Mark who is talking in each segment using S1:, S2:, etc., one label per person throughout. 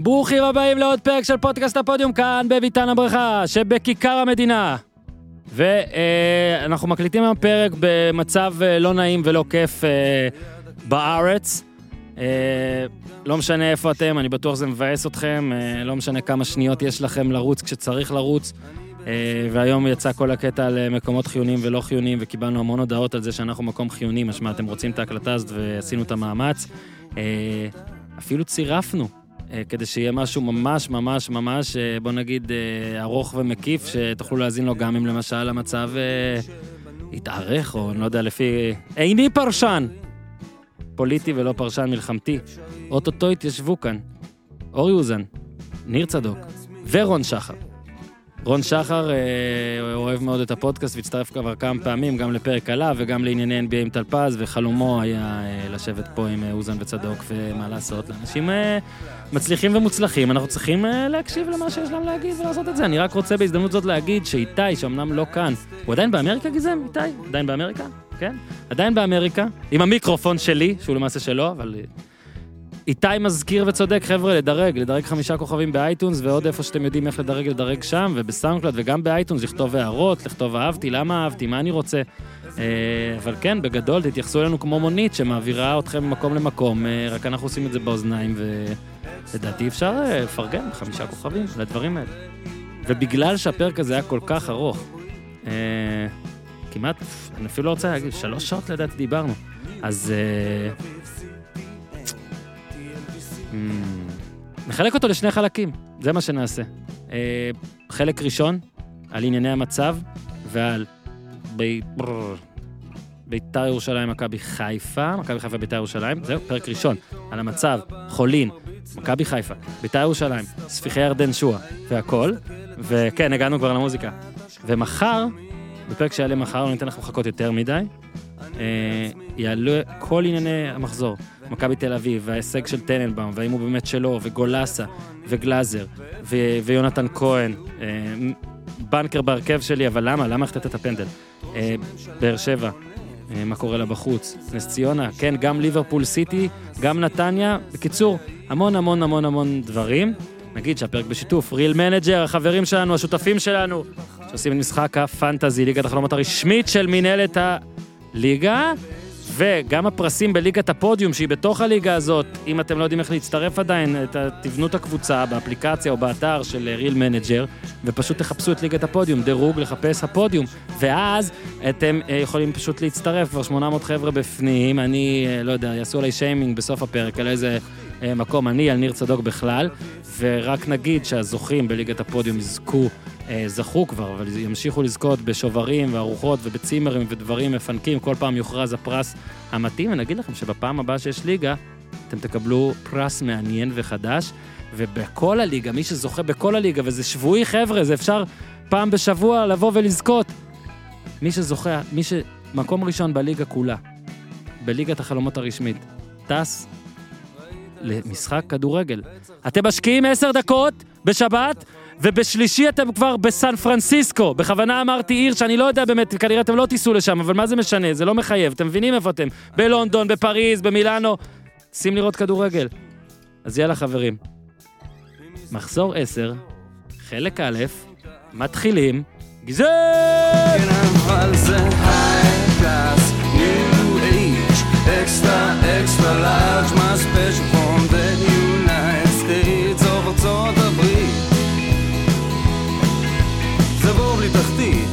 S1: ברוכים הבאים לעוד פרק של פודקאסט הפודיום כאן בביתן הברכה שבכיכר המדינה. ואנחנו מקליטים היום פרק במצב אה, לא נעים ולא כיף אה, בארץ. אה, לא משנה איפה אתם, אני בטוח שזה מבאס אתכם, אה, לא משנה כמה שניות יש לכם לרוץ כשצריך לרוץ. אה, והיום יצא כל הקטע על אה, מקומות חיוניים ולא חיוניים, וקיבלנו המון הודעות על זה שאנחנו מקום חיוני, משמע אתם רוצים את ההקלטה הזאת ועשינו את המאמץ. אה, אפילו צירפנו, אה, כדי שיהיה משהו ממש ממש ממש, אה, בוא נגיד, אה, ארוך ומקיף, שתוכלו להאזין לו גם אם למשל המצב אה, יתארך, או אני לא יודע, לפי... איני פרשן! פוליטי ולא פרשן מלחמתי. אוטוטו התיישבו כאן. אורי אוזן, ניר צדוק ורון שחר. רון שחר אה, אוהב מאוד את הפודקאסט והצטרף כבר כמה פעמים, גם לפרק עליו וגם לענייני NBA עם טל פז, וחלומו היה אה, לשבת פה עם אה, אוזן וצדוק, ומה לעשות, לאנשים אה, מצליחים ומוצלחים, אנחנו צריכים אה, להקשיב למה שיש להם להגיד ולעשות את זה. אני רק רוצה בהזדמנות זאת להגיד שאיתי, שאומנם לא כאן, הוא עדיין באמריקה גזם, איתי? עדיין באמריקה? כן. עדיין באמריקה, עם המיקרופון שלי, שהוא למעשה שלו, אבל... אה, איתי מזכיר וצודק, חבר'ה, לדרג, לדרג חמישה כוכבים באייטונס, ועוד איפה שאתם יודעים איך לדרג, לדרג שם, ובסאונדקלאד וגם באייטונס, לכתוב הערות, לכתוב אהבתי, למה אהבתי, מה אני רוצה. אה, אבל כן, בגדול, תתייחסו אלינו כמו מונית שמעבירה אתכם ממקום למקום, אה, רק אנחנו עושים את זה באוזניים, ולדעתי אפשר אה, לפרגן חמישה כוכבים לדברים האלה. ובגלל שהפרק הזה היה כל כך ארוך, אה, כמעט, אני אפילו לא רוצה להגיד, שלוש שעות לדעתי דיברנו, אז... אה, Mm. נחלק אותו לשני חלקים, זה מה שנעשה. אה, חלק ראשון, על ענייני המצב ועל בי... ברר, ביתר ירושלים, מכבי חיפה, מכבי חיפה, ביתר ירושלים, זהו, פרק ראשון, על המצב, חולין, מכבי חיפה, ביתר ירושלים, ספיחי ירדן שועה והכל, וכן, הגענו כבר למוזיקה. ומחר, בפרק שיעלה מחר, לא ניתן לכם לחכות יותר מדי, אה, יעלו כל ענייני המחזור. מכבי תל אביב, וההישג של טננבאום, והאם הוא באמת שלו, וגולסה, וגלאזר, ו- ויונתן כהן, אה, בנקר בהרכב שלי, אבל למה? למה החטאת את הפנדל? אה, באר שבע, אה, מה קורה לה בחוץ? נס ציונה, כן, גם ליברפול סיטי, גם נתניה. בקיצור, המון המון המון המון דברים. נגיד שהפרק בשיתוף, ריל מנג'ר, החברים שלנו, השותפים שלנו, שעושים את משחק הפנטזי, ליגת החלומות הרשמית של מינהלת הליגה. וגם הפרסים בליגת הפודיום, שהיא בתוך הליגה הזאת, אם אתם לא יודעים איך להצטרף עדיין, ת- תבנו את הקבוצה באפליקציה או באתר של ריל מנג'ר, ופשוט תחפשו את ליגת הפודיום, דירוג לחפש הפודיום, ואז אתם אה, יכולים פשוט להצטרף, כבר 800 חבר'ה בפנים, אני, אה, לא יודע, יעשו עליי שיימינג בסוף הפרק, על איזה אה, מקום אני, על ניר צדוק בכלל, ורק נגיד שהזוכים בליגת הפודיום יזכו. אה, זכו כבר, אבל ימשיכו לזכות בשוברים וארוחות ובצימרים ודברים מפנקים, כל פעם יוכרז הפרס המתאים, ונגיד לכם שבפעם הבאה שיש ליגה, אתם תקבלו פרס מעניין וחדש, ובכל הליגה, מי שזוכה בכל הליגה, וזה שבועי חבר'ה, זה אפשר פעם בשבוע לבוא ולזכות. מי שזוכה, מי שמקום ראשון בליגה כולה, בליגת החלומות הרשמית, טס למשחק כדורגל. אתם משקיעים עשר דקות בשבת, ובשלישי אתם כבר בסן פרנסיסקו. בכוונה אמרתי עיר שאני לא יודע באמת, כנראה אתם לא תיסעו לשם, אבל מה זה משנה? זה לא מחייב, אתם מבינים איפה אתם? בלונדון, בפריז, במילאנו. שים לראות כדורגל. אז יאללה חברים. מחזור 10, חלק א', מתחילים. גזר!
S2: And I'm all the high class, new age, extra, extra large, my special from the United States of ארצות הברית. זה בור בלי תחתית,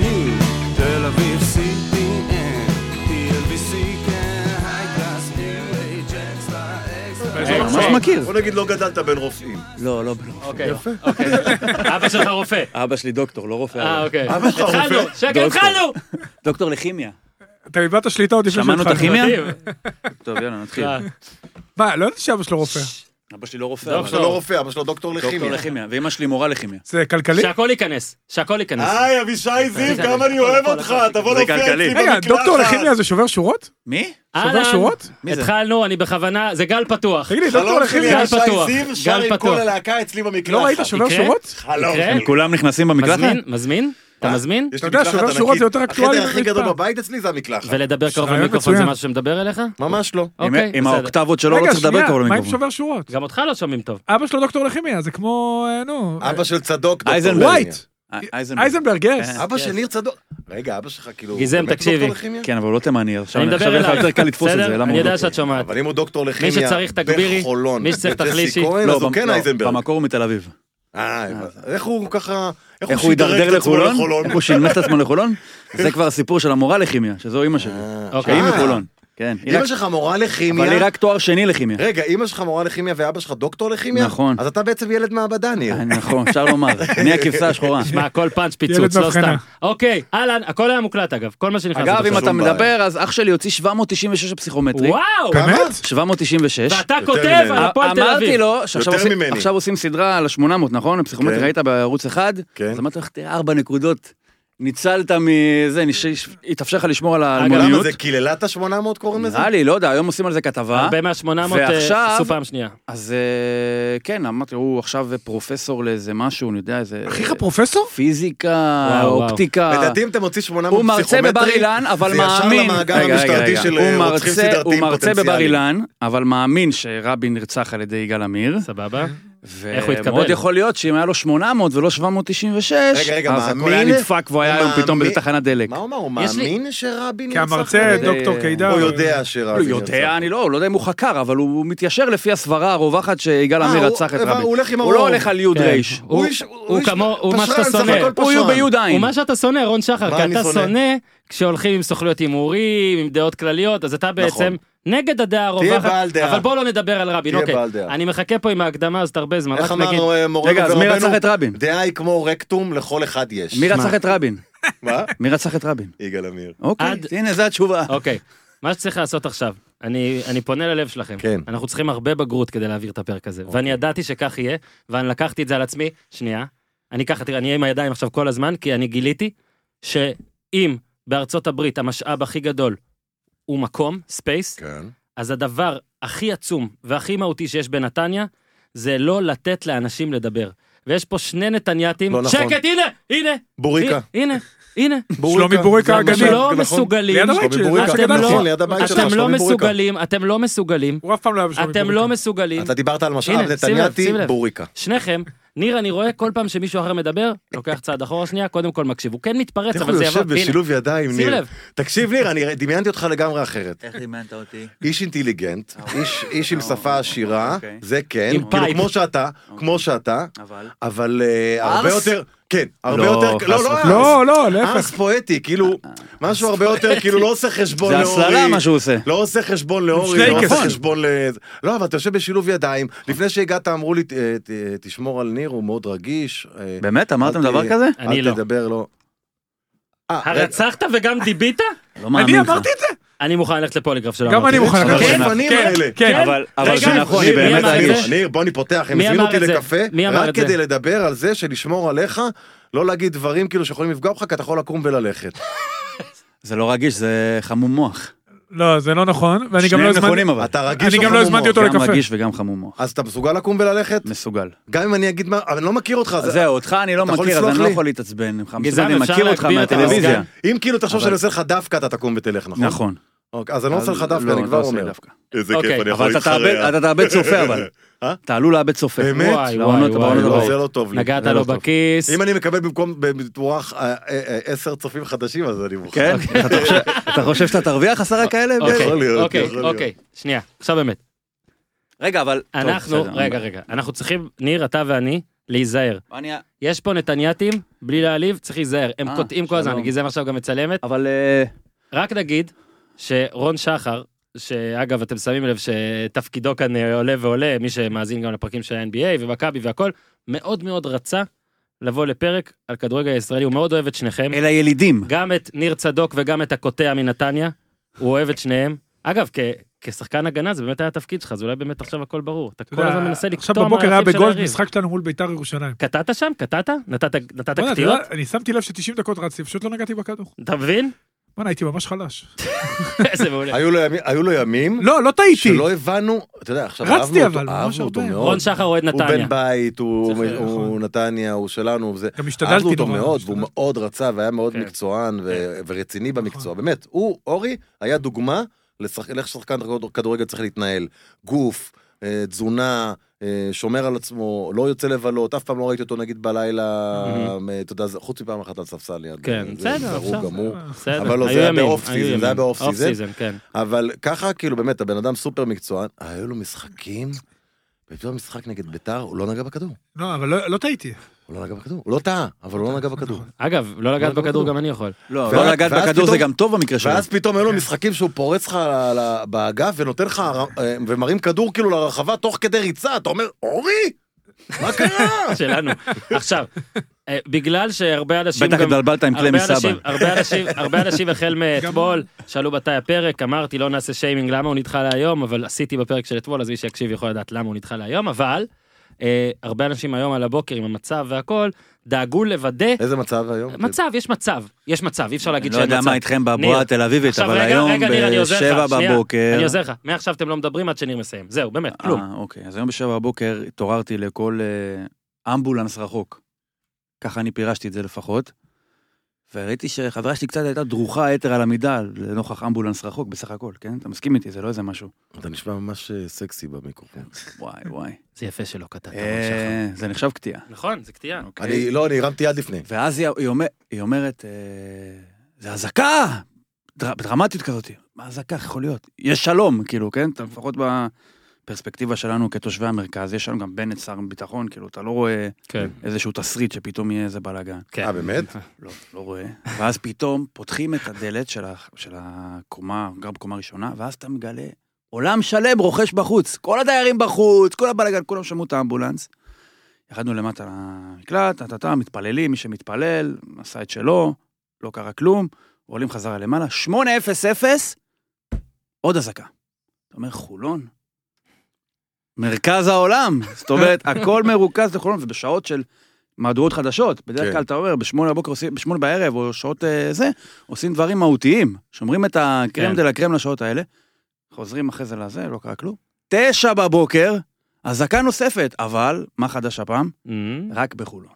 S2: ניו, תל אביב, CPN, TLBC, כן, high class, new age, extra, extra large.
S3: ממש מכיר.
S4: בוא נגיד לא גדלת בין רופאים.
S3: לא, לא, בלוף.
S1: אוקיי, אוקיי. אבא שלך רופא.
S3: אבא שלי דוקטור, לא רופא.
S1: אה,
S3: אבל.
S1: אוקיי.
S4: אבא שלך רופא?
S1: התחלנו, שקט,
S3: דוקטור.
S1: התחלנו!
S3: דוקטור לכימיה.
S5: אתה איבדת שליטה עוד לפני
S3: שמענו את
S5: שהתחלנו.
S3: הכימיה?
S1: מדהים.
S3: טוב, יאללה, נתחיל.
S1: אה.
S5: מה, לא ידעתי שאבא שלו רופא.
S3: אבא שלי לא רופא,
S1: דוקטור.
S3: אבל-
S4: אבא שלו לא רופא, אבא שלו דוקטור
S3: דוקטור
S4: לכימיה.
S3: לכימיה, ואימא שלי מורה לכימיה.
S5: זה כלכלי?
S1: שהכל ייכנס, שהכל ייכנס.
S4: היי, אבישי זיו,
S1: זה
S4: כמה
S1: זה
S4: אני אוהב
S1: הכל,
S4: אותך,
S1: הכל.
S4: תבוא
S3: זה
S4: להופיע
S3: כלכלי.
S4: אצלי
S5: רגע,
S4: במקלחת.
S5: דוקטור לכימיה זה שובר שורות?
S3: מי?
S1: אהלן,
S5: שובר שורות?
S3: מי זה?
S1: התחלנו, אני בכוונה, זה גל פתוח.
S5: תגיד לי, דוקטור
S4: שלום שלי,
S5: לכימיה,
S1: גל
S4: אבישי
S1: פתוח,
S4: זיו,
S1: גל
S4: שר עם
S1: פתוח.
S4: כל הלהקה אצלי במקלחת.
S5: לא ראית שובר
S1: יקרה?
S5: שורות?
S4: חלום.
S1: יקרה?
S3: הם כולם נכנסים במקלחת?
S1: מזמין? מזמין? אתה מזמין?
S4: יש
S5: אתה
S4: לי
S5: יודע,
S4: מקלחת
S5: שובר
S4: ענקית.
S5: שורות זה יותר אקטואלי
S4: החדר הכי
S5: מרצפה.
S4: גדול בבית אצלי זה המקלחת.
S1: ולדבר קרוב
S5: רעיון
S1: למיקרופון זה
S5: מצוין.
S1: משהו שמדבר אליך?
S4: ממש לא.
S6: עם-
S1: אוקיי,
S6: עם
S1: בסדר.
S6: האוקטבות שלו לא
S5: רגע,
S6: צריך לדבר
S5: שנייה,
S6: כבר
S5: מה עם
S6: במיקרופון.
S5: שובר שורות?
S1: גם אותך לא שומעים טוב.
S5: אבא שלו דוקטור לכימיה, זה כמו, אה, נו.
S4: אבא של צדוק. דוקטור
S6: אייזנברג.
S4: לכימיה.
S5: ווייט.
S6: אה,
S5: אייזנברג, יס.
S6: כן.
S4: אבא
S1: כן.
S4: של ניר צדוק. רגע, אבא שלך כאילו...
S1: גיזם,
S4: באמת
S1: תקשיבי.
S4: דוקטור לכימיה?
S6: כן, אבל הוא לא תימני, עכשיו
S1: אני
S6: אני
S1: מדבר
S6: חושב לך
S1: אליו.
S6: יותר קל לתפוס את זה,
S1: בסדר?
S6: למה
S1: אני
S6: הוא לא-
S1: יודע
S6: דוקטור?
S1: שאת שומעת.
S4: אבל אם הוא דוקטור לכימיה
S1: שצריך, תגבירי.
S4: בחולון,
S1: מי שצריך,
S4: בטסי
S1: תחלישי.
S4: כהן, אז הוא
S6: לא, במ-
S4: כן אייזנברג.
S6: במקור הוא מתל אביב.
S4: אה, הבנתי. איך הוא ככה...
S6: איך הוא
S4: שידרג
S6: הידרדר
S4: את עצמו
S6: לחולון? איך הוא שינמך את עצמו לחולון? זה כבר הסיפור של המורה לכימיה, שזו אימא שלי.
S1: אוקיי.
S6: שהיא
S4: אה.
S6: מחולון. כן. היא
S4: אמא
S6: רק-
S4: שלך מורה לכימיה.
S6: אבל היא רק תואר שני לכימיה.
S4: רגע, אמא שלך מורה לכימיה ואבא שלך דוקטור לכימיה?
S6: נכון.
S4: אז אתה בעצם ילד מעבדה, ניר.
S6: אה, נכון, אפשר לומר. אני הכבשה השחורה.
S1: שמע, כל פאנץ'
S5: ילד
S1: פיצוץ, לא סתם.
S5: בהבחנה.
S1: אוקיי, אהלן, הכל היה מוקלט אגב, כל מה שנכנס. עד
S6: אגב, אם
S1: עכשיו.
S6: אתה
S4: שום בעיה.
S6: מדבר, אז אח שלי הוציא 796 הפסיכומטרי.
S1: וואו!
S5: באמת?
S6: 796.
S1: ואתה
S4: יותר
S1: כותב
S4: ממני.
S1: על הפועל תל
S6: אה, אמרתי
S1: אביב.
S6: לו, שעכשיו
S4: יותר
S6: עושים-
S4: ממני.
S6: עכשיו עושים סדרה על ה-800, נכון? הפסיכומטרי
S4: כן.
S6: ראית בערוץ אחד?
S4: כן.
S6: אז אמרתי לך, תראה, ארבע נקודות. ניצלת מזה, נש- התאפשר לך לשמור על
S4: למה
S6: האלמוניות.
S4: זה קיללת ה-800 קוראים לזה?
S6: נראה לי, לא יודע, היום עושים על זה כתבה.
S1: הרבה מה-800
S6: ועכשיו-
S1: עשו אה, פעם שנייה.
S6: אז אה, כן, אמרתי, הוא עכשיו פרופסור לאיזה משהו, אני יודע, איזה...
S5: אחיך פרופסור?
S6: פיזיקה,
S1: וואו, וואו.
S6: אופטיקה.
S4: לדעתי אם אתה מוציא 800
S6: הוא מרצה
S4: פסיכומטרי,
S6: בבר אילן, אבל
S4: זה ישר
S6: מאמין...
S4: למעגל
S6: רגע, רגע,
S4: המשטרתי
S6: רגע.
S4: של
S6: הוא
S4: אה, רוצחים
S6: מרצה- הוא
S4: סדרתיים
S6: מרצה בבר
S4: פוטנציאליים.
S6: אילן, אבל מאמין שרבין נרצח על ידי יגאל עמיר.
S1: סבבה? איך הוא התקבל?
S6: ומאוד יכול להיות שאם היה לו 800 ולא 796,
S4: רגע, רגע,
S6: אז הכל היה
S4: מאמין?
S6: נדפק והוא היה
S4: הוא
S6: היום פתאום
S4: מאמין?
S6: באיזה תחנת דלק.
S4: מה הוא
S6: הוא
S4: אמר? הוא
S1: יש לי-
S4: מאמין שרבין
S5: כי
S4: נרצח?
S5: המרצה,
S4: על ידי-
S5: דוקטור
S6: אה,
S5: קידר.
S4: הוא יודע שרבין נרצח.
S6: יודע, אני לא, הוא לא יודע אם הוא חקר, אבל הוא הוא מתיישר לפי הסברה הרווחת שיגאל
S4: אה,
S6: עמיר
S4: הוא-
S6: רצח את
S4: אבל
S6: רבין.
S4: הוא הולך עם
S6: הוא לא
S4: הרוב.
S6: הולך על יוד
S1: כן.
S6: רייש.
S1: הוא-
S4: איש-
S1: הוא
S4: איש
S1: כמוהו- הוא מה
S4: פשרן,
S1: שאתה
S4: סך
S1: שונא.
S4: הכל
S6: הוא יהיו
S4: פשרן.
S6: ביוד עין.
S1: ומה שאתה שונא, רון שחר,
S4: מה
S1: כי
S4: אני
S1: אתה
S4: שונא?
S1: שונא כשהולכים עם סוכנויות הימורים, עם דעות כלליות, אז אתה בעצם נגד הדעה
S4: נכון. תהיה
S1: הרווחת,
S4: בעל דעה.
S1: אבל בוא לא נדבר על רבין,
S4: תהיה
S1: אוקיי.
S4: בעל דעה.
S1: אני מחכה פה עם ההקדמה הזאת הרבה זמן,
S4: איך
S1: רק נגיד,
S4: אמר אה, מורנו
S6: רגע, אז מי
S4: ורבנו?
S6: רצח את רבין?
S4: דעה היא כמו רקטום, לכל אחד יש.
S6: מי רצח את רבין?
S4: מה?
S6: מי רצח את רבין?
S4: יגאל עמיר.
S6: אוקיי,
S1: עד-
S6: הנה, זו התשובה.
S1: אוקיי, מה שצריך לעשות עכשיו, אני אני פונה ללב שלכם,
S4: כן. אוקיי.
S1: אנחנו צריכים הרבה בגרות כדי להעביר את הפרק הזה, ואני ידעתי שכך יהיה, ואני לקחתי את זה על עצמי, שנייה, אני ככה, תראה, אני אהיה עם הידיים עכשיו כל הזמן, כי אני גיליתי שאם בארצות הברית המשאב הכי גדול הוא מקום, ספייס,
S4: כן.
S1: אז הדבר הכי עצום והכי מהותי שיש בנתניה, זה לא לתת לאנשים לדבר. ויש פה שני נתניאתים,
S4: לא נכון.
S1: שקט, הנה, הנה,
S4: בוריקה.
S1: הנה, הנה,
S5: שלומי בוריקה
S4: זה
S1: אתם
S5: הגדול.
S1: לא
S4: נכון.
S1: מסוגלים,
S5: ליד הבית
S4: שלומי
S5: שלי,
S4: בוריקה.
S5: זה
S1: אתם
S5: שגדלתי.
S1: לא-
S4: נכון, ליד הבית שלך,
S1: אתם לא
S4: שלומי בוריקה.
S1: מסוגלים, אתם לא מסוגלים,
S5: הוא אף פעם לא היה בשלומי
S1: אתם לא
S5: בוריקה.
S1: מסוגלים,
S4: אתה דיברת על משאב
S1: הנה, שים לב,
S4: נתניאתי
S1: שים לב.
S4: בוריקה.
S1: שניכם, ניר, אני רואה כל פעם שמישהו אחר מדבר, לוקח צעד אחורה שנייה, קודם כל מקשיב, הוא כן מתפרץ,
S4: איך
S1: אבל
S4: הוא
S1: זה
S4: יושב
S1: יבוא, הנה,
S4: בשילוב ידיים,
S1: שים
S4: ניר.
S1: לב.
S4: תקשיב, ניר, אני דמיינתי אותך לגמרי אחרת.
S6: איך לימדת אותי?
S4: איש אינטליגנט, איש- איש עם
S6: אה,
S4: שפה עשירה,
S6: אוקיי.
S4: זה כן.
S1: עם
S4: כאילו,
S1: פייפ.
S4: כמו שאתה, כמו שאתה,
S6: אבל...
S4: אבל אה, הרבה
S6: ארס?
S4: יותר, כן, הרבה
S6: לא,
S4: יותר,
S6: חס
S4: לא, לא,
S6: וחלילה.
S4: ארס.
S5: לא, לא,
S6: אה?
S4: ארס
S5: להפך.
S4: פואטי, כאילו, משהו הרבה יותר, כאילו לא עושה חשבון
S6: זה
S4: לאורי.
S6: הסללה מה שהוא עושה.
S4: לא עושה חשבון לאורי, לא
S5: שלייקס.
S4: עושה
S5: נכון.
S4: חשבון ל... לא, אבל אתה יושב בשילוב ידיים. לפני שהגעת אמרו לי, "ת- ת- תשמור על ניר, הוא מאוד רגיש. אה,
S6: באמת? אמרתם
S4: אל ת-
S6: דבר כזה?
S1: אני
S4: אל
S1: לא.
S4: תדבר, לא. אה, רגע,
S1: הרצחת וגם דיבית?
S6: לא מאמין
S5: אני
S6: לך.
S5: אמרתי את זה?
S1: אני מוכן ללכת לפוליגרף שלו.
S5: גם
S1: אמרתי.
S5: אני מוכן
S4: אבל
S5: לקחת.
S4: כן,
S5: כן,
S4: הפנים
S5: כן,
S4: האלה.
S5: כן.
S6: אבל אבל
S1: רגע,
S6: זה נכון, אני
S1: ניר,
S6: באמת...
S1: מי אמר את
S6: רגיש.
S1: זה?
S4: ניר, בוא אני פותח, הם
S1: מי
S4: הזמינו
S1: אמר
S4: אותי
S1: את זה?
S4: לקפה,
S1: מי אמר את
S4: רק
S1: זה?
S4: כדי לדבר על זה שלשמור עליך, לא להגיד דברים כאילו שיכולים לפגוע בך, כי אתה יכול לקום וללכת.
S6: זה לא רגיש, זה חמום מוח.
S5: לא, זה לא נכון, ואני גם לא
S6: שניהם
S5: הזמנתי...
S6: נכונים אבל.
S4: אתה רגיש
S5: אני
S4: או
S5: גם לא
S4: חמום
S5: הזמנתי
S4: מוח?
S5: אותו
S6: גם
S5: לקפה.
S6: רגיש וגם חמום מוח.
S4: אז אתה מסוגל לקום וללכת?
S6: מסוגל.
S4: גם אם אני אגיד מה, אבל אני לא מכיר אותך,
S6: זהו, אותך אני לא
S4: אתה יכול
S6: מכיר, אז
S4: לסלוח
S6: אני לא
S4: לי?
S6: יכול להתעצבן ממך.
S1: גזען,
S6: בסדר, אני
S1: אפשר
S6: מכיר אותך
S1: להגביר את
S6: מהטלוויזיה.
S1: הרמזגן?
S4: אם כאילו תחשוב
S6: כן. אבל-
S4: שאני עושה לך דווקא, אתה תקום ותלך, נכון?
S6: נכון.
S4: אוקיי, אז אני לא עושה לך דווקא,
S6: לא,
S4: אני
S6: אתה
S4: כבר
S6: עושה
S4: אומר.
S6: דווקא.
S4: איזה
S1: אוקיי,
S6: אבל אתה תאבד- אתה תאבד צופה אבל.
S4: אה?
S6: אתה עלול לאבד צופה.
S4: באמת?
S1: וואי,
S6: בעונות-
S1: וואי,
S6: בעונות
S1: וואי,
S4: לא,
S6: הבאות.
S4: זה לא טוב לי.
S1: נגעת
S4: זה לא
S1: לו
S4: טוב.
S1: בכיס.
S4: אם אני מקבל במקום בטווח אה, אה, אה, עשר צופים חדשים, אז אני מוכן.
S6: כן? אתה חושב- אתה חושב שאתה תרוויח עשרה כאלה?
S1: אוקיי,
S4: יכול להיות,
S1: אוקיי,
S4: יכול להיות.
S1: אוקיי, שנייה, עכשיו באמת.
S6: רגע, אבל... טוב,
S1: אנחנו,
S6: בסדר,
S1: רגע, רגע, אנחנו צריכים, ניר, אתה ואני, להיזהר.
S6: אני-
S1: יש פה נתניאתים, בלי להעליב, צריך להיזהר. הם
S6: אה,
S1: קוטעים כל הזמן,
S6: שלום.
S1: נגיד זה עכשיו גם מצלמת.
S6: אבל... אה,
S1: רק נגיד שרון שחר, שאגב, אתם שמים לב שתפקידו כאן אה, עולה ועולה, מי שמאזין גם לפרקים של ה-NBA ומכבי והכל, מאוד מאוד רצה לבוא לפרק על כדורגל הישראלי, הוא מאוד אוהב את שניכם.
S4: אה,
S6: אל הילידים.
S1: גם את ניר צדוק וגם את הקוטע מנתניה, הוא אוהב את שניהם. אגב, כ- כשחקן הגנה זה באמת היה התפקיד שלך, אז אולי באמת עכשיו הכל ברור. אתה
S5: אתה
S1: כל
S5: יודע,
S1: הזמן מנסה לקטוע
S5: עכשיו בבוקר היה
S1: מהלכים של
S5: בגולד
S1: היריב.
S5: משחק שלנו מול ביתר ירושלים.
S1: קטעת שם? קטעת? נתת נתת
S5: בוא'נה, אתה
S1: קטיעות?
S5: יודע, אני שמתי לב ש-90 דקות רצתי, פשוט לא נגעתי בכדור.
S1: אתה מבין?
S5: בואנה, הייתי ממש חלש.
S1: איזה מעולה.
S4: אוקיי. היו לו ימים- היו לו ימים
S5: לא, לא טעיתי.
S4: שלא הבנו, אתה יודע, עכשיו
S5: רצתי,
S4: אהבנו אותו,
S5: אבל, ממש
S4: אהבנו אותו
S5: הרבה.
S4: מאוד.
S1: רון שחר אוהד
S4: הוא
S1: נתניה.
S4: בן בית, הוא
S1: צריך, נכון.
S4: הוא נתניה, הוא שלנו, הוא זה.
S5: גם השתדלתי
S4: אהבנו אותו
S5: נורא,
S4: מאוד,
S5: השתדלתי.
S4: והוא מאוד רצה והיה מאוד
S1: כן.
S4: מקצוען ו- ורציני במקצוע, באמת. הוא, אורי, היה דוגמה לשח- לאיך ששחקן כדורגל צריך להתנהל. גוף, אה, תזונה, אה, שומר על עצמו, לא יוצא לבלות, אף פעם לא ראיתי אותו נגיד בלילה, אה, אתה יודע, זה- חוץ מפעם אחת על ספסל ליד. אה,
S1: כן,
S4: זה
S1: בסדר,
S4: זרוג
S1: אפשר.
S4: גמור.
S1: בסדר.
S4: אבל לא, זה
S1: היו
S4: היה
S1: ימים,
S4: באוף
S1: היו
S4: סיזן, זה
S1: ימים.
S4: היה באוף
S1: אוף
S4: סיזן.
S1: סיזן, כן.
S4: אבל ככה, כאילו, באמת, הבן אדם סופר מקצוען, היו לו משחקים, ופתאום משחק נגד ביתר, הוא לא נגע בכדור.
S5: לא, אבל לא- לא טעיתי.
S4: הוא לא נגע בכדור, הוא לא טעה, אבל הוא לא נגע בכדור.
S1: אגב, לא לגעת בכדור גם אני יכול.
S6: לא,
S4: ואז-
S6: לא לגעת
S4: ואז
S6: בכדור זה
S4: פתאום-
S6: גם טוב במקרה שלו.
S4: ואז פתאום היו לו משחקים שהוא פורץ לך על ה- באגף ונותן לך, אה, ומרים כדור כאילו לרחבה תוך כדי ריצה, אתה אומר, אורי, מה קרה?
S1: שלנו. עכשיו, אה, בגלל שהרבה אנשים...
S6: בטח
S1: גם-
S6: התבלבלת עם
S1: הרבה
S6: קלמי סבא.
S1: אנשים- הרבה אנשים, הרבה אנשים החל מאתמול, שאלו מתי הפרק, אמרתי לא נעשה שיימינג למה הוא נדחה להיום, אבל עשיתי בפרק של אתמול, אז מי שיקשיב יכול לדעת למה הוא נדחה להיום, אבל אה, הרבה אנשים היום על הבוקר עם המצב והכל, דאגו לוודא,
S4: איזה מצב היום?
S1: מצב, יש מצב, יש מצב, אי אפשר
S6: אה, אני
S1: להגיד
S6: לא
S1: שאין מצב.
S6: יודע מה איתכם בבועה
S1: ניר,
S6: התל אביבית,
S1: עכשיו
S6: אבל
S1: רגע,
S6: היום
S1: רגע, ניר, אני עוזר לך,
S6: בשבע
S1: שנייה,
S6: בבוקר...
S1: אני עוזר לך, מעכשיו אתם לא מדברים עד שניר מסיים, זהו, באמת,
S6: אה,
S1: כלום.
S6: אוקיי, אז היום בשבע בבוקר התעוררתי לכל אה, אמבולנס רחוק. ככה אני פירשתי את זה לפחות. וראיתי שחברה שלי קצת הייתה דרוכה יתר על המידה לנוכח אמבולנס רחוק בסך הכל, כן? אתה מסכים איתי, זה לא איזה משהו.
S4: אתה נשמע ממש אה, סקסי במיקרופון.
S6: וואי וואי.
S1: זה יפה שלא קטעת, רון שחר.
S6: אה, זה נחשב קטיעה.
S1: נכון, זה קטיעה.
S6: אוקיי.
S4: אני, לא, אני הרמתי יד לפני.
S6: ואז היא, היא, אומר, היא אומרת, אה, זה אזעקה! דר, דרמטית כזאת. מה אזעקה, איך יכול להיות? יש שלום, כאילו, כן? אתה לפחות בפרספקטיבה שלנו כתושבי המרכז, יש לנו גם בנט שר ביטחון, כאילו, אתה לא רואה
S1: כן,
S6: איזשהו תסריט שפתאום יהיה איזה בלאגן.
S1: כן.
S4: אה, באמת?
S6: לא, לא רואה. ואז פתאום פותחים את הדלת של, ה, של הקומה, גם קומה ראשונה, ואז אתה מגלה עולם שלם רוכש בחוץ. כל הדיירים בחוץ, כל הבלאגן, כולם שמעו את האמבולנס. ירדנו למטה למקלט, טה-טה-טה, מתפללים, מי שמתפלל, עשה את שלו, לא קרה כלום, עולים חזרה למעלה, 8:00, עוד אזעקה. אתה אומר, חולון? מרכז העולם. זאת אומרת, הכל מרוכז לחולון, ובשעות של מהדורות חדשות. בדרך
S4: כן.
S6: כלל אתה אומר, בשמונה בבוקר עושים, בשמונה בערב, או שעות אה, זה, עושים דברים מהותיים. שומרים את הקרם
S1: כן.
S6: דה לה קרם לשעות האלה, חוזרים אחרי זה לזה, לא קרה כלום. תשע בבוקר, אזעקה נוספת, אבל, מה חדש הפעם?
S1: אמ,
S6: רק בחולון.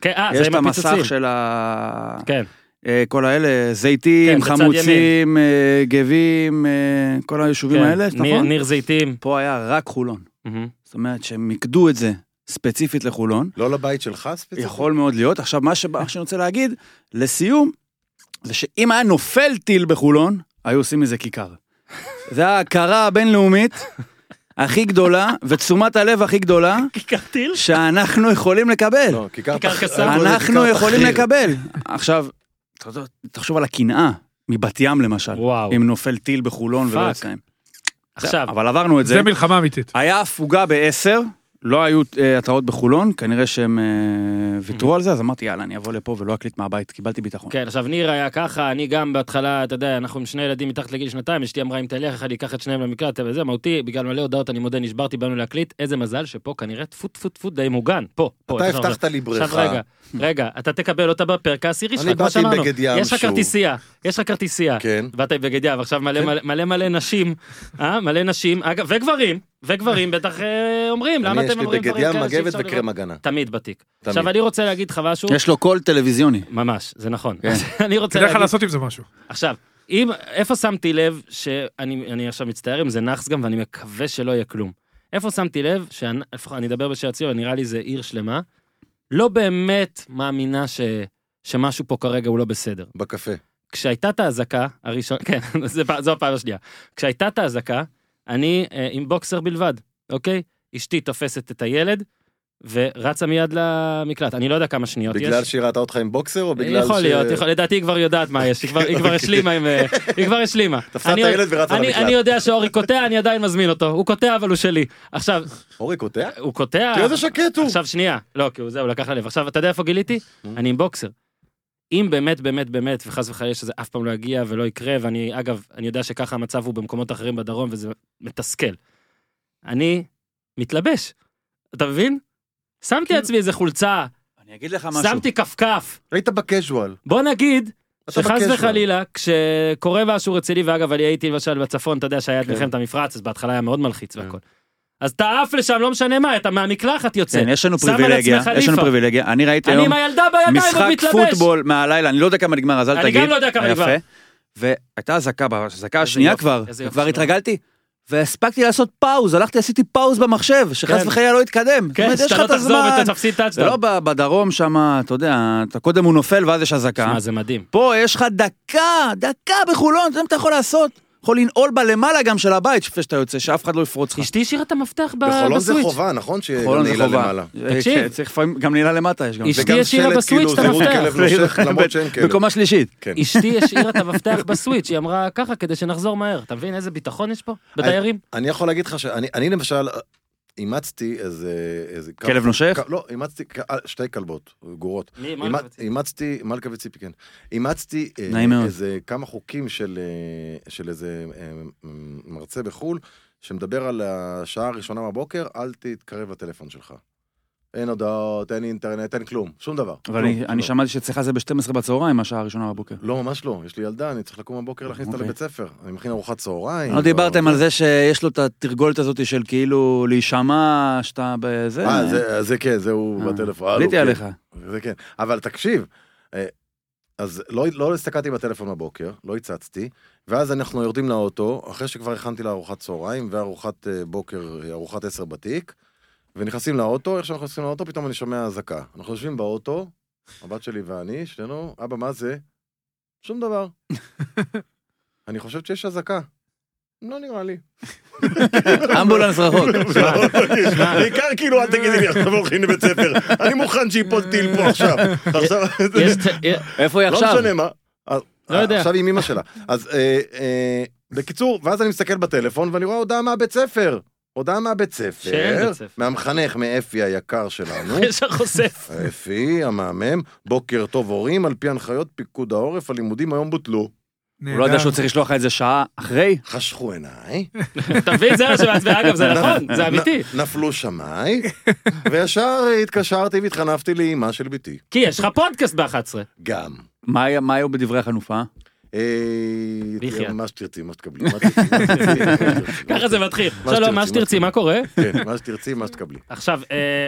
S1: כן, אה,
S6: יש
S1: זה
S6: את
S1: עם
S6: המסך
S1: הפיצוצים.
S6: של ה...
S1: כן,
S6: אה, כל האלה,
S1: כן,
S6: זיתים,
S1: בצד
S6: חמוצים, אה, גבים, אה, כל היישובים
S1: כן.
S6: האלה,
S1: ניר-
S6: נכון?
S1: ניר זיתים.
S6: פה היה רק חולון.
S1: אמ,
S6: זאת אומרת שהם מיקדו את זה ספציפית לחולון.
S4: לא לבית שלך ספציפית?
S6: יכול מאוד להיות. עכשיו, מה שבא- מה שאני רוצה להגיד, לסיום, זה שאם היה נופל טיל בחולון, היו עושים מזה כיכר. זה ההכרה הבינלאומית הכי גדולה, ותשומת הלב הכי גדולה,
S1: כיכר טיל? שאנחנו...
S6: שאנחנו יכולים לקבל.
S4: לא, כיכר
S1: כיכר
S4: תח-
S1: קסם.
S4: אני קורא לזה
S6: אנחנו
S4: כיכר
S6: יכולים
S4: תחריר.
S6: לקבל. עכשיו, אתה יודע, תחשוב על הקנאה מבת ים למשל,
S1: וואו.
S6: אם נופל טיל בחולון ולא
S1: פאק.
S6: יוצא להם.
S1: עכשיו,
S6: אבל עברנו את זה.
S5: זה מלחמה אמיתית.
S6: היה הפוגה ב-10, לא היו אה, התראות בחולון, כנראה שהם אה, ויתרו על זה, אז אמרתי, יאללה, אני אבוא לפה ולא אקליט מהבית, קיבלתי ביטחון.
S4: נכון.
S1: כן, עכשיו ניר היה ככה, אני גם בהתחלה, אתה יודע, אנחנו עם שני ילדים מתחת לגיל שנתיים, אשתי אמרה, אם תלך, אחד ייקח את שניהם למקלט, וזה מהותי, בגלל מלא הודעות, אני מודה, נשברתי, באנו להקליט, איזה מזל שפה כנראה טפו טפו טפו די מוגן, פה, פה.
S4: אתה
S1: איך שאומרים.
S4: הבטחת לי
S1: עכשיו רגע,
S4: בריכה.
S1: רגע, אתה תקבל אותה בפרק העשירי
S4: אני
S1: שלך, כמו
S4: באתי
S1: שאמרנו.
S4: עם בגד ים
S1: יש לך
S4: שוב.
S1: כרטיסייה, יש לך כרטיסייה.
S4: כן.
S1: באת עם בגד ים, עכשיו מלא מלא- מלא מלא נשים, אה? מלא נשים, אגב, וגברים, וגברים בטח אה, אומרים, למה
S4: אני יש
S1: אתם
S4: לי
S1: אומרים
S4: בגד
S1: דברים
S4: ים,
S1: כאלה שאי
S4: מגבת
S1: אפשר
S4: וקרם
S1: לראות?
S4: הגנה.
S1: תמיד בתיק.
S4: תמיד. כן.
S1: עכשיו אני רוצה להגיד לך משהו,
S6: יש לו קול טלוויזיוני.
S1: ממש, זה נכון.
S6: כן.
S1: אני רוצה
S5: כדאי לך
S1: להגיד,
S5: לעשות עם זה משהו.
S1: עכשיו, אם, איפה שמתי לב, שאני אני עכשיו מצטער אם זה נאחס גם ואני מקווה שלא יהיה כלום. איפה שמתי לב, שאני לפחות- אני אדבר בשער ציון, נראה לי זה עיר שלמה, לא באמת מאמינה ש, שמשהו פה כרגע הוא לא בסדר.
S4: בקפה.
S1: כשהייתה את האזעקה הראשונה, כן, זה פע- זו הפעם השנייה. כשהייתה את האזעקה, אני אה, עם בוקסר בלבד, אוקיי? אשתי תופסת את הילד ורצה מיד למקלט. אני לא יודע כמה שניות יש. אה,
S4: בגלל שהיא ראתה אותך עם בוקסר או בגלל ש...
S1: יכול להיות, יכול- לדעתי היא כבר יודעת מה יש, היא כבר- היא כבר השלימה עם... אה, היא כבר השלימה.
S4: תפסה את
S1: אני-
S4: הילד ורצה
S1: אני-
S4: למקלט.
S1: אני יודע שאורי קוטע, אני עדיין מזמין אותו. הוא קוטע, אבל הוא שלי. עכשיו,
S4: אורי קוטע?
S1: הוא קוטע...
S4: תראה איזה שקט הוא.
S1: אה, עכשיו שנייה, לא, כי הוא זה, הוא לקח ללב. עכשיו, אתה יודע איפה גיליתי? אני עם בוקסר. אם באמת, באמת, באמת, וחס וחלילה שזה אף פעם לא יגיע ולא יקרה, ואני, אגב, אני יודע שככה המצב הוא במקומות אחרים בדרום, וזה מתסכל. אני מתלבש, אתה מבין?
S4: כאילו- אה,
S1: שמתי לעצמי איזה חולצה,
S6: אני אגיד לך
S1: שמתי כפכף,
S4: היית בקז'ואל.
S1: בוא נגיד
S4: אתה
S1: שחס
S4: בקשר.
S1: וחלילה,
S3: לא.
S1: כשקורה משהו רציני, ואגב, אני הייתי למשל בצפון, אתה יודע שהיה את
S3: כן.
S1: מלחמת המפרץ, אז בהתחלה היה מאוד מלחיץ
S4: כן.
S1: והכל. אז אתה עף לשם, לא משנה מה, אתה מהמקלחת יוצא.
S3: כן, יש לנו
S1: שם על
S3: פריבילגיה,
S1: עצמך
S3: יש לנו
S1: ליפה.
S3: פריבילגיה. אני ראיתי
S1: אני עם
S3: היום
S1: הילדה בידיים, עוד
S3: משחק
S1: לא מתלבש.
S3: פוטבול מהלילה, אני לא יודע כמה נגמר, אז אל
S1: אני
S3: תגיד.
S1: גם לא יודע כמה
S3: יפה.
S1: נגמר.
S3: והייתה אזעקה, באזעקה השנייה
S1: יופי,
S3: כבר,
S1: איזה יופי
S3: כבר
S1: שלא.
S3: התרגלתי. והספקתי לעשות פאוז, הלכתי עשיתי פאוז במחשב, שחס
S1: כן.
S3: וחלילה לא יתקדם. זאת
S1: כן,
S3: אומרת, יש
S1: שאתה
S3: לך
S1: לא
S3: את
S1: תחזור
S3: הזמן.
S1: ואתה תפסיד
S3: זה לא
S1: טאצ'דאון.
S3: ב- בדרום שם, אתה יודע, אתה קודם הוא נופל ואז יש אזעקה.
S1: שמע, זה מדהים.
S3: פה יש לך דקה, דקה בחולון, זה מה אתה יכול לעשות. יכול לנעול בלמעלה גם של הבית, לפני שאתה יוצא, שאף אחד לא יפרוץ לך.
S1: אשתי השאירה את המפתח ב-
S4: בחולון זה
S1: בסוויץ'.
S4: חובה, נכון?
S3: חולון זה
S4: שנעילה
S3: חובה.
S4: למעלה.
S3: אה,
S1: תקשיב.
S3: כן, צריך לפעמים, גם נעילה למטה יש גם.
S1: אשתי
S4: וגם
S1: השאירה
S4: שלט,
S1: בסוויץ'
S4: כאילו,
S1: את
S4: זהירות
S1: המפתח.
S4: כלב נושך, למרות שאין כלב.
S3: בקומה שלישית.
S4: כן.
S1: אשתי השאירה את המפתח בסוויץ', היא אמרה ככה כדי שנחזור מהר. אתה מבין איזה ביטחון יש פה? בדיירים?
S4: אני יכול להגיד לך שאני אני למשל אה, אימצתי איזה... איזה כמה-
S3: כלב נושך?
S4: כ- לא, אימצתי כ- אה, שתי כלבות, גורות.
S1: מי, מה
S4: אימ-
S1: אתה מציע?
S4: אימצתי, מלכה וציפי, כן. אימצתי אה,
S3: נעים מאוד.
S4: איזה כמה חוקים של אה, של איזה אה, מ- מרצה בחו"ל, שמדבר על השעה הראשונה בבוקר, אל תתקרב לטלפון שלך. אין הודעות, אין אינטרנט, אין כלום, שום דבר.
S3: אבל
S4: כלום,
S3: אני-
S4: שום
S3: אני
S4: דבר.
S3: שמעתי שאצלך זה ב-12 בצהריים, השעה הראשונה בבוקר.
S4: לא, ממש לא, יש לי ילדה, אני צריך לקום בבוקר להכניס אותה
S3: אוקיי.
S4: לבית ספר. אני מכין ארוחת צהריים.
S3: לא דיברתם על זה שיש לו את התרגולת הזאת של כאילו להישמע שאתה בזה?
S4: אה, זה- זה כן, זה
S3: אה,
S4: הוא בטלפון. אה,
S3: עליתי
S4: לא, כן.
S3: עליך.
S4: זה כן. אבל תקשיב, אה, אז לא, לא הסתכלתי בטלפון בבוקר, לא הצצתי, ואז אנחנו יורדים לאוטו, אחרי שכבר הכנתי לארוחת צהריים וארוחת אה, בוקר, ארוחת עשר בתיק, ונכנסים לאוטו, איך שאנחנו נכנסים לאוטו, פתאום אני שומע אזעקה. אנחנו יושבים באוטו, הבת שלי ואני, שנינו, אבא, מה זה? שום דבר. אני חושבת שיש אזעקה. לא נראה לי.
S3: אמבולנס רחוק.
S4: בעיקר כאילו, אל תגידי לי, עכשיו הולכים לבית ספר. אני מוכן שיפול טיל פה עכשיו. עכשיו...
S1: יש ת-
S3: איפה היא
S4: לא
S3: עכשיו?
S4: משנה מה. אז-
S1: לא יודע.
S4: עכשיו עם אמא שלה. אז אה, אה, בקיצור, ואז אני מסתכל בטלפון ואני רואה הודעה מהבית ספר. הודעה מהבית
S1: שאין
S4: ספר,
S1: בית ספר.
S4: מהמחנך, מאפי היקר שלנו.
S1: יש לך חושף.
S4: אפי, המהמם, בוקר טוב הורים, על פי הנחיות פיקוד העורף, הלימודים היום בוטלו.
S3: הוא לא יודע שהוא צריך לשלוח לך את זה שעה אחרי?
S4: חשכו עיניי,
S1: אתה מבין? זה מה שמעצבן. אגב, זה נכון, זה
S3: לא,
S1: אמיתי.
S4: נ- נפלו שמי, וישר התקשרתי והתחנפתי לאימא של ביתי.
S1: כי יש לך פודקאסט ב-11.
S4: גם.
S3: מה היה- מה היו בדברי החנופה?
S4: אה,
S1: לחיות.
S4: תראה, מה שתרצי, מה שתקבלי. מה שתרצי, מה שתרצי, מה שתרצי.
S1: ככה זה מתחיל.
S4: מה
S1: שלום, מה שתרצי, מה קורה?
S4: כן, מה שתרצי, מה שתקבלי.
S1: עכשיו, אה,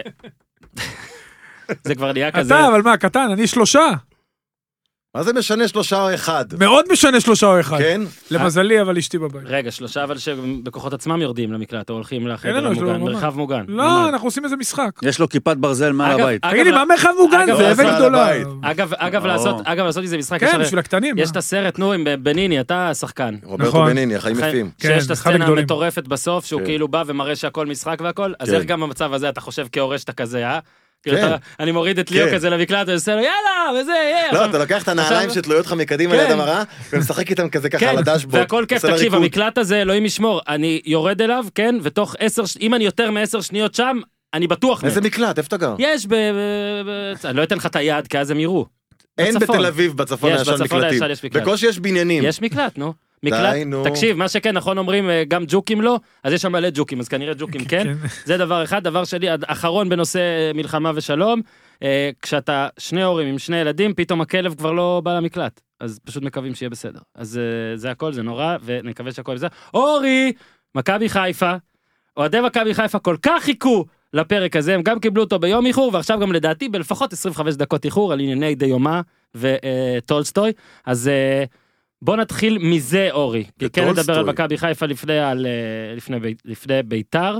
S1: זה כבר נהיה כזה.
S5: אתה, אבל מה, קטן, אני שלושה.
S4: מה זה משנה שלושה או אחד?
S5: מאוד משנה שלושה או אחד.
S4: כן?
S5: למזלי, אבל אשתי בבית.
S1: רגע, שלושה אבל שבכוחות עצמם יורדים למקלט, או הולכים
S5: אין
S1: לחדר
S5: לנו, יש לנו
S1: המוגן,
S5: ממ"ד.
S1: מרחב מוגן.
S5: לא,
S1: ממ"ד.
S5: אנחנו עושים איזה משחק.
S3: יש לו כיפת ברזל מעל
S1: אגב,
S3: הבית.
S1: אגב,
S5: תגיד לי, מה מרחב
S1: אגב,
S5: מוגן
S1: זה
S5: זה אבן
S4: על
S5: גדולה?
S4: הבית.
S1: אגב, אגב,
S3: לא.
S1: לעשות, אגב, לעשות איזה משחק, יש
S5: כן,
S1: הרי-
S5: בשביל הקטנים.
S1: יש
S5: מה?
S1: את הסרט, נו, עם בניני, אתה השחקן.
S4: רוברטו
S5: נכון.
S4: בניני, החיים
S1: החיים-
S4: יפים.
S5: כן,
S1: שיש את
S5: אחד
S1: הסצנה
S5: הגדולים.
S1: המטורפת בסוף, שהוא
S4: כן.
S1: כאילו בא ומראה שהכל משחק והכל, אז
S4: כן.
S1: איך גם במצב הזה אתה חושב כהורה שאתה כזה, אה? כאילו,
S4: כן.
S1: אתה- אני מוריד את ליאו
S4: כן.
S1: כזה למקלט, ועושה לו יאללה, וזה, יהיה.
S4: לא,
S1: נכון. עכשיו-
S4: אתה לוקח את הנעליים
S1: עכשיו-
S4: שתלויות לך מקדימה
S1: כן.
S4: ליד המראה, ומשחק איתם כזה ככה
S1: כן,
S4: על הדשבורד.
S1: והכל כיף,
S4: עושה
S1: תקשיב,
S4: לה ריקוד.
S1: המקלט הזה, אלוהים ישמור, אני יורד אליו, כן, ותוך עשר, ש- אם אני יותר מעשר שניות שם, אני בטוח מת.
S4: איזה מקלט, איפה אתה גר?
S1: יש ב... ב- ב- אני לא אתן לך את היד, כי אז הם יראו.
S4: אין
S1: בצפון.
S4: בתל אביב, בצפון
S1: יש,
S4: הישן
S1: בצפון
S4: מקלטים.
S1: הישן יש מקלט.
S4: בקושי יש בניינים.
S1: יש מקלט, נו. מקלט,
S4: די, נו.
S1: תקשיב, מה שכן, נכון אומרים, אה, גם ג'וקים לא, אז יש שם מלא ג'וקים, אז כנראה ג'וקים כן.
S5: כן.
S1: זה דבר אחד. דבר שני, הד- אחרון בנושא אה, מלחמה ושלום, אה, כשאתה שני הורים עם שני ילדים, פתאום הכלב כבר לא בא למקלט. אז פשוט מקווים שיהיה בסדר. אז אה, זה הכל, זה נורא, ונקווה שהכל בסדר. אורי, מכבי חיפה, אוהדי מכבי חיפה כל כך חיכו לפרק הזה, הם גם קיבלו אותו ביום איחור, ועכשיו גם לדעתי בלפחות 25 דקות איחור על ענייני דיומא וטולסטוי. אז אה, בוא נתחיל מזה, אורי. כי כן
S4: וטולסטוי.
S1: נדבר על מכבי חיפה לפני, על, אה, לפני, בי- לפני ביתר.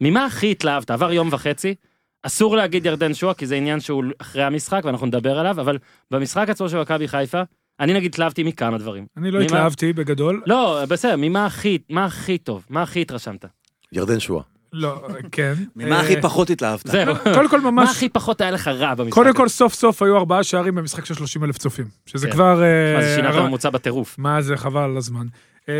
S1: ממה הכי התלהבת? עבר יום וחצי. אסור להגיד ירדן שועה, כי זה עניין שהוא אחרי המשחק, ואנחנו נדבר עליו, אבל במשחק עצמו של מכבי חיפה, אני נגיד התלהבתי מכמה דברים.
S5: אני לא
S1: ממה?
S5: התלהבתי בגדול.
S1: לא, בסדר, ממה הכי, מה הכי טוב? מה הכי התרשמת?
S4: ירדן שואה.
S5: לא, כן.
S3: ממה
S5: אה,
S3: הכי פחות התלהבת?
S1: זהו.
S5: קודם כל
S1: מה
S5: לא, ממש,
S1: הכי פחות היה לך רע במשחק?
S5: קודם כל סוף סוף היו ארבעה שערים במשחק של 30 אלף צופים. שזה
S1: כן.
S5: כבר... אה,
S1: אז שינה את
S5: הרמה-
S1: הממוצע בטירוף.
S5: מה זה, חבל על הזמן. אה,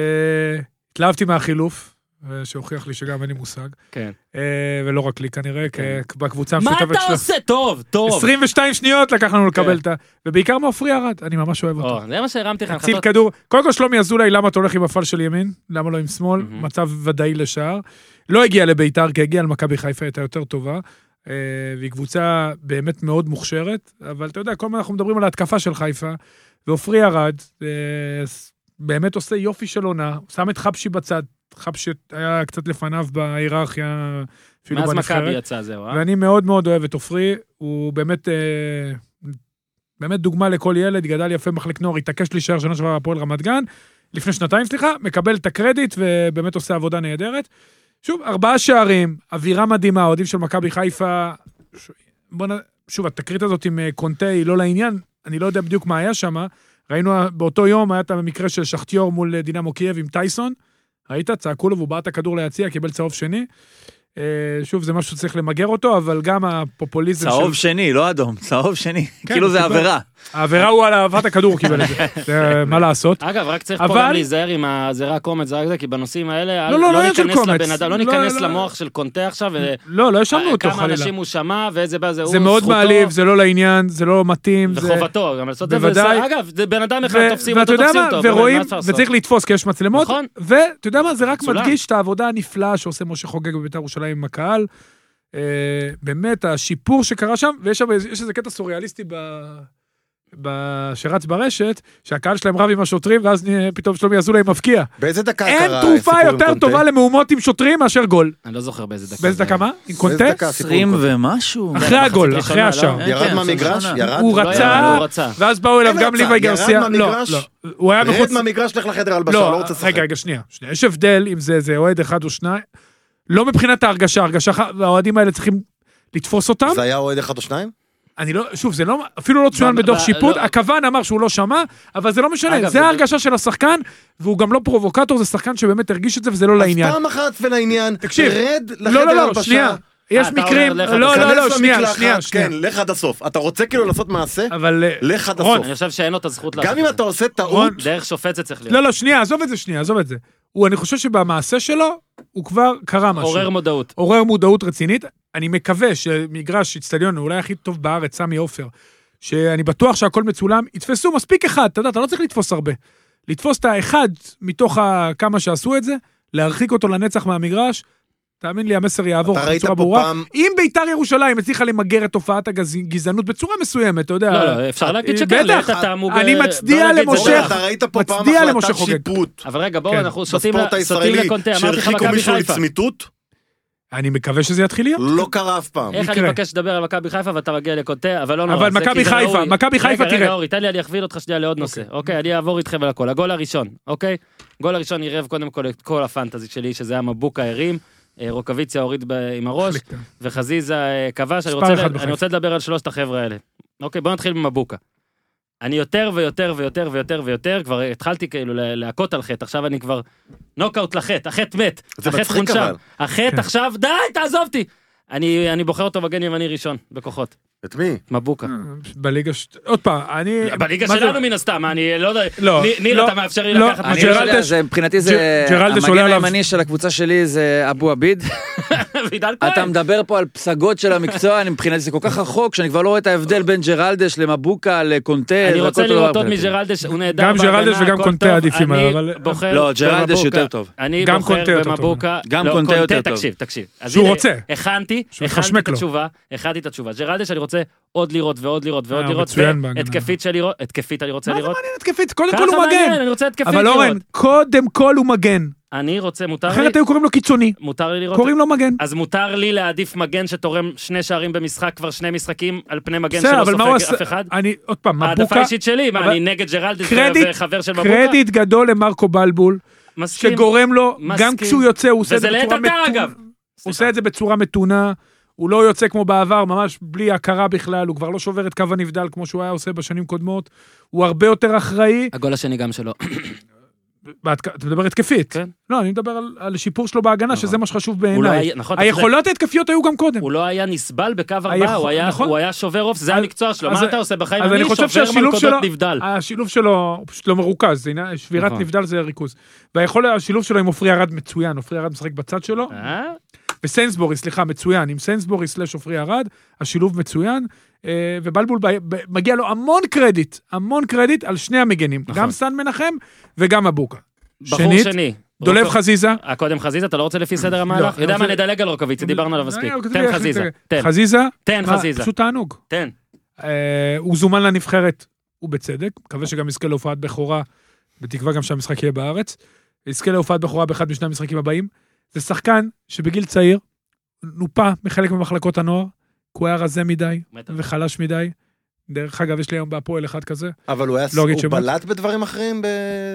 S5: התלהבתי מהחילוף, אה, שהוכיח לי שגם אין לי מושג.
S1: כן.
S5: אה, ולא רק לי כנראה,
S1: כן.
S5: כ- בקבוצה
S1: מה
S5: המשותפת
S1: אתה עושה? טוב, טוב.
S5: 22 שניות לקח לנו לקבל
S1: כן.
S5: את ה... ובעיקר מעופרי ארד, אני ממש אוהב אותו.
S1: או, זה מה שהרמתי לך.
S5: הציל
S1: החלטות.
S5: כדור, קודם כל שלומי אזולאי, למה אתה הולך עם הפעל של ימין? למה לא עם שמאל?
S1: מהמם.
S5: מצב ודאי לשער. לא הגיע לביתר, כי הגיע למכבי חיפה, הייתה יותר טובה. אה, והיא קבוצה באמת מאוד מוכשרת, אבל אתה יודע, כל הזמן אנחנו מדברים על ההתקפה של חיפה, ועופרי ארד, אה, ס- באמת עושה יופי של עונה, הוא שם את חבשי בצד, חבשי היה קצת לפניו בהיררכיה, אפילו
S1: מאז מכבי
S5: בנבחרת.
S1: יצא זהו, אה?
S5: ואני מאוד מאוד אוהב את עופרי, הוא באמת... אה, באמת דוגמה לכל ילד, גדל יפה במחלק נוער, התעקש להישאר שנה שעברה בהפועל רמת גן, לפני שנתיים, סליחה, מקבל את הקרדיט ובאמת עושה עבודה נהדרת. שוב, ארבעה שערים, אווירה מדהימה, אוהדים של מכבי חיפה. ש... בוא נ... שוב, התקרית הזאת עם אה, קונטה היא לא לעניין, אני לא יודע בדיוק מה היה שם. ראינו אה, באותו יום, היה את המקרה של שחטיור מול אה, דינמו קייב עם טייסון. ראית? צעקו לו והוא בעט את הכדור ליציע, קיבל צהוב שני. אה, שוב, זה משהו שצריך למגר אותו, אבל גם הפופוליזם
S6: צהוב שני, לא אדום, צהוב שני.
S5: כן,
S6: כאילו זה
S5: קיבל.
S6: עבירה.
S5: העבירה הוא על אהבת הכדור הוא קיבל את זה, זה, אה, מה לעשות.
S1: אגב, רק צריך פה
S5: אבל-
S1: גם להיזהר עם ה- זה רק קומץ, זה רק זה, כי בנושאים האלה, אל-
S5: לא, לא, לא עניין של
S1: ניכנס
S5: קומץ.
S1: לבן אדם, לא
S5: לא,
S1: ניכנס
S5: לא.
S1: למוח של קונטה עכשיו, ו-
S5: לא, לא האשמנו אותו
S1: אה, כמה
S5: חלילה.
S1: אנשים הוא שמע ואיזה בעיה זה הוא,
S5: זה מאוד
S1: זכותו
S5: מעליב, זה לא לעניין, זה לא מתאים. זה-
S1: וחובתו גם לעשות את זה.
S5: בוודאי.
S1: וזה- אגב, זה בן אדם אחד,
S5: ו-
S1: תופסים אותו,
S5: ואתה יודע
S1: תופסים
S5: מה,
S1: אותו. באמת,
S5: ורואים,
S1: מה אפשר לעשות?
S5: וצריך לתפוס כי יש מצלמות,
S1: נכון.
S5: ואתה יודע מה, זה רק
S1: מצולם.
S5: מדגיש את העבודה הנפלאה שעושה משה חוגג בבית"ר ירושלים עם הקהל. אה, באמת, השיפור שקרה שם, ויש שם איזה- יש איזה קטע סוריאליסטי ב... ב- שרץ ברשת, שהקהל שלהם רב עם השוטרים, ואז אה, פתאום שלומי אזולאי מבקיע.
S4: באיזה דקה קרה
S5: אין
S4: הסיפור עם
S5: תרופה יותר
S4: קונטה?
S5: טובה למהומות עם שוטרים מאשר גול.
S1: אני לא זוכר באיזה דקה.
S5: באיזה
S1: זה
S5: דקה
S1: היה.
S5: מה? עם קונטה?
S4: באיזה דקה הסיפור עם
S6: 20
S4: קונטה?
S6: ומשהו.
S3: כן,
S5: אחרי הגול, אחרי
S1: ראשונה,
S5: השער.
S1: לא?
S6: כן,
S4: ירד
S6: כן,
S4: מהמגרש?
S6: סוף
S4: ירד?
S5: הוא
S1: לא ירד,
S5: רצה,
S1: הוא רצה.
S5: ואז באו אליו
S4: אין
S5: גם
S4: רצה,
S5: ליוואי
S4: ירד
S5: גרסיה. לא,
S4: מהמגרש?
S5: לא. הוא היה מחוץ...
S4: רד מהמגרש, לך לחדר הלבשה,
S5: לא,
S4: לא רוצה לשחק.
S5: רגע, רגע, שנייה. שנייה. יש הבדל אם זה זה אוהד אחד או שניים. לא מבחינת ההרגשה, ההרגשה, האוהדים האלה צריכים לתפוס אותם.
S4: זה היה אוהד אחד או שניים?
S5: אני לא, שוב, זה לא, אפילו לא צוין
S1: ב-
S5: בדוח
S1: ב-
S5: שיפוט,
S1: לא.
S5: הכוון אמר שהוא לא שמע, אבל זה לא משנה,
S1: אגב,
S5: זה
S1: זה-
S5: ההרגשה של השחקן, והוא גם לא פרובוקטור, זה שחקן שבאמת הרגיש את זה וזה לא לעניין.
S4: אז פעם אחת ולעניין,
S5: תקשיב,
S4: רד לחדר הלבשה.
S5: לא, לא, לא, שנייה. יש
S1: אה, אתה
S5: מקרים,
S1: אומר לך,
S5: לא, לא,
S4: תיכנס
S5: לא, שנייה,
S4: למקלחת,
S5: שנייה, שנייה.
S4: כן, לך עד הסוף. אתה רוצה כאילו לעשות מעשה?
S5: אבל... אה,
S4: לך עד
S5: רון,
S4: הסוף.
S1: אני חושב שאין לו את הזכות
S4: גם
S1: לעשות
S4: אם
S1: את
S4: אתה עושה
S5: רון,
S4: טעות,
S1: דרך שופט זה
S4: כן.
S1: צריך להיות.
S5: לא, לא, שנייה, עזוב את זה שנייה, עזוב את זה. הוא, אני חושב שבמעשה שלו, הוא כבר קרה משהו.
S1: עורר מודעות.
S5: עורר מודעות רצינית. אני מקווה שמגרש, אצטדיון, אולי הכי טוב בארץ, סמי עופר, שאני בטוח שהכל מצולם, יתפסו מספיק אחד, אתה יודע, אתה לא צריך לתפוס הרבה. לתפוס את האחד מתוך ה- כמה שעשו את זה, להרחיק אותו לנצח מהמגרש, תאמין לי, המסר יעבור
S4: אתה ראית
S5: בצורה
S4: פה
S5: ברורה.
S4: פעם-
S5: אם ביתר ירושלים הצליחה למגר את תופעת הגזענות בצורה מסוימת, אתה יודע...
S1: לא, לא, אפשר להגיד שכן,
S5: אה, בטח.
S1: לעת עתה אמור...
S5: אני
S1: אה,
S5: מצדיע
S1: בוא נגיד, זה
S5: למשה.
S1: בטח.
S4: אתה ראית פה פעם
S5: מצדיע למשה
S4: החלטת
S5: חוגג.
S4: שיפוט
S1: אבל רגע, בואו,
S5: כן,
S1: אנחנו סוטים
S4: בספורט
S1: ל- סוטים
S4: הישראלי,
S1: לקונטה, אמרתי לך
S4: שהרחיקו
S1: מכבי
S4: מישהו
S1: חיפה.
S4: לצמיתות,
S5: אני מקווה שזה יתחיל להיות.
S4: לא קרה אף פעם.
S1: איך אני
S5: מקרה.
S1: מבקש לדבר על מכבי חיפה ואתה מגיע לקונטה, אבל לא נורא.
S5: אבל
S1: זה
S5: מכבי
S1: כי זה
S5: חיפה,
S1: ראוי.
S5: מכבי חיפה,
S1: רגע,
S5: תראה.
S1: רגע, אורי, תן לי, אני אכווין אותך שנייה לעוד נושא. אוקיי, אני אעבור איתכם על הכל. הגול הראשון, אוקיי? גול הראשון עירב קודם כל את כל הפנטזי שלי, שזה היה מבוקה הרים, אה, רוקוויציה הוריד ב- עם הראש, וחזיזה אה, כבש. אני
S5: מספר
S1: רוצה
S5: אחד
S1: ל-
S5: בחיפה.
S1: אני רוצה לדבר על שלושת החבר'ה האלה. אוקיי, בוא נתחיל ממבוקה. אני יותר ויותר ויותר ויותר ויותר, כבר התחלתי כאילו ל- להכות על חטא, עכשיו אני כבר נוקאוט לחטא, החטא מת,
S4: זה
S1: החטא
S4: מצחיק
S1: חונשם,
S4: אבל.
S5: כן.
S1: החטא עכשיו, די, תעזוב אותי. אני אני בוחר אותו מגן ימני ראשון, בכוחות.
S4: את מי?
S1: מבוקה.
S5: בליגה ש... עוד פעם, אני...
S1: בליגה
S5: אה. מה זה-
S1: שלנו מן הסתם, אני לא יודע.
S5: לא,
S1: ניר,
S5: לא,
S1: ניר, אתה מאפשר לי
S5: לא,
S1: לקחת
S5: אני
S6: אני
S1: משהו
S6: לא
S5: ג'רלדש-
S6: יודע, זה- מבחינתי זה...
S5: ג'- ג'רלדש עולה
S6: המגן
S5: עליו.
S6: הימני של הקבוצה שלי זה אבו עביד.
S1: ועידן
S6: אתה
S5: כן.
S1: כהן.
S6: מדבר פה על פסגות של המקצוע, אני מבחינתי זה כל כך רחוק, שאני כבר לא רואה את ההבדל בין ג'רלדש למבוקה לקונטה.
S1: אני
S6: זה
S1: רוצה
S6: הכל אותו
S1: לראות
S6: דבר
S1: עוד
S6: מבחינתי.
S1: מג'רלדש, הוא נהדר.
S5: גם
S1: בהגנה,
S5: ג'רלדש וגם
S1: הכל
S5: קונטה
S1: טוב.
S5: עדיפים
S1: אני
S5: עליו, אבל-
S1: בוחר
S6: לא, ג'רלדש
S1: במבוקה.
S6: יותר טוב.
S1: אני
S5: גם
S1: בוחר
S5: קונטה יותר
S1: במבוקה.
S6: גם
S1: לא,
S6: קונטה יותר טוב.
S1: תקשיב, תקשיב. אז
S5: שהוא
S1: הנה,
S5: רוצה.
S1: הכנתי,
S5: שהוא
S1: הכנתי
S5: מחשמק
S1: את
S5: לו.
S1: התשובה, הכנתי את התשובה. ג'רלדש, אני רוצה עוד לראות ועוד לראות ועוד
S5: אה,
S1: לראות.
S5: מצוין בהגנה.
S1: התקפית שאני רוצה, התקפית אני רוצה
S5: מה זה
S1: לראות.
S5: מעניין התקפית? קודם
S1: ככה
S5: כל הוא
S1: מעניין,
S5: מגן.
S1: אני רוצה התקפית
S5: אבל אורן,
S1: לראות.
S5: קודם כל הוא מגן.
S1: אני רוצה, מותר לי?
S5: אחרת היו קוראים לו קיצוני.
S1: מותר לי לראות?
S5: קוראים לו מגן.
S1: אז מותר לי להעדיף מגן שתורם שני שערים במשחק, כבר שני משחקים, על פני מגן
S5: בסדר,
S1: שלא
S5: אבל מה הוא
S1: סופג
S5: עשה?
S1: אף אחד?
S5: אני, עוד פעם,
S1: העדפה
S5: מבוקה,
S1: אישית שלי, מה,
S5: אבל-
S1: אני נגד ג'רלדש
S5: קרדיט-
S1: וחבר של מבוקה?
S5: קרדיט גדול למרקו בלבול,
S1: מסכים.
S5: שגורם לו,
S1: מסכים.
S5: גם כשהוא יוצא, הוא עושה את
S1: וזה
S5: זה
S1: לעת
S5: בצורה
S1: עתה,
S5: מתונה.
S1: אגב.
S5: הוא עושה את זה בצורה מתונה, הוא לא יוצא כמו בעבר, ממש בלי הכרה בכלל, הוא כבר לא שובר את קו הנבדל כמו שהוא היה עושה בשנים קודמות, הוא הרבה יותר אחראי,
S1: הגול השני גם שלו.
S5: בהתק- אתה מדבר התקפית.
S1: כן.
S5: לא, אני מדבר על- על שיפור שלו בהגנה, שזה מה שחשוב בעיניי.
S1: נכון, אתה צודק.
S5: היכולות ההתקפיות היו גם קודם.
S1: הוא לא היה נסבל בקו ארבעה,
S5: היכול-
S1: הוא היה-
S5: נכון.
S1: הוא היה שובר אוף, זה
S5: אז-
S1: המקצוע שלו.
S5: אז-
S1: מה אתה עושה בחיים?
S5: אז אני חושב
S1: שובר
S5: שהשילוב
S1: מלכודות
S5: שלו- אה?
S1: נבדל.
S5: השילוב שלו, הוא פשוט לא מרוכז, זה עניין- שבירת
S1: נכון.
S5: נבדל זה ריכוז. והיכול, השילוב שלו עם עופרי ארד מצוין, עופרי ארד משחק בצד שלו,
S1: אה?
S5: וסיינסבורי, סליחה, מצוין, עם סיינסבורי סלש עופרי ארד, השילוב מצוין, אה, ובלבול, ב- ב- מגיע לו המון קרדיט, המון קרדיט על שני המגנים,
S1: נכון.
S5: גם סן מנחם וגם אבוקה.
S1: בחור
S5: שנית,
S1: שני.
S5: דולב
S1: רוקו-
S5: חזיזה.
S1: אה, קודם חזיזה, אתה לא רוצה לפי סדר המהלך?
S5: אני
S1: יודע מה,
S5: רוצה- אה, אוקיי,
S1: נדלג על רוקוויציה, דיברנו עליו מספיק. תן חזיזה, תן,
S5: חזיזה,
S1: תן
S5: מה,
S1: כן. חזיזה,
S5: פשוט תענוג.
S1: תן.
S5: אה, הוא זומן לנבחרת. ובצדק, מקווה שגם יזכה להופעת בכורה, בתקווה גם שהמשחק יהיה בארץ. יזכה להופעת בכורה באחד משני המשחקים הבאים. זה שחקן שבגיל צעיר נופה מחלק ממחלקות הנוער, כי הוא היה רזה מדי
S1: בטח.
S5: וחלש מדי. דרך אגב, יש לי היום בהפועל אחד כזה.
S4: אבל הוא היה,
S5: לא אגיד
S4: הוא
S5: שמות.
S4: בלט בדברים אחרים ב...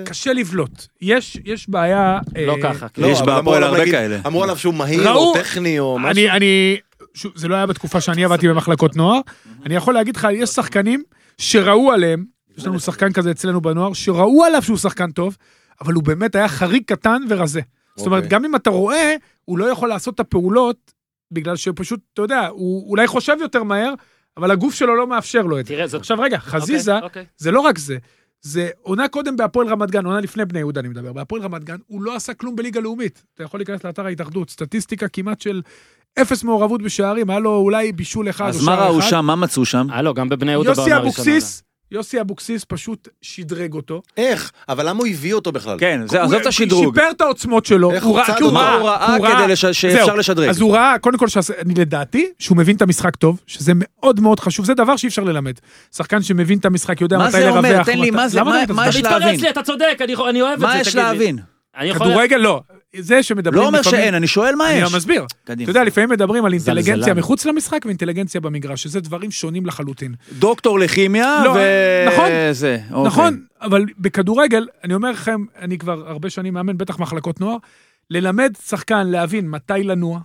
S5: קשה לבלוט. יש, יש בעיה...
S1: לא
S5: אה,
S1: ככה.
S4: לא,
S1: כן.
S4: אבל
S6: יש בהפועל
S4: אמרו עליו,
S6: הרבה
S4: נגיד,
S6: כאלה.
S4: אמרו עליו שהוא מהיר
S5: ראו-
S4: או טכני או משהו.
S5: אני, אני, שוב, זה לא היה בתקופה שאני עבדתי במחלקות נוער. אני יכול להגיד לך, יש שחקנים שראו עליהם, יש לנו שחקן כזה אצלנו בנוער, שראו עליו שהוא שחקן טוב, אבל הוא באמת היה חריג קטן ורזה. זאת אומרת,
S4: אוקיי.
S5: גם אם אתה רואה, הוא לא יכול לעשות את הפעולות, בגלל שפשוט, אתה יודע, הוא אולי חושב יותר מהר, אבל הגוף שלו לא מאפשר לו את זה.
S1: תראה, זאת...
S5: עכשיו רגע, חזיזה,
S1: אוקיי, אוקיי.
S5: זה לא רק זה. זה עונה קודם בהפועל רמת גן, עונה לפני בני יהודה אני מדבר, בהפועל רמת גן, הוא לא עשה כלום בליגה לאומית. אתה יכול להיכנס לאתר ההתאחדות, סטטיסטיקה כמעט של אפס מעורבות בשערים, היה לו אולי בישול אחד או שער
S6: אז
S5: אחד.
S6: מה ראו שם? מה מצאו שם?
S1: אה, לא, גם בבני יהודה
S5: יוסי
S1: בעונה הראשונה.
S5: אבוקסיס, יוסי אבוקסיס פשוט שדרג אותו.
S4: איך? אבל למה הוא הביא אותו בכלל?
S6: כן, זה, עזוב
S5: הוא-
S6: את השדרוג.
S5: שיפר את העוצמות שלו.
S4: איך
S5: הוא
S4: הוא
S5: ראה-
S4: צד
S5: כי הוא
S4: אותו?
S6: מה
S5: ראה-
S6: הוא ראה
S5: הוא
S6: כדי
S5: ראה-
S6: לש- שאפשר
S5: זהו.
S6: לשדרג?
S5: אז הוא ראה, קודם כל, שעשה- אני לדעתי, שהוא מבין את המשחק טוב, שזה מאוד מאוד חשוב, זה דבר שאי אפשר ללמד. שחקן שמבין את המשחק יודע
S6: מה
S5: מתי
S6: זה
S5: לרווח.
S6: אומר? תן לי,
S5: מתי-
S6: מה זה-
S5: למה אתה
S6: מה-
S5: מתעצבן?
S6: מה יש
S1: מתפרץ
S6: להבין?
S1: לי, אתה צודק, אני יכול- אני אוהב את זה,
S6: מה יש
S1: תגיד לי.
S6: להבין?
S1: אני יכול...
S5: כדורגל לא. זה שמדברים
S6: לא אומר
S5: לפעמים-
S6: שאין, אני שואל מה
S5: אני לא
S6: יש.
S5: מסביר.
S6: קדימה.
S5: אתה יודע, לפעמים מדברים על
S1: זלזלן.
S5: אינטליגנציה מחוץ למשחק ואינטליגנציה במגרש, שזה דברים שונים לחלוטין.
S6: דוקטור לכימיה
S5: לא,
S6: ו...
S5: נכון.
S6: זה, אוקיי.
S5: נכון, אבל בכדורגל, אני אומר לכם, אני כבר הרבה שנים מאמן, בטח מחלקות נוער, ללמד שחקן להבין מתי לנוע,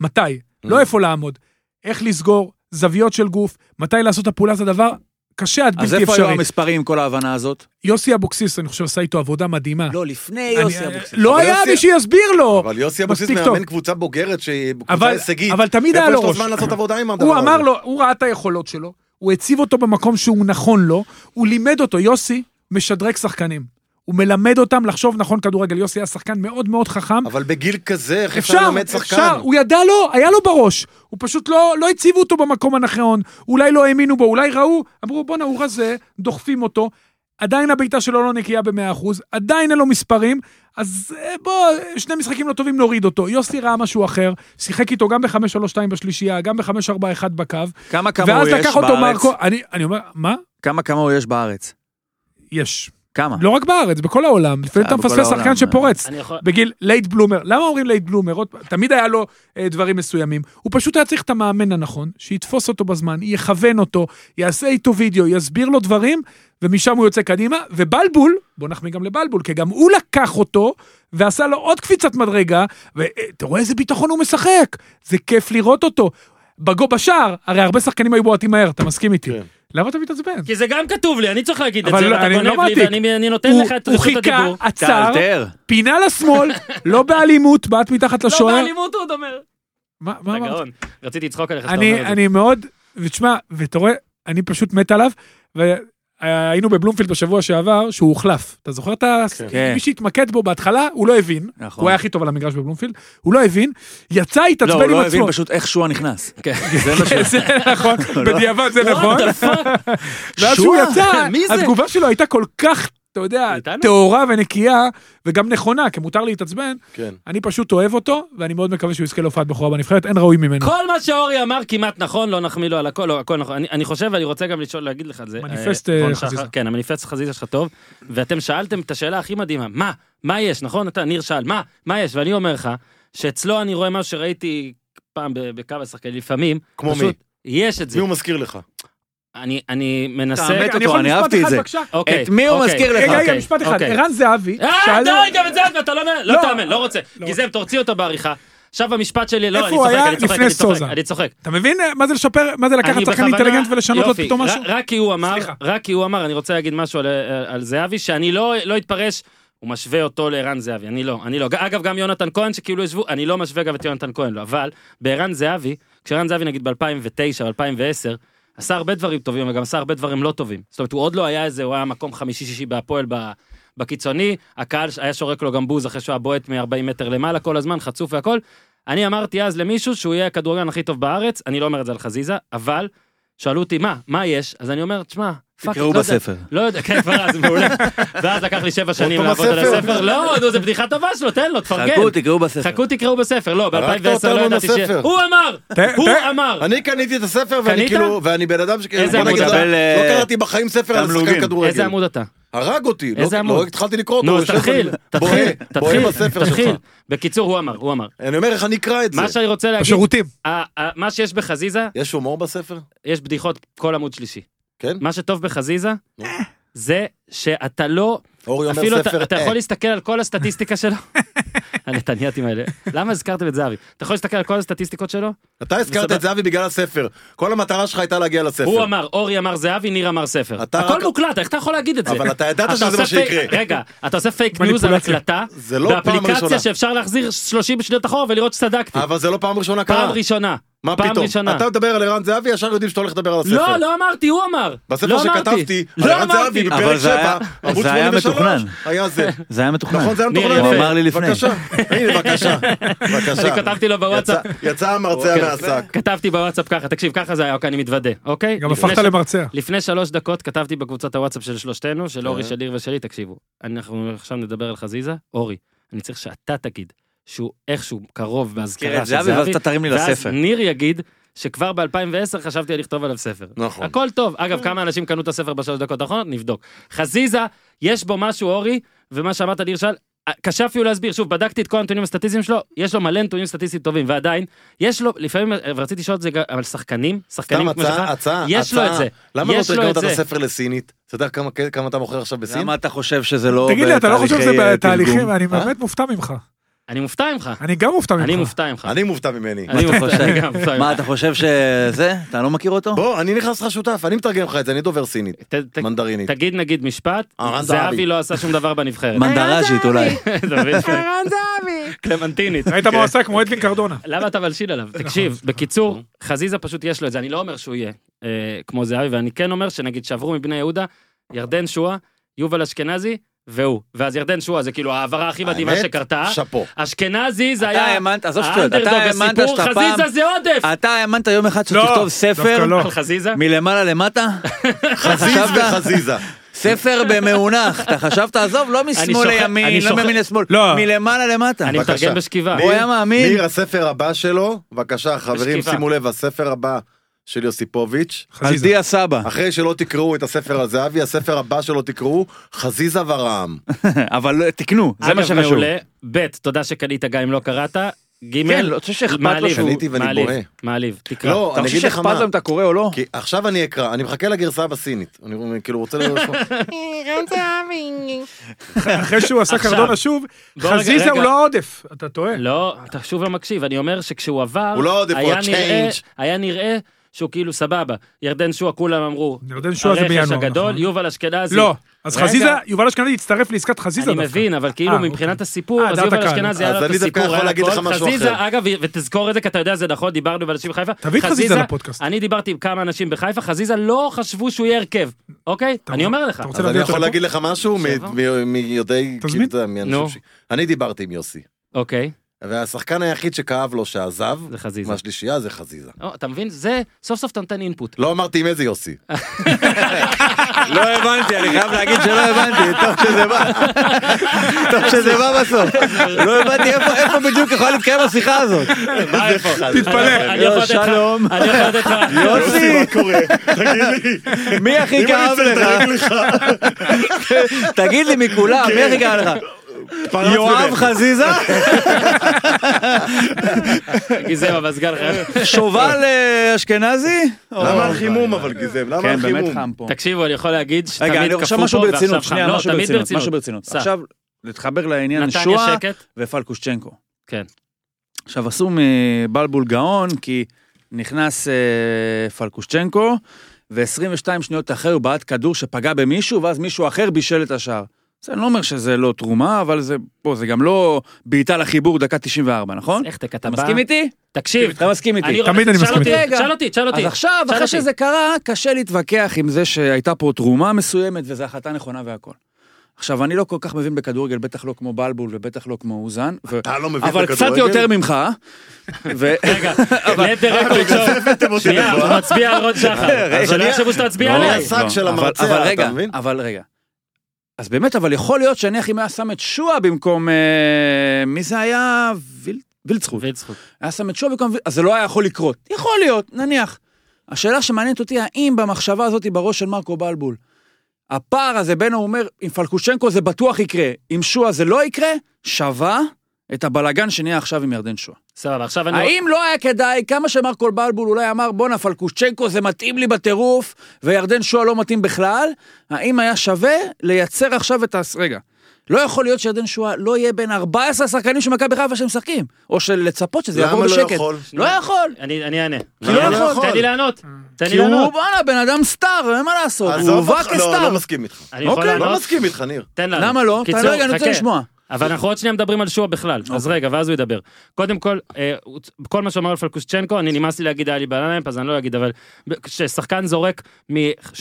S5: מתי,
S6: Mm.
S5: לא איפה לעמוד, איך לסגור, זוויות של גוף, מתי לעשות את הפעולה, זה דבר קשה עד
S6: אז
S5: בלתי
S6: איפה היו
S5: אפשרי.
S6: המספרים עם כל ההבנה הזאת?
S5: יוסי אבוקסיס, אני חושב, עשה איתו עבודה מדהימה.
S6: לא, לפני
S5: אני-
S6: יוסי אבוקסיס.
S5: לא
S4: אבל
S5: היה
S4: יוסי-
S5: מי שיסביר לו.
S4: אבל יוסי אבוקסיס
S5: מספיק טוב.
S4: מאמן קבוצה בוגרת שהיא קבוצה
S5: אבל-
S4: הישגית.
S5: אבל תמיד היה לו
S4: איפה
S5: ראש.
S4: יש לו זמן לעשות עבודה עם הדבר
S5: הוא
S4: הזה?
S5: אמר לו, הוא ראה את היכולות שלו, הוא הציב אותו במקום שהוא נכון לו, הוא לימד אותו, יוסי משדרג שחקנים. הוא מלמד אותם לחשוב נכון כדורגל. יוסי היה שחקן מאוד מאוד חכם.
S4: אבל בגיל כזה, איך אפשר
S5: אפשר,
S4: ללמד שחקן?
S5: אפשר, הוא ידע לו, היה לו בראש. הוא פשוט לא, לא הציבו אותו במקום הנכון, אולי לא האמינו בו, אולי ראו, אמרו בואנה הוא רזה, דוחפים אותו, עדיין הבעיטה שלו לא נקייה ב-100%, עדיין אין לו מספרים, אז אה, בוא, שני משחקים לא טובים נוריד אותו. יוסי ראה משהו אחר, שיחק איתו גם ב-5-3-2 בשלישייה, גם ב-5-4-1 בקו,
S6: כמה כמה הוא
S5: ואז
S6: יש
S5: לקח אותו
S6: בארץ?
S5: מרקו, אני, אני אומר, מה?
S6: כמה כמה הוא יש בארץ?
S5: יש.
S6: כמה?
S5: לא רק בארץ, בכל העולם, לפעמים
S6: אה,
S5: אתה
S6: בכל
S5: מפספס
S6: העולם,
S5: שחקן
S6: אה.
S5: שפורץ.
S1: אני יכול...
S5: בגיל לייט בלומר. למה אומרים לייט בלומר? עוד פעם, תמיד היה לו אה, דברים מסוימים. הוא פשוט היה צריך את המאמן הנכון, שיתפוס אותו בזמן, יכוון אותו, יעשה איתו וידאו, יסביר לו דברים, ומשם הוא יוצא קדימה. ובלבול, בוא נחמיא גם לבלבול, כי גם הוא לקח אותו, ועשה לו עוד קפיצת מדרגה, ואתה רואה איזה ביטחון הוא משחק. זה כיף לראות אותו. בגו בשער, הרי הרבה שחקנים היו בועטים מהר, אתה מסכים איתי.
S4: כן.
S5: למה אתה מתעצבן?
S1: כי זה גם כתוב לי, אני צריך להגיד את
S5: אבל
S1: זה,
S5: לא,
S1: ואתה
S5: אני לא
S1: גונב לי,
S5: מעתיק.
S1: ואני אני נותן
S5: הוא
S1: לך את
S5: הוא
S1: רשות
S5: חיכה,
S1: הדיבור.
S5: עצר,
S6: תאלתר.
S5: פינה לשמאל, לא באלימות, בעט מתחת
S1: לא,
S5: לשוער.
S1: באלימות הוא עוד אומר.
S5: מה מה
S1: אתה
S5: אמרת?
S1: גאון. רציתי לצחוק עליך, שאתה אומר
S5: לא, אני,
S1: את זה.
S5: אני מאוד, ותשמע, ואתה רואה, אני פשוט מת עליו, והיינו בבלומפילד בשבוע שעבר, שהוא הוחלף. אתה זוכר את ה...
S6: כן.
S5: מי שהתמקד בו בהתחלה, הוא לא הבין.
S6: נכון.
S5: הוא היה הכי טוב על המגרש בבלומפילד, הוא לא הבין, יצא, התעצבן
S6: לא,
S5: עם עצמו.
S6: הוא לא הבין פשוט איך שועה נכנס. זה מה ש...
S5: זה נכון,
S6: לא.
S5: בדיעבד זה נכון. ואז שהוא
S6: שועה,
S5: יצא,
S1: מי זה?
S5: התגובה שלו הייתה כל כך, אתה יודע,
S1: איתנו?
S5: טהורה ונקייה, וגם נכונה, כי מותר להתעצבן.
S4: כן.
S5: אני פשוט אוהב אותו, ואני מאוד מקווה שהוא יזכה להופעת בכורה בנבחרת, אין ראוי ממנו.
S1: כל מה שאורי אמר כמעט נכון, לא נחמיא לו על הכל, לא, הכל נכון. אני, אני חושב, ואני רוצה גם לשאול, להגיד לך על זה.
S5: מניפסט,
S1: אה,
S5: אה,
S1: רון שחר,
S5: חזיזה.
S1: כן, המניפסט חזיזה שלך טוב, ואתם שאלתם את השאלה הכי מדהימה, מה, מה יש, נכון? אתה, ניר שאל, מה, מה יש? ואני אומר לך, שאצלו אני רואה משהו שראיתי פעם ב- בקו השחקנים, לפעמים,
S4: כמו מי?
S1: פשוט, יש את זה.
S4: מי הוא מזכיר לך?
S1: אני, אני מנסה...
S6: תעמת
S5: אני
S6: אותו,
S5: יכול
S6: אני
S5: משפט
S6: אהבתי את
S5: אחד,
S6: זה.
S5: בבקשה?
S1: אוקיי,
S6: את מי הוא
S1: אוקיי,
S6: מזכיר לך?
S5: רגע, רגע,
S1: אוקיי,
S5: משפט אחד.
S1: אוקיי.
S5: ערן זהבי,
S1: אה,
S5: שאל-
S1: די, גם את זה אתה לא מאמן, לא
S5: לא.
S1: תאמן, לא רוצה.
S5: לא.
S1: גיזם, תוציא אותו בעריכה. עכשיו המשפט שלי, לא,
S5: איפה
S1: אני
S5: הוא
S1: צוחק,
S5: היה
S1: אני צוחק,
S5: לפני
S1: אני צוחק,
S5: סוזה?
S1: אני צוחק.
S5: אתה מבין אה, מה זה לשפר, מה זה לקחת
S1: אני
S5: שחקן
S1: בכוונה-
S5: אינטליגנט ולשנות לו
S1: יופי,
S5: פתאום משהו?
S1: ר- רק כי הוא אמר,
S5: סליחה.
S1: רק כי הוא אמר, אני רוצה להגיד משהו על- על זהבי, שאני לא לא אתפרש. הוא משווה אותו לערן זהבי, אני לא, אני לא. אגב, גם יונתן כהן שכאילו ישבו, אני לא משווה גם את יונתן כהן, לא. אבל בערן זהבי, כשערן זהבי נגיד ב-2009, 2010, עשה הרבה דברים טובים, וגם עשה הרבה דברים לא טובים. זאת אומרת, הוא עוד לא היה איזה, הוא היה מקום חמישי-שישי בהפועל ב- בקיצוני, הקהל היה שורק לו גם בוז אחרי שהוא היה בועט מ-40 מטר למעלה כל הזמן, חצוף והכל. אני אמרתי אז למישהו שהוא יהיה הכדורגלן הכי טוב בארץ, אני לא אומר את זה על חזיזה, אבל שאלו אותי, מה, מה יש? אז אני אומר, תשמע, פאק,
S3: תקראו
S1: לא יודע-
S3: בספר.
S1: לא יודע, כן, כבר אז, מעולה. ואז לקח לי שבע שנים
S4: פעם
S1: לעבוד על
S4: הספר?
S1: הספר. לא, נו, זו בדיחה טובה שלו, תן לו, תפרגן.
S6: חכו, תקראו בספר.
S1: כן. חכו, תקראו בספר. לא, ב-2010
S4: אותנו
S1: לא ידעתי ש...
S4: מהספר.
S1: הוא אמר!
S5: ת-
S1: הוא
S5: ת-
S1: אמר!
S4: אני קניתי את הספר, ואני
S1: קנית?
S4: כאילו, ואני בן אדם שכאילו,
S1: איזה
S4: בוא נגיד,
S1: עמוד?
S4: לא
S6: אבל,
S4: לא
S6: אה,
S4: קראתי בחיים ספר על שחקן
S6: תמלוגים.
S4: כדורגל.
S1: איזה עמוד אתה?
S4: הרג אותי, לא-
S1: איזה
S4: לא
S1: עמוד?
S4: התחלתי לקרוא אותו.
S1: נו,
S4: הוא
S1: אז
S4: יושב
S1: תתחיל,
S4: ואני
S1: תתחיל,
S4: בוהה, בוהה
S1: תתחיל,
S4: בספר
S1: תתחיל.
S4: שלך.
S1: בקיצור, הוא אמר, הוא אמר.
S4: אני אומר לך, אני אקרא את זה.
S1: מה שאני רוצה להגיד,
S5: בשירותים.
S1: ה- ה- מה שיש בחזיזה,
S4: יש הומור בספר?
S1: יש בדיחות כל עמוד שלישי.
S4: כן?
S1: מה שטוב בחזיזה,
S4: נו.
S1: זה שאתה לא,
S4: אורי אומר
S1: אפילו
S4: ספר,
S1: אתה, אתה
S4: אה.
S1: יכול להסתכל על כל הסטטיסטיקה שלו. הנתניאתים האלה. למה הזכרתם את זהבי? אתה יכול להסתכל על כל הסטטיסטיקות שלו?
S4: אתה הזכרת
S1: וסבבה.
S4: את זהבי בגלל הספר. כל המטרה שלך הייתה להגיע לספר.
S1: הוא אמר, אורי אמר זהבי, ניר אמר ספר.
S4: אתה
S1: הכל
S4: רק-
S1: מוקלט, איך אתה יכול להגיד את זה?
S4: אבל אתה ידעת שזה
S1: עושה
S4: מה
S1: פייק-
S4: שיקרה.
S1: רגע, אתה עושה פייק ניוז על
S5: מניפולציה.
S1: הקלטה,
S4: זה לא פעם
S1: באפליקציה
S4: ראשונה.
S1: שאפשר להחזיר 30 שניות אחורה ולראות שצדקתי.
S4: אבל זה לא פעם ראשונה
S1: פעם
S4: קרה.
S1: ראשונה.
S4: מה
S1: פעם
S4: פתאום?
S1: ראשונה.
S4: אתה מדבר על ערן זהבי, ישר יודעים שאתה הולך לדבר על הספר.
S1: לא, לא אמרתי, הוא אמר.
S4: בספר
S1: לא אמרתי.
S4: שכתבתי, על
S1: לא
S4: ערן
S1: אמרתי.
S4: זהבי
S6: אבל
S4: בפרק
S6: זה היה-
S4: 7, עמוד
S6: זה היה
S4: 83,
S6: מתוכנן.
S4: היה זה.
S6: זה היה מתוכנן.
S4: נכון, זה היה
S1: ניר,
S4: מתוכנן.
S1: יפה. הוא
S6: אמר לי לפני.
S4: בבקשה, הנה, בבקשה. בבקשה.
S1: אני כתבתי לו בוואטסאפ.
S4: יצא- יצא המרצע
S1: אוקיי.
S4: מהשק.
S1: כתבתי בוואטסאפ ככה, תקשיב, ככה זה היה, אוקיי, אני מתוודה, אוקיי?
S5: גם
S1: לפני
S5: הפכת
S1: ש-
S5: למרצע.
S1: לפני שלוש דקות כתבתי בקבוצת הוואטסאפ של שלושתנו, של
S6: כן.
S1: אורי, של ניר ושלי, תקשיבו, אנחנו עכשיו נדבר על חזיזה, אורי, אני צריך שאתה תגיד שהוא איכשהו קרוב
S6: תראה
S1: באזכרה
S6: את
S1: של
S6: כן, זהבי, ואז
S1: זהבי,
S6: אתה תרים לי
S1: ואז
S6: לספר.
S1: ניר יגיד שכבר ב-2010 חשבתי על לכתוב עליו ספר.
S4: נכון.
S1: הכל טוב. אגב, כמה אנשים קנו את הספר בשלוש דקות האחרונות? נבדוק. חזיזה, יש בו משהו, אורי, ומה שאמרת, ניר שאל, אה, קשה אפילו להסביר. שוב, בדקתי את כל הנתונים הסטטיסטיים שלו, יש לו מלא נתונים סטטיסטיים טובים, ועדיין, יש לו, לפעמים, אה, ורציתי לשאול את זה גם על שחקנים,
S4: סתם
S1: שחקנים כן, כמו שלך,
S4: הצעה, הצעה,
S1: יש לו
S4: הצעה.
S1: את זה.
S4: למה לא
S1: יש לו
S4: תרגמת
S1: את
S4: את
S1: זה.
S4: הספר לסינית? אתה יודע כמה- כמה אתה מוכר עכשיו בסין?
S6: למה אתה חושב שזה לא...
S5: תגיד לי, אתה לא חושב
S6: בתהליכי,
S5: שזה
S6: אה,
S5: בתהליכים?
S6: תרגום?
S5: אני
S4: אה?
S5: באמת מופתע ממך.
S1: אני מופתע ממך.
S5: אני גם מופתע ממך.
S1: אני מופתע ממך.
S4: אני מופתע ממני.
S1: אני
S6: אתה
S1: מופתע
S6: חושב?
S1: אני גם מופתע ממך.
S6: מה, אתה חושב שזה? אתה לא מכיר אותו?
S4: בוא, אני נכנס לך שותף, אני מתרגם לך את זה, אני דובר סינית,
S1: ת- ת-
S4: מנדרינית.
S1: תגיד נגיד משפט,
S4: אהרן זהבי.
S1: זהבי לא עשה שום דבר בנבחרת.
S6: מנדרז'ית אולי.
S1: אתה מבין? קלמנטינית. כן.
S5: ראית מה הוא עשה? כמו אדלין קרדונה.
S1: למה אתה מלשין עליו? תקשיב, בקיצור, חזיזה פשוט יש לו את זה, אני לא אומר שהוא יהיה אה, כמו זהבי, ואני כן אומר שנגיד שעברו מבני יהודה, ירדן שואה, יובל אשכנזי, והוא. ואז ירדן שואה זה כאילו ההעברה הכי מדהימה
S4: האמת?
S1: שקרתה.
S4: שאפו.
S1: אשכנזי זה
S6: אתה
S1: היה...
S6: האמנת, עזוב שטויות, אתה
S1: האנדרדוג,
S6: האמנת
S1: הסיפור,
S6: שאתה פעם-
S1: חזיזה זה עודף!
S6: אתה האמנת יום אחד
S5: לא,
S6: שתכתוב
S5: דווקא
S6: ספר
S5: לא.
S1: על חזיזה?
S6: מלמעלה למטה?
S4: חזיז וחזיזה.
S6: ספר במאונח, אתה חשבת, עזוב, לא משמאל
S1: שוחק- אני
S6: לימין, לא
S1: שוחק-
S6: מימין לשמאל,
S5: לא.
S6: מלמעלה למטה.
S1: אני
S4: בבקשה.
S1: מתרגם בשכיבה.
S6: הוא היה מאמין.
S4: ניר, הספר הבא שלו, בבקשה, חברים,
S1: בשכיבה.
S4: שימו לב, הספר הבא של יוסיפוביץ',
S6: על
S5: חזיזה.
S6: דיה סבא,
S4: אחרי שלא תקראו את הספר על זהבי, הספר הבא שלו תקראו, חזיזה ורעם.
S6: אבל לא, תקנו, זה מה
S1: אגב,
S6: שחשוב.
S1: מעולה. ב', תודה שקנית גם אם לא קראת. ג',
S6: כן, לא, אתה חושב שאכפת לו
S1: מעליב,
S4: שהוא- קניתי ואני
S1: מעליב,
S4: בוהה.
S1: מעליב, תקרא.
S4: לא,
S6: אתה
S4: אני
S6: חושב
S4: אגיד לך
S6: שאכפת
S4: מה.
S6: להם אתה קורא או לא?
S4: כי עכשיו אני אקרא, אני מחכה לגרסה בסינית. אני כאילו רוצה לשמוע.
S5: אחרי שהוא עשה
S1: עכשיו.
S5: קרדונה שוב,
S1: בוא רגע,
S5: חזיזה
S1: רגע.
S5: הוא לא העודף. אתה טועה.
S1: לא, אתה שוב לא מקשיב, אני אומר שכשהוא עבר,
S4: הוא לא עודף, הוא
S1: היה
S4: ה-change.
S1: נראה- היה נראה שהוא כאילו סבבה. ירדן שועה, כולם אמרו,
S5: ירדן שועה זה
S1: הרכש
S5: בינואר,
S1: הגדול,
S5: נכון.
S1: יובל אשכנזי.
S5: לא. אז
S1: רגע.
S5: חזיזה, יובל אשכנזי הצטרף לעסקת חזיזה
S1: אני
S5: דווקא.
S1: מבין, אבל כאילו
S5: אה,
S1: מבחינת
S5: אוקיי.
S1: הסיפור,
S5: אה,
S1: אז
S5: דעת
S1: יובל
S5: הקהל.
S1: אשכנזי היה
S4: אז
S1: לו את
S4: אני דווקא
S1: הסיפור,
S4: יכול
S1: היה לו
S4: להגיד
S1: הכל.
S4: לך משהו
S1: חזיזה,
S4: אחר.
S1: אגב, ותזכור את זה, כי אתה יודע, זה נכון, דיברנו עם אנשים בחיפה.
S5: תביא את חזיזה לפודקאסט.
S1: אני דיברתי עם כמה אנשים בחיפה, חזיזה לא חשבו שהוא יהיה הרכב, אוקיי? אני אומר לך.
S5: אתה רוצה
S4: אז אני
S5: להביא אותו
S4: יכול
S5: לפה?
S4: להגיד לך משהו
S1: שיבוא.
S4: מ- מ- מיודעי,
S5: תזמין.
S4: כאילו, אתה יודע, מאנשים
S1: נו.
S4: ש- אני דיברתי עם יוסי,
S1: אוקיי,
S4: והשחקן היחיד שכאב לו שעזב,
S1: זה חזיזה.
S4: מהשלישייה זה חזיזה.
S1: או, אתה מבין? זה, סוף סוף אתה נותן אינפוט.
S4: לא אמרתי עם איזה יוסי.
S6: לא הבנתי, אני חייב להגיד שלא הבנתי, טוב שזה בא. טוב שזה בא בסוף. לא הבנתי איפה איפה בדיוק יכולה להתקיים השיחה הזאת. אה,
S1: מה איפה?
S5: תתפלא.
S1: אני יכול לתת לך-
S4: לא-
S6: שלום.
S1: אני יכול לתת לך...
S6: יוסי,
S4: מה קורה? תגיד לי.
S6: מי הכי כאב לך? תגיד לי מכולם, מי
S1: כן.
S6: הכי כאב לך?
S4: פרץ
S6: יואב
S4: בבכי.
S6: חזיזה?
S1: גיזם המזגן חייב.
S6: שובל אה, אשכנזי?
S4: למה
S6: Oh
S4: על חימום אבל גיזם?
S6: כן,
S1: כן,
S4: למה על חימום?
S6: פה.
S1: תקשיבו, אני יכול להגיד שתמיד
S6: רגע, אני עכשיו
S1: קפוא
S6: משהו
S1: פה,
S6: ברצינות,
S1: ועכשיו
S6: שנייה,
S1: חם. לא,
S6: משהו
S1: תמיד
S6: ברצינות, משהו ברצינות.
S1: סע.
S6: עכשיו, להתחבר לעניין
S1: נתניה
S6: שואה
S1: שקט.
S6: ופלקושצ'נקו.
S1: כן.
S6: עכשיו, עשו מבלבול גאון, כי נכנס אה, פלקושצ'נקו, ו-22 שניות אחרי הוא בעט כדור שפגע במישהו, ואז מישהו אחר בישל את השער. זה אני לא אומר שזה לא תרומה, אבל זה, פה, זה גם לא בעיטה לחיבור דקה 94, נכון?
S1: איך אה, אתה
S6: אתה
S1: כתבה?
S6: מסכים איתי?
S1: תקשיב.
S6: אתה מסכים איתי.
S1: רוצה-
S5: תמיד אני
S1: שאל
S5: מסכים
S1: אותי,
S6: איתך.
S1: שאל אותי, שאל אותי.
S6: אז עכשיו,
S1: שאל
S6: אחרי
S1: אותי.
S6: שזה קרה, קשה להתווכח עם זה שהייתה פה תרומה מסוימת וזו החלטה נכונה והכל. עכשיו, אני לא כל כך מבין בכדורגל, בטח לא כמו בלבול ובטח לא כמו אוזן, ו...
S4: אתה לא מבין
S6: אבל קצת יותר ממך. ו...
S1: רגע, ליתר רקורד שוב. שנייה, הוא מצביע על רון שחר. שלא יחשבו שאתה מצביע
S4: לא,
S1: עליי.
S4: אז- השק של
S6: אבל-
S4: המרצע,
S6: אבל
S4: אתה
S6: רגע,
S4: מבין?
S6: אבל רגע. אז באמת, אבל יכול להיות שאני הכי היה שם את שועה במקום... אה, מי זה היה? ויל- וילצחוט.
S1: וצחוק.
S6: היה שם את שועה במקום... ויל- אז זה לא היה יכול לקרות. יכול להיות, נניח. השאלה שמעניינת אותי, האם במחשבה הזאת בראש של מרקו בלבול, הפער הזה בין הוא אומר, עם פלקושנקו זה בטוח יקרה, עם שועה זה לא יקרה, שווה את הבלגן שנהיה עכשיו עם ירדן שועה.
S1: סבבה, עכשיו אני...
S6: האם לא היה כדאי, כמה שמרקו בלבול אולי אמר, בואנה, פלקושצ'נקו זה מתאים לי בטירוף, וירדן שועה לא מתאים בכלל, האם היה שווה לייצר עכשיו את ה... רגע, לא יכול להיות שירדן שועה לא יהיה בין 14 השחקנים של מכבי חיפה שמשחקים, או של לצפות שזה יעבור
S4: למה לא
S6: בשקט.
S4: יכול?
S6: לא יכול.
S1: אני אני אענה.
S4: כי לא
S1: אני אענה.
S4: יכול.
S1: תן לי לענות. תן לי
S6: כי הוא,
S1: לענות.
S6: בואנה, בן אדם סטאר, אין מה לעשות, הוא
S4: עזוב
S6: הובא
S4: אותך, לא,
S6: כסטאר.
S4: לא מסכים איתך.
S1: אני יכול
S6: אוקיי.
S1: לענות?
S4: לא מסכים איתך, ניר.
S1: תן לנו.
S6: למה לא?
S1: קיצור,
S6: אתה רגע, אני רוצה
S1: חכה.
S6: לשמוע. אוקיי.
S1: אבל אנחנו עוד שנייה מדברים על שועה בכלל, אז רגע, ואז הוא ידבר. קודם כל, אה, הוא- כל מה שאמר על פלקושצ'נקו, אני נמאס לי להגיד היה לי בלנאמפ, אז אני לא אגיד, אבל כששחקן זורק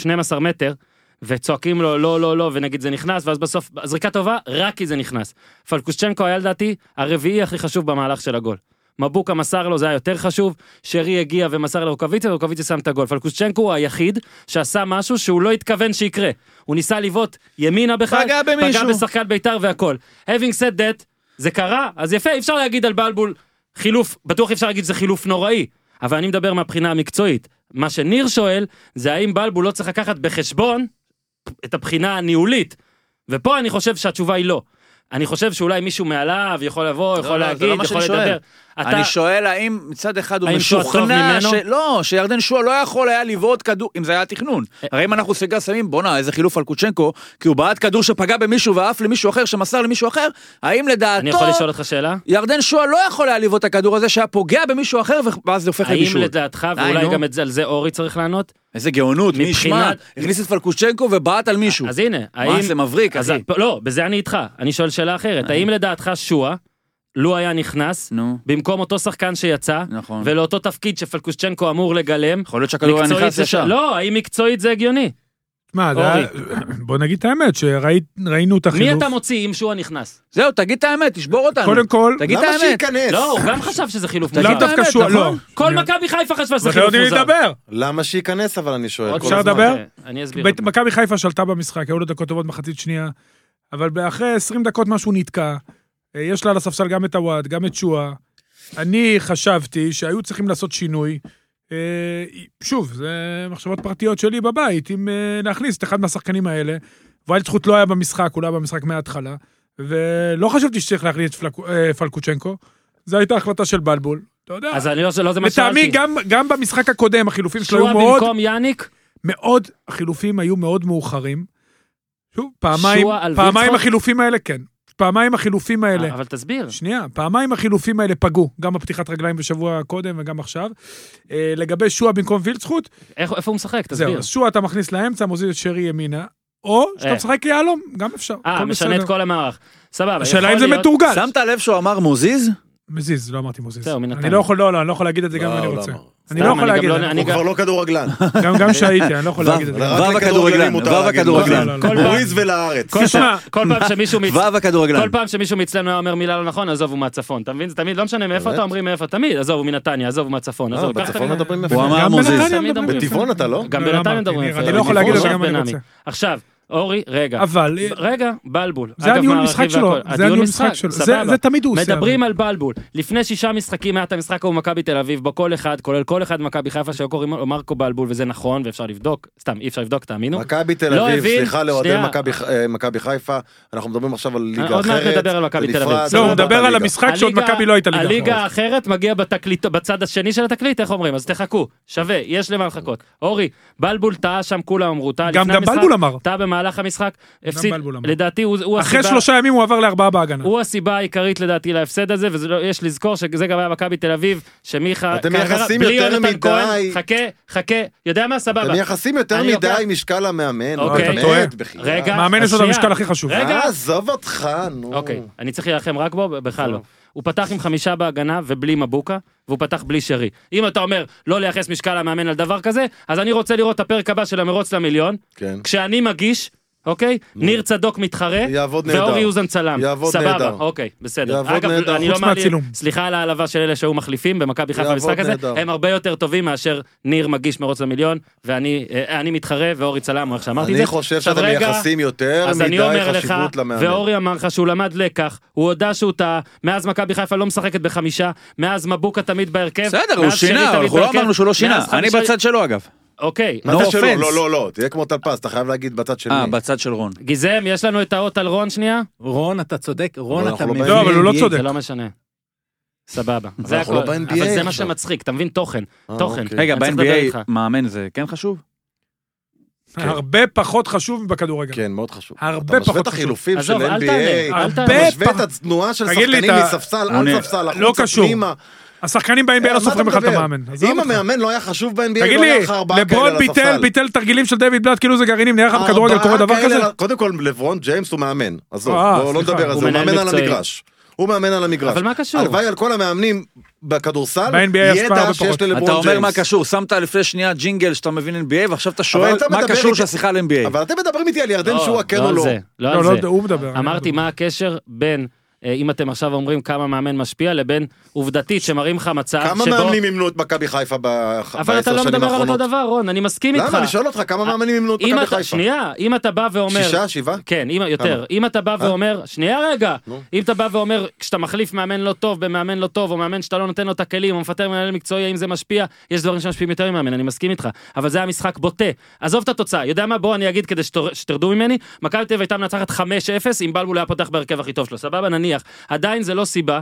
S1: מ-12 מטר, וצועקים לו לא, לא, לא, ונגיד זה נכנס, ואז בסוף, זריקה טובה, רק כי זה נכנס. פלקושצ'נקו היה לדעתי הרביעי הכי חשוב במהלך של הגול. מבוקה מסר לו, זה היה יותר חשוב, שרי הגיע ומסר לרוקוויציה, ורוקוויציה שם את הגול. פלקושצ'נקו הוא היחיד שעשה משהו שהוא לא התכוון שיקרה. הוא ניסה לבעוט ימינה בכלל,
S6: פגע במישהו.
S1: פגע בשחקן בית"ר והכל. Having said that, זה קרה, אז יפה, אי אפשר להגיד על בלבול חילוף, בטוח אי אפשר להגיד שזה חילוף נוראי, אבל אני מדבר מהבחינה המקצועית. מה שניר שואל, זה האם בלבול לא צריך לקחת בחשבון את הבחינה הניהולית. ופה אני חושב שהתשובה היא לא. אני חושב שאולי מישהו מעליו יכול לבוא, יכול
S6: לא, זה לא
S1: להגיד,
S6: מה
S1: יכול
S6: שאני שואל.
S1: לדבר. אתה,
S6: אני שואל האם מצד אחד הוא
S1: האם שועה טוב
S6: משוכנע ש...
S1: ממנו?
S6: לא, שירדן שועה לא יכול היה לבעוט כדור, אם זה היה תכנון.
S1: אה-
S6: הרי אם אנחנו סגר שמים, בואנה, איזה חילוף על קוצ'נקו, כי הוא בעט כדור שפגע במישהו ועף למישהו אחר, שמסר למישהו אחר, האם
S1: אני יכול לשאול
S6: לדעתו
S1: אותך שאלה?
S6: ירדן שועה לא יכול היה לבעוט את הכדור הזה שהיה פוגע במישהו אחר ואז זה הופך
S1: האם
S6: לבישול?
S1: לדעתך,
S6: די,
S1: ואולי
S6: נו.
S1: גם את זה- על זה אורי צריך לענות?
S6: איזה גאונות, מי ישמע?
S1: מבחינת-
S6: הכניס את פלקוצ'נקו ובעט על מישהו.
S1: אז הנה, האם...
S6: מה זה מבריק,
S1: אז
S6: אחי.
S1: ה- לא, בזה אני איתך. אני שואל שאלה אחרת. האם לדעתך שועה, לו היה נכנס,
S6: נו,
S1: במקום אותו שחקן שיצא,
S6: נכון.
S1: ולאותו תפקיד שפלקושצ'נקו אמור לגלם,
S6: יכול להיות שהכדור היה
S1: מקצועית
S6: נכנס
S1: זה-
S6: ישר.
S1: לא, האם מקצועית זה הגיוני?
S5: מה, זה
S1: אורי.
S5: היה- בוא נגיד את האמת, שראינו את
S1: מי
S5: החילוף.
S1: אתה מוציא אם שועה נכנס?
S6: זהו, תגיד את האמת, תשבור אותנו.
S5: קודם כל,
S6: תגיד את
S4: למה
S6: האמת.
S4: שייכנס?
S1: לא, הוא גם חשב שזה חילוף
S6: אה. תגיד
S5: לאו
S1: מוזר.
S6: את האמת,
S5: דווקא שועה, לא.
S6: נכון?
S1: כל מכבי חיפה חשבה שזה
S5: ואתם
S1: חילוף
S5: לא יודעים
S1: מוזר.
S5: לדבר.
S4: למה שייכנס, אבל אני שואל.
S1: עוד אה,
S4: כל
S5: אפשר
S4: הזמן.
S5: לדבר?
S1: אני אסביר.
S5: בית- מכבי חיפה שלטה במשחק, היו לו דקות טובות מחצית שנייה, אבל אחרי 20 דקות משהו נתקע. אה, יש לה על הספסל גם את הוואד, גם את שואה. אני חשבתי שהיו צריכים לעשות שינוי. אה, שוב, זה מחשבות פרטיות שלי בבית, אם אה, להכניס את אחד מהשחקנים האלה. ויילדסחוט לא היה במשחק, הוא לא היה במשחק מההתחלה, ולא חשבתי שצריך להכניס את פלק- אה, פלקוצ'נקו. זו הייתה החלטה של בלבול. אתה יודע,
S1: אז אני לא, לא זה מה
S5: לטעמי
S1: ששאלתי.
S5: גם, גם במשחק הקודם החילופים שלו
S1: שועה
S5: היו מאוד
S1: במקום יאניק,
S5: מאוד, החילופים היו מאוד מאוחרים. שוב, פעמיים,
S1: שועה על אה,
S5: פעמיים
S1: וילצחוט?
S5: החילופים האלה, כן. פעמיים החילופים האלה,
S1: אבל תסביר.
S5: שנייה, פעמיים החילופים האלה פגעו, גם בפתיחת רגליים בשבוע קודם וגם עכשיו. אה, לגבי שועה במקום וילצחוט,
S1: איך- איפה הוא משחק?
S5: זהו,
S1: תסביר.
S5: אז שועה אתה מכניס לאמצע, מוזיל את שרי ימינה, או שאתה
S1: אה.
S5: משחק יהלום, גם אפשר.
S1: אה,
S5: הכל
S1: משנה את
S5: בסדר.
S1: כל המערך. סבבה.
S5: השאלה
S1: יכול
S5: אם זה
S1: להיות-
S5: מתורגל.
S6: שמת לב שהוא אמר מוזיז?
S5: מזיז, לא אמרתי מוזיז.
S1: זהו, מן
S5: אני
S1: הטעם.
S5: לא יכול, לא, לא, אני לא יכול להגיד את זה גם
S4: לא,
S5: אם אני
S4: לא
S5: רוצה.
S4: אמר.
S5: אני לא
S1: סתם, אני
S5: יכול
S1: גם
S5: להגיד
S1: לא-
S5: את זה.
S1: אני
S4: הוא כבר לא כדורגלן.
S5: גם- גם שהייתי, אני לא יכול להגיד את זה.
S4: רק
S6: וו
S4: לכדורגלנים
S6: הכדורגלן,
S4: מותר
S6: וו
S4: להגיד.
S6: הכדורגלן.
S5: לא, לא, לא.
S1: כל פעם-
S4: בוריז ולארץ.
S1: כל פעם- כל פעם שמישהו מצ-
S6: וו הכדורגלן.
S1: כל פעם שמישהו מאצלנו היה אומר מילה לא נכון, עזוב הוא מהצפון, אתה מבין? זה תמיד, לא משנה מאיפה
S4: באמת?
S1: אתה אומרים מאיפה, תמיד, עזוב הוא מנתניה, עזוב הוא מהצפון,
S4: אה,
S1: עזוב, קח את
S4: בצפון
S1: ה-
S4: מדברים
S6: הוא
S4: יפה.
S6: אמר
S5: גם
S6: מוזיז.
S5: בנתניה
S1: תמיד
S5: מדברים יפה.
S4: בטבעון אתה לא?
S1: גם
S5: לא, לא
S1: בנתניה
S5: אמרתי,
S1: מדברים
S5: ניר,
S1: יפה.
S5: אני
S1: אבל
S5: לא יכול להגיד את זה
S1: בדיוק
S5: גם אם אני
S1: בנעמי.
S5: רוצה.
S1: עכשיו, אורי, רגע.
S5: אבל... אה,
S1: רגע, בלבול.
S5: זה
S1: אגב,
S5: הניהול
S1: מערכים
S5: משחק שלו,
S1: והכל.
S5: זה הניהול משחק שלו, זה-
S1: סבבה.
S5: זה תמיד הוא עושה,
S1: מדברים על בלבול. לפני שישה משחקים היה את המשחק ההוא במכבי תל אביב, בו כל אחד, כולל כל אחד במכבי חיפה שהיו קוראים לו מרקו בלבול, וזה נכון, ואפשר לבדוק, סתם, אי אפשר לבדוק, תאמינו.
S4: מכבי תל
S1: לא
S4: אביב,
S1: הבין,
S4: סליחה לאוהדי
S1: שנייה.
S4: מכבי ח- אה, מכבי חיפה, אנחנו מדברים עכשיו על ליגה אחרת.
S1: עוד מעט נדבר על מכבי
S4: זה
S1: תל אביב.
S4: נפרד,
S5: לא, הוא
S4: זה
S5: מדבר על
S4: הליגה.
S5: המשחק שעוד
S1: הליגה-
S5: מכבי לא הייתה ליגה.
S1: הליגה
S5: אחרת.
S1: האחרת מגיע בתקליט, בצד השני של התקליט, איך אומרים? אז תחכו, שווה, יש למה לחכות. אורי, בלבול טעה שם, כולם אמרו, טעה לפני
S5: גם
S1: המשחק.
S5: גם בלבול אמר.
S1: טעה במהלך המשחק, הפסיד,
S5: בלבול אמר.
S1: לדעתי הוא הוא
S5: אחרי
S1: הסיבה...
S5: שלושה ימים הוא עבר לארבעה בהגנה.
S1: הוא הסיבה העיקרית לדעתי להפסד הזה, ויש לזכור שזה גם היה מכבי תל אביב, שמיכה...
S4: אתם
S1: קררה-
S4: מייחסים
S1: בלי
S4: יותר
S1: יונתן
S4: מדי.
S1: כהן, חכה, חכה, יודע מה? סבבה.
S4: אתם מייחסים יותר
S1: אני לוקח-
S4: מדי משקל המאמן.
S1: אוקיי.
S4: באמת,
S5: אתה טועה.
S4: בחייאת.
S1: רגע,
S5: מאמן יש לו את
S1: שנייה.
S5: המשקל הכי חשוב.
S1: רגע.
S4: אה, עזוב אותך, נו.
S1: אוקיי, אני צריך להילחם רק בו, בך לא. הוא פתח עם חמישה בהגנה ובלי מבוקה, והוא פתח בלי שרי. אם אתה אומר לא לייחס משקל המאמן על דבר כזה, אז אני רוצה לראות את הפרק הבא של המרוץ למיליון,
S4: כן.
S1: כשאני מגיש, אוקיי?
S4: נו.
S1: ניר צדוק מתחרה,
S4: יעבוד נהדר.
S1: ואורי אוזן צלם.
S4: יעבוד
S1: סבבה,
S4: נהדר.
S1: אוקיי, בסדר.
S4: יעבוד
S1: אגב,
S4: נהדר,
S1: אני לא
S5: חוץ
S1: מעליב,
S5: מהצילום.
S1: סליחה על העלבה של אלה שהיו מחליפים במכבי חיפה
S4: יעבוד
S1: במשחק הזה,
S4: נהדר.
S1: הם הרבה יותר טובים מאשר ניר מגיש מרוץ למיליון, ואני אה, אני מתחרה ואורי צלם, או איך שאמרתי את זה.
S4: אני חושב
S1: עכשיו,
S4: שאתם
S1: רגע,
S4: מייחסים יותר
S1: אז אני
S4: מדי
S1: אומר לך,
S4: חשיבות למאמן.
S1: ואורי אמר לך שהוא למד לקח, הוא הודה שהוא טעה, מאז מכבי חיפה לא משחקת בחמישה, מאז מבוקה תמיד בהרכב,
S6: בסדר, הוא
S1: מאז שרי
S6: שינה,
S1: תמיד
S6: אבל אנחנו לא
S1: בהרכב,
S6: אמרנו שהוא לא שינה.
S1: מאז
S6: אני
S1: חמישה-
S6: בצד שלו, אגב.
S1: אוקיי,
S4: מה
S6: No
S4: אתה שלו?
S6: offense.
S4: לא, לא, לא, תהיה כמו טלפס, אתה חייב להגיד בצד שלי.
S6: אה, בצד של רון.
S1: גיזם, יש לנו את האות על רון שנייה?
S7: רון, אתה צודק,
S4: אבל
S7: רון,
S4: אנחנו
S7: אתה
S4: לא
S7: מבין.
S5: לא, אבל הוא לא צודק.
S1: זה לא משנה. סבבה, זה
S4: אנחנו לא
S1: הכל.
S4: ב-NBA
S1: אבל זה מה
S4: עכשיו.
S1: שמצחיק, אתה מבין תוכן.
S4: אה,
S1: תוכן.
S4: אוקיי.
S6: רגע,
S1: אני צריך לדבר
S6: ב-NBA
S1: איתך.
S6: מאמן זה כן חשוב?
S5: כן. הרבה פחות חשוב מבכדורגל.
S4: כן, מאוד חשוב.
S5: הרבה
S4: אתה משווה את
S5: פחות חשוב.
S4: החילופים של
S1: עזוב, אל
S4: NBA.
S1: תענה, אל
S5: הרבה
S1: תענה.
S4: אתה משווה
S5: פח-
S4: את התנועה של
S5: תגיד לי,
S4: שחקנים
S5: אתה-
S4: מספסל,
S6: עונה.
S4: על ספסל,
S5: לא
S4: החוצה,
S5: קשור.
S4: פנימה.
S5: השחקנים
S4: אה,
S5: ב-NBA
S4: מה
S5: לא
S4: אתה
S5: סופרים בכלל את
S4: מדבר?
S5: המאמן. עזוב
S4: אם
S5: אותך.
S4: המאמן לא היה חשוב ב-NBA,
S5: תגיד
S4: לא היה
S5: לי,
S4: לך ארבעה כאלה על
S5: לברון
S4: הספסל. אה,
S5: ביטל, ביטל תרגילים של דיוויד בלאט, כאילו זה גרעינים, נראה לך בכדורגל קורה דבר
S4: ארבעה
S5: כזה?
S4: כאלה על ה- קודם כל, לברון ג'יימס הוא מאמן. עזוב,
S5: אה,
S4: בואו לא
S5: סליחה.
S4: נדבר על
S1: הוא
S4: זה, הוא
S1: מנהל
S4: מאמן על
S1: מקצועי.
S4: המגרש. הוא מאמן על המגרש.
S1: אבל מה קשור?
S4: הלוואי על כל המאמנים בכדורסל,
S5: ב-NBA יש כבר
S4: ידע
S5: הרבה
S4: שיש
S5: פחות.
S4: ללברון ג'יימס.
S6: אתה אומר מה קשור, שמת לפני שנייה ג'ינגל שאתה מבין NBA, ועכשיו אתה שואל
S4: אתה
S6: מה
S4: מדבר
S6: קשור
S4: איתי-
S6: שהשיחה על NBA.
S4: אבל אתם מדברים איתי על ירדן שהוא
S1: לא,
S4: הקן
S1: לא
S4: או
S1: על
S4: לא.
S1: זה, לא
S5: לא,
S1: על זה.
S5: לא, הוא מדבר. אני
S1: אמרתי
S5: מדבר.
S1: מה הקשר בין, אה, אם אתם עכשיו אומרים כמה מאמן משפיע, לבין עובדתית שמראים לך מצב שבו...
S4: כמה מאמנים אימנו את מכבי חיפה ב- בעשר שנים
S1: אבל אתה לא
S4: האחרונות?
S1: מדבר על אותו דבר, רון, אני מסכים איתך. אה,
S4: למה? אני שואל אותך, כמה מאמנים אימנו את
S1: אם
S4: מכבי
S1: אתה,
S4: חיפה?
S1: שנייה, אם אתה בא ואומר...
S4: שישה, שבעה? אה?
S1: כן, אם, יותר. אם אתה בא ואומר, שנייה רגע,
S4: נו.
S1: אם אתה בא ואומר, כשאתה מחליף מאמן לא טוב במאמן לא טוב, או מאמן שאתה לא נותן לו את הכלים, או מפטר מנהל מקצועי, האם זה משפיע? יש דברים שמשפיעים יותר ממאמן, אני מסכים איתך. אבל זה היה משחק בוטה. עזוב את התוצאה, יודע מה? בוא אני אגיד כדי שתור- שתרדו ממני, מכבי תל אביב הייתה מנצחת 5-0, אם בלבול היה פותח בהרכב הכי טוב שלו, סבבה? נניח. עדיין זה לא סיבה.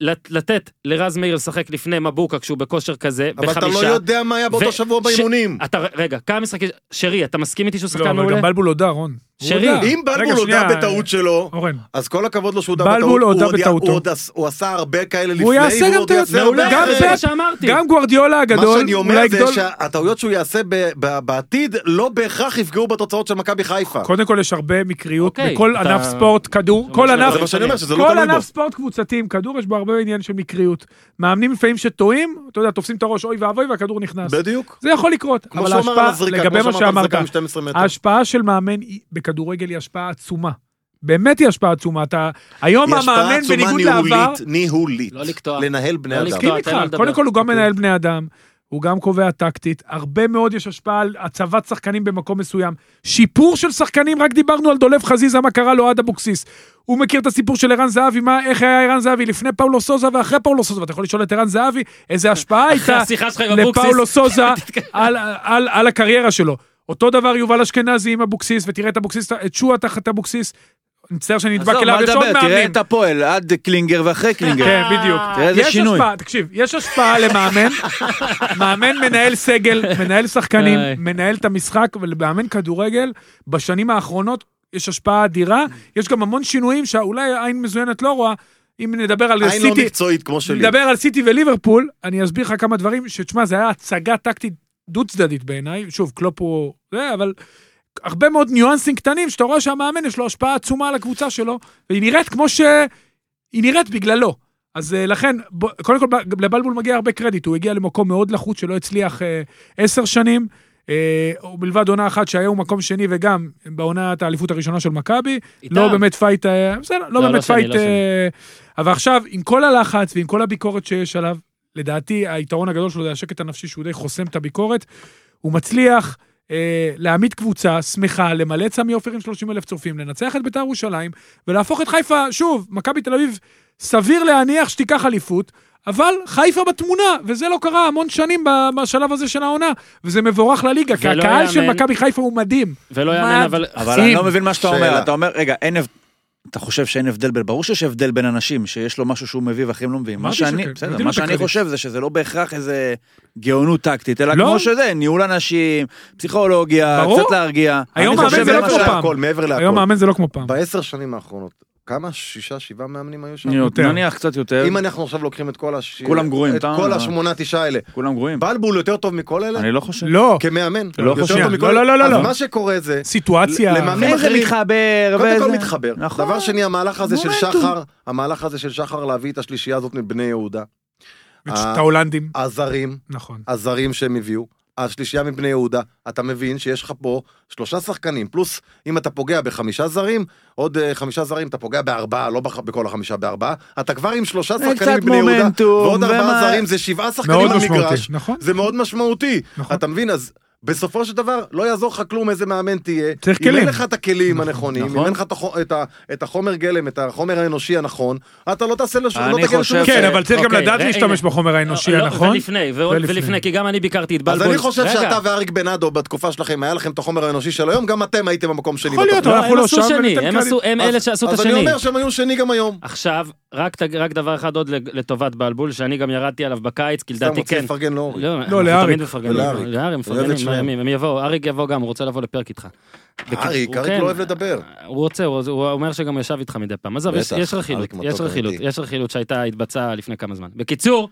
S1: לת- לתת לרז מאיר לשחק לפני מבוקה כשהוא בכושר כזה,
S4: אבל
S1: בחמישה.
S4: אתה לא יודע מה היה באותו שבוע
S1: ש-
S4: באימונים.
S1: אתה, רגע, כמה משחקים... שרי, אתה מסכים איתי שהוא
S5: לא,
S1: שחקן
S5: אבל
S1: מעולה?
S5: גם בלבול הודה, רון. הוא
S1: שרי.
S5: הודה.
S4: אם בלבול
S5: רגע,
S4: הודה
S5: שנייה,
S4: בטעות שלו,
S5: אורן.
S4: אז כל הכבוד לו שהוא הודה
S5: בלבול
S4: בטעות. הוא
S5: הודה
S4: עוד י-
S5: בטעותו.
S4: הוא עוד עש- הוא עשה הרבה כאלה לפני,
S5: הוא יעשה
S4: והוא
S5: גם
S4: עוד
S5: טעויות.
S4: יעשה הרבה
S5: מעולה,
S1: גם
S4: אחרי.
S1: זה מה
S5: פפ,
S1: שאמרתי.
S5: גם גוארדיולה
S4: מה
S5: הגדול,
S4: שאני אומר
S5: אולי
S4: זה
S5: גדול...
S4: שהטעויות שהוא יעשה ב- ב- בעתיד לא בהכרח יפגעו בתוצאות של מכבי חיפה.
S5: קודם כל יש הרבה מקריות
S1: אוקיי,
S5: בכל
S1: אתה-
S5: ענף ספורט, כדור, כל
S1: שזה
S5: ענף...
S4: זה מה שאני אומר, שזה לא
S5: כל
S4: תלוי בו.
S5: ענף ספורט קבוצתי עם כדור יש בו הרבה עניין של מקריות. מאמנים לפעמים שטועים, אתה יודע, תופסים את הראש אוי ואבוי והכדור נכנס.
S4: בדיוק.
S5: זה יכול לקרות,
S4: כמו
S5: אבל
S4: שהוא אמר על
S5: ההשפעה,
S4: הזריקה,
S5: לגבי
S4: כמו
S5: מה
S4: שאמרת,
S5: שאמרת,
S4: הזריקה מ-12 מטר.
S5: ההשפעה של מאמן היא- בכדורגל היא השפעה עצומה. באמת היא השפעה עצומה, אתה... היום
S4: היא השפעה
S5: המאמן
S4: עצומה
S5: לא בניגוד לעבר...
S4: ניהולית, ניהולית.
S1: לא לקטוע.
S4: לנהל בני
S1: לא
S4: אדם.
S1: לקטוע.
S5: מסכים
S1: לא,
S5: איתך,
S1: תן לו לדבר.
S5: קודם כל הוא גם מנהל בני אדם, הוא גם קובע טקטית, הרבה מאוד יש השפעה על הצבת שחקנים במקום מסוים. שיפור של שחקנים, רק דיברנו על דולב חזיזה, מה קרה לו עד אבוקסיס. הוא מכיר את הסיפור של ערן זהבי, מה, איך היה ערן זהבי לפני פאולו סוזה ואחרי פאולו סוזה, ואתה יכול לשאול את ערן זהבי איזה השפעה
S1: אחרי
S5: הייתה
S1: השיחה שלך עם אבוקסיס.
S5: לפאולו סוזה על- על- על הקריירה שלו. אותו דבר יובל אשכנזי עם אבוקסיס, ותראה את אבוקסיס, את שועה תחת אבוקסיס. אני מצטער שאני נדבק
S6: עזוב,
S5: אליו,
S6: מה
S5: יש עוד
S6: לדבר, תראה
S5: מאמנים.
S6: את הפועל, עד קלינגר ואחרי
S5: כן,
S6: קלינגר.
S5: בדיוק.
S6: תראה איזה
S5: יש
S6: שינוי.
S5: השפעה, תקשיב, יש השפעה למאמן, מאמן מנהל סגל, מנהל שחקנים,
S1: איי.
S5: מנהל את המשחק, ולמאמן כדורגל, בשנים האחרונות יש השפעה אדירה, יש גם המון שינויים שאולי עין מזוינת לא רואה, אם נדבר על
S4: עין לא
S5: סיטי,
S4: מקצועית כמו שלי.
S5: נדבר על סיטי וליברפול, אני אסביר לך כמה דברים, שתשמע, זה היה הצגה טקטית דו-צדדית בעיניי, שוב, קלופ הוא... זה, אבל... הרבה מאוד ניואנסים קטנים, שאתה רואה שהמאמן יש לו השפעה עצומה על הקבוצה שלו, והיא נראית כמו ש... היא נראית בגללו. אז אה, לכן, בוא, קודם כל, ב- לבלבול מגיע הרבה קרדיט, הוא הגיע למקום מאוד לחוץ שלא הצליח אה, עשר שנים, אה, מלבד עונה אחת שהיום הוא מקום שני וגם בעונת האליפות הראשונה של מכבי,
S1: איתם.
S5: לא באמת פייט, אה, בסדר, לא,
S1: לא,
S5: באמת
S1: לא שני,
S5: פייט,
S1: לא שני.
S5: אה, אבל עכשיו, עם כל הלחץ ועם כל הביקורת שיש עליו, לדעתי היתרון הגדול שלו זה השקט הנפשי שהוא די חוסם את הביקורת, הוא מצליח אה, להעמיד קבוצה שמחה, למלא את סמי עופר עם 30 אלף צופים, לנצח את בית"ר ירושלים, ולהפוך את חיפה, שוב, מכבי תל אביב, סביר להניח שתיקח אליפות, אבל חיפה בתמונה, וזה לא קרה המון שנים ב- בשלב הזה של העונה, וזה מבורך לליגה, כי
S1: ולא
S5: הקהל של
S1: יאמן.
S5: מכבי חיפה הוא מדהים.
S1: ולא יאמן,
S5: מה?
S1: אבל...
S6: אבל אני
S5: אם-
S6: לא מבין מה שאתה
S4: שאלה.
S6: אומר, אתה אומר, רגע, אין הבדל. אתה חושב שאין הבדל בין, ברור שיש הבדל בין אנשים, שיש לו משהו שהוא מביא ואחרים לא מביאים. מה
S5: אמרתי
S6: שאני,
S5: שכן,
S6: בסדר,
S5: נותנים
S6: מה
S5: לו את
S6: שאני
S5: הקרדיט.
S6: חושב זה שזה לא בהכרח איזה גאונות טקטית, אלא
S5: לא.
S6: כמו שזה, ניהול אנשים, פסיכולוגיה,
S5: ברור.
S6: קצת להרגיע.
S5: היום
S6: אני
S5: מאמן
S6: חושב
S5: זה לא
S6: למשל-
S5: כמו
S4: מעבר
S5: פעם.
S4: להכל, מעבר
S5: היום
S4: להכל.
S5: מאמן זה לא כמו פעם.
S4: בעשר שנים האחרונות, כמה? שישה, שבעה מאמנים היו שם?
S5: יותר.
S6: נניח קצת יותר,
S4: אם אנחנו עכשיו לוקחים את כל הש...
S6: כולם גרועים,
S4: את
S6: אתה-
S4: כל השמונה, תשעה האלה.
S6: כולם גרועים.
S4: בלבול יותר טוב מכל אלה?
S6: אני לא חושב.
S5: לא,
S4: כמאמן.
S6: לא
S4: יותר
S6: חושב.
S4: טוב
S5: לא,
S4: מכל
S5: לא,
S4: אלה.
S5: לא, לא,
S4: אז
S5: לא.
S4: מה שקורה זה,
S5: סיטואציה.
S4: למאמן-
S6: איך זה
S4: אחרים-
S6: מתחבר,
S4: קודם כל
S6: וזה-
S4: מתחבר.
S6: נכון.
S4: דבר שני, המהלך הזה של
S6: מומנטום.
S4: שחר, המהלך הזה של שחר להביא את השלישייה הזאת מבני יהודה.
S1: אה,
S5: את ההולנדים.
S4: הזרים,
S5: נכון.
S4: הזרים שהם הביאו. השלישייה מבני יהודה, אתה מבין שיש לך פה שלושה שחקנים, פלוס אם אתה פוגע בחמישה זרים, עוד אה, חמישה זרים אתה פוגע בארבעה, לא בח- בכל החמישה בארבעה, אתה כבר עם
S5: אה,
S4: שלושה
S6: זה
S4: שחקנים
S6: קצת
S4: מבני יהודה,
S6: מומנטום,
S4: ועוד ארבעה
S6: ומה-
S4: זרים זה שבעה
S5: מאוד
S4: שחקנים על
S5: משמעותי,
S4: מגרש,
S5: נכון?
S4: זה מאוד משמעותי,
S5: נכון.
S4: אתה מבין? אז בסופו של דבר, לא יעזור לך כלום איזה מאמן תהיה.
S5: צריך
S4: אם
S5: כלים.
S4: אין לך את הכלים הנכונים,
S6: נכון.
S4: אם אין לך את החו- את ה- את החומר גלם, את החומר האנושי הנכון, אתה לא תעשה לשום,
S6: אני
S4: לא תגיע
S6: חושב
S4: לשום...
S5: כן,
S6: זה-
S5: אבל צריך גם
S1: אוקיי,
S5: לדעת
S1: הנה.
S5: להשתמש בחומר האנושי
S1: לא,
S5: הנכון.
S1: ולפני, ועוד-
S5: נכון? ולפני.
S1: ולפני, כי גם אני ביקרתי את
S4: אז
S1: בלבול.
S4: אני חושב
S1: רגע,
S4: שאתה ואריק בנאדו, בתקופה שלכם, היה לכם את החומר האנושי של היום, גם אתם הייתם במקום שני.
S5: יכול להיות,
S4: בתוכנית.
S5: אבל
S1: לא,
S5: אנחנו
S1: הם
S5: לא
S1: עשו
S5: שם,
S1: שני,
S5: וניתן
S1: הם
S5: קרדיט.
S1: עשו, הם אלה שעשו את
S4: אז אני
S1: השני.
S4: אומר שהם היו שני גם היום.
S1: עכשיו, רק ת- רק דבר אחד עוד לטובת בלבול, שאני גם ירדתי עליו בקיץ, כי
S4: סתם
S1: לדעתי
S4: רוצה
S1: כן.
S4: לפרגן לאורי.
S1: לא, אנחנו
S5: לאריק.
S1: תמיד מפרגנים.
S4: ולאריק.
S1: לאריק,
S4: אוהב את
S1: מפרגנים,
S4: שניהם.
S1: מאיימים. הם יבואו, אריק יבוא גם, הוא רוצה לבוא לפרק איתך.
S4: אריק,
S1: הוא
S4: אריק
S1: כן,
S4: לא אוהב לדבר.
S1: הוא רוצה, הוא הוא אומר שגם הוא ישב איתך מדי פעם. עזוב, יש-
S4: בטח,
S1: יש רכילות,
S4: אריק מתוק
S1: יש רכילות,
S4: אמיתי.
S1: יש רכילות שהייתה, התבצעה לפני כמה זמן. בקיצור,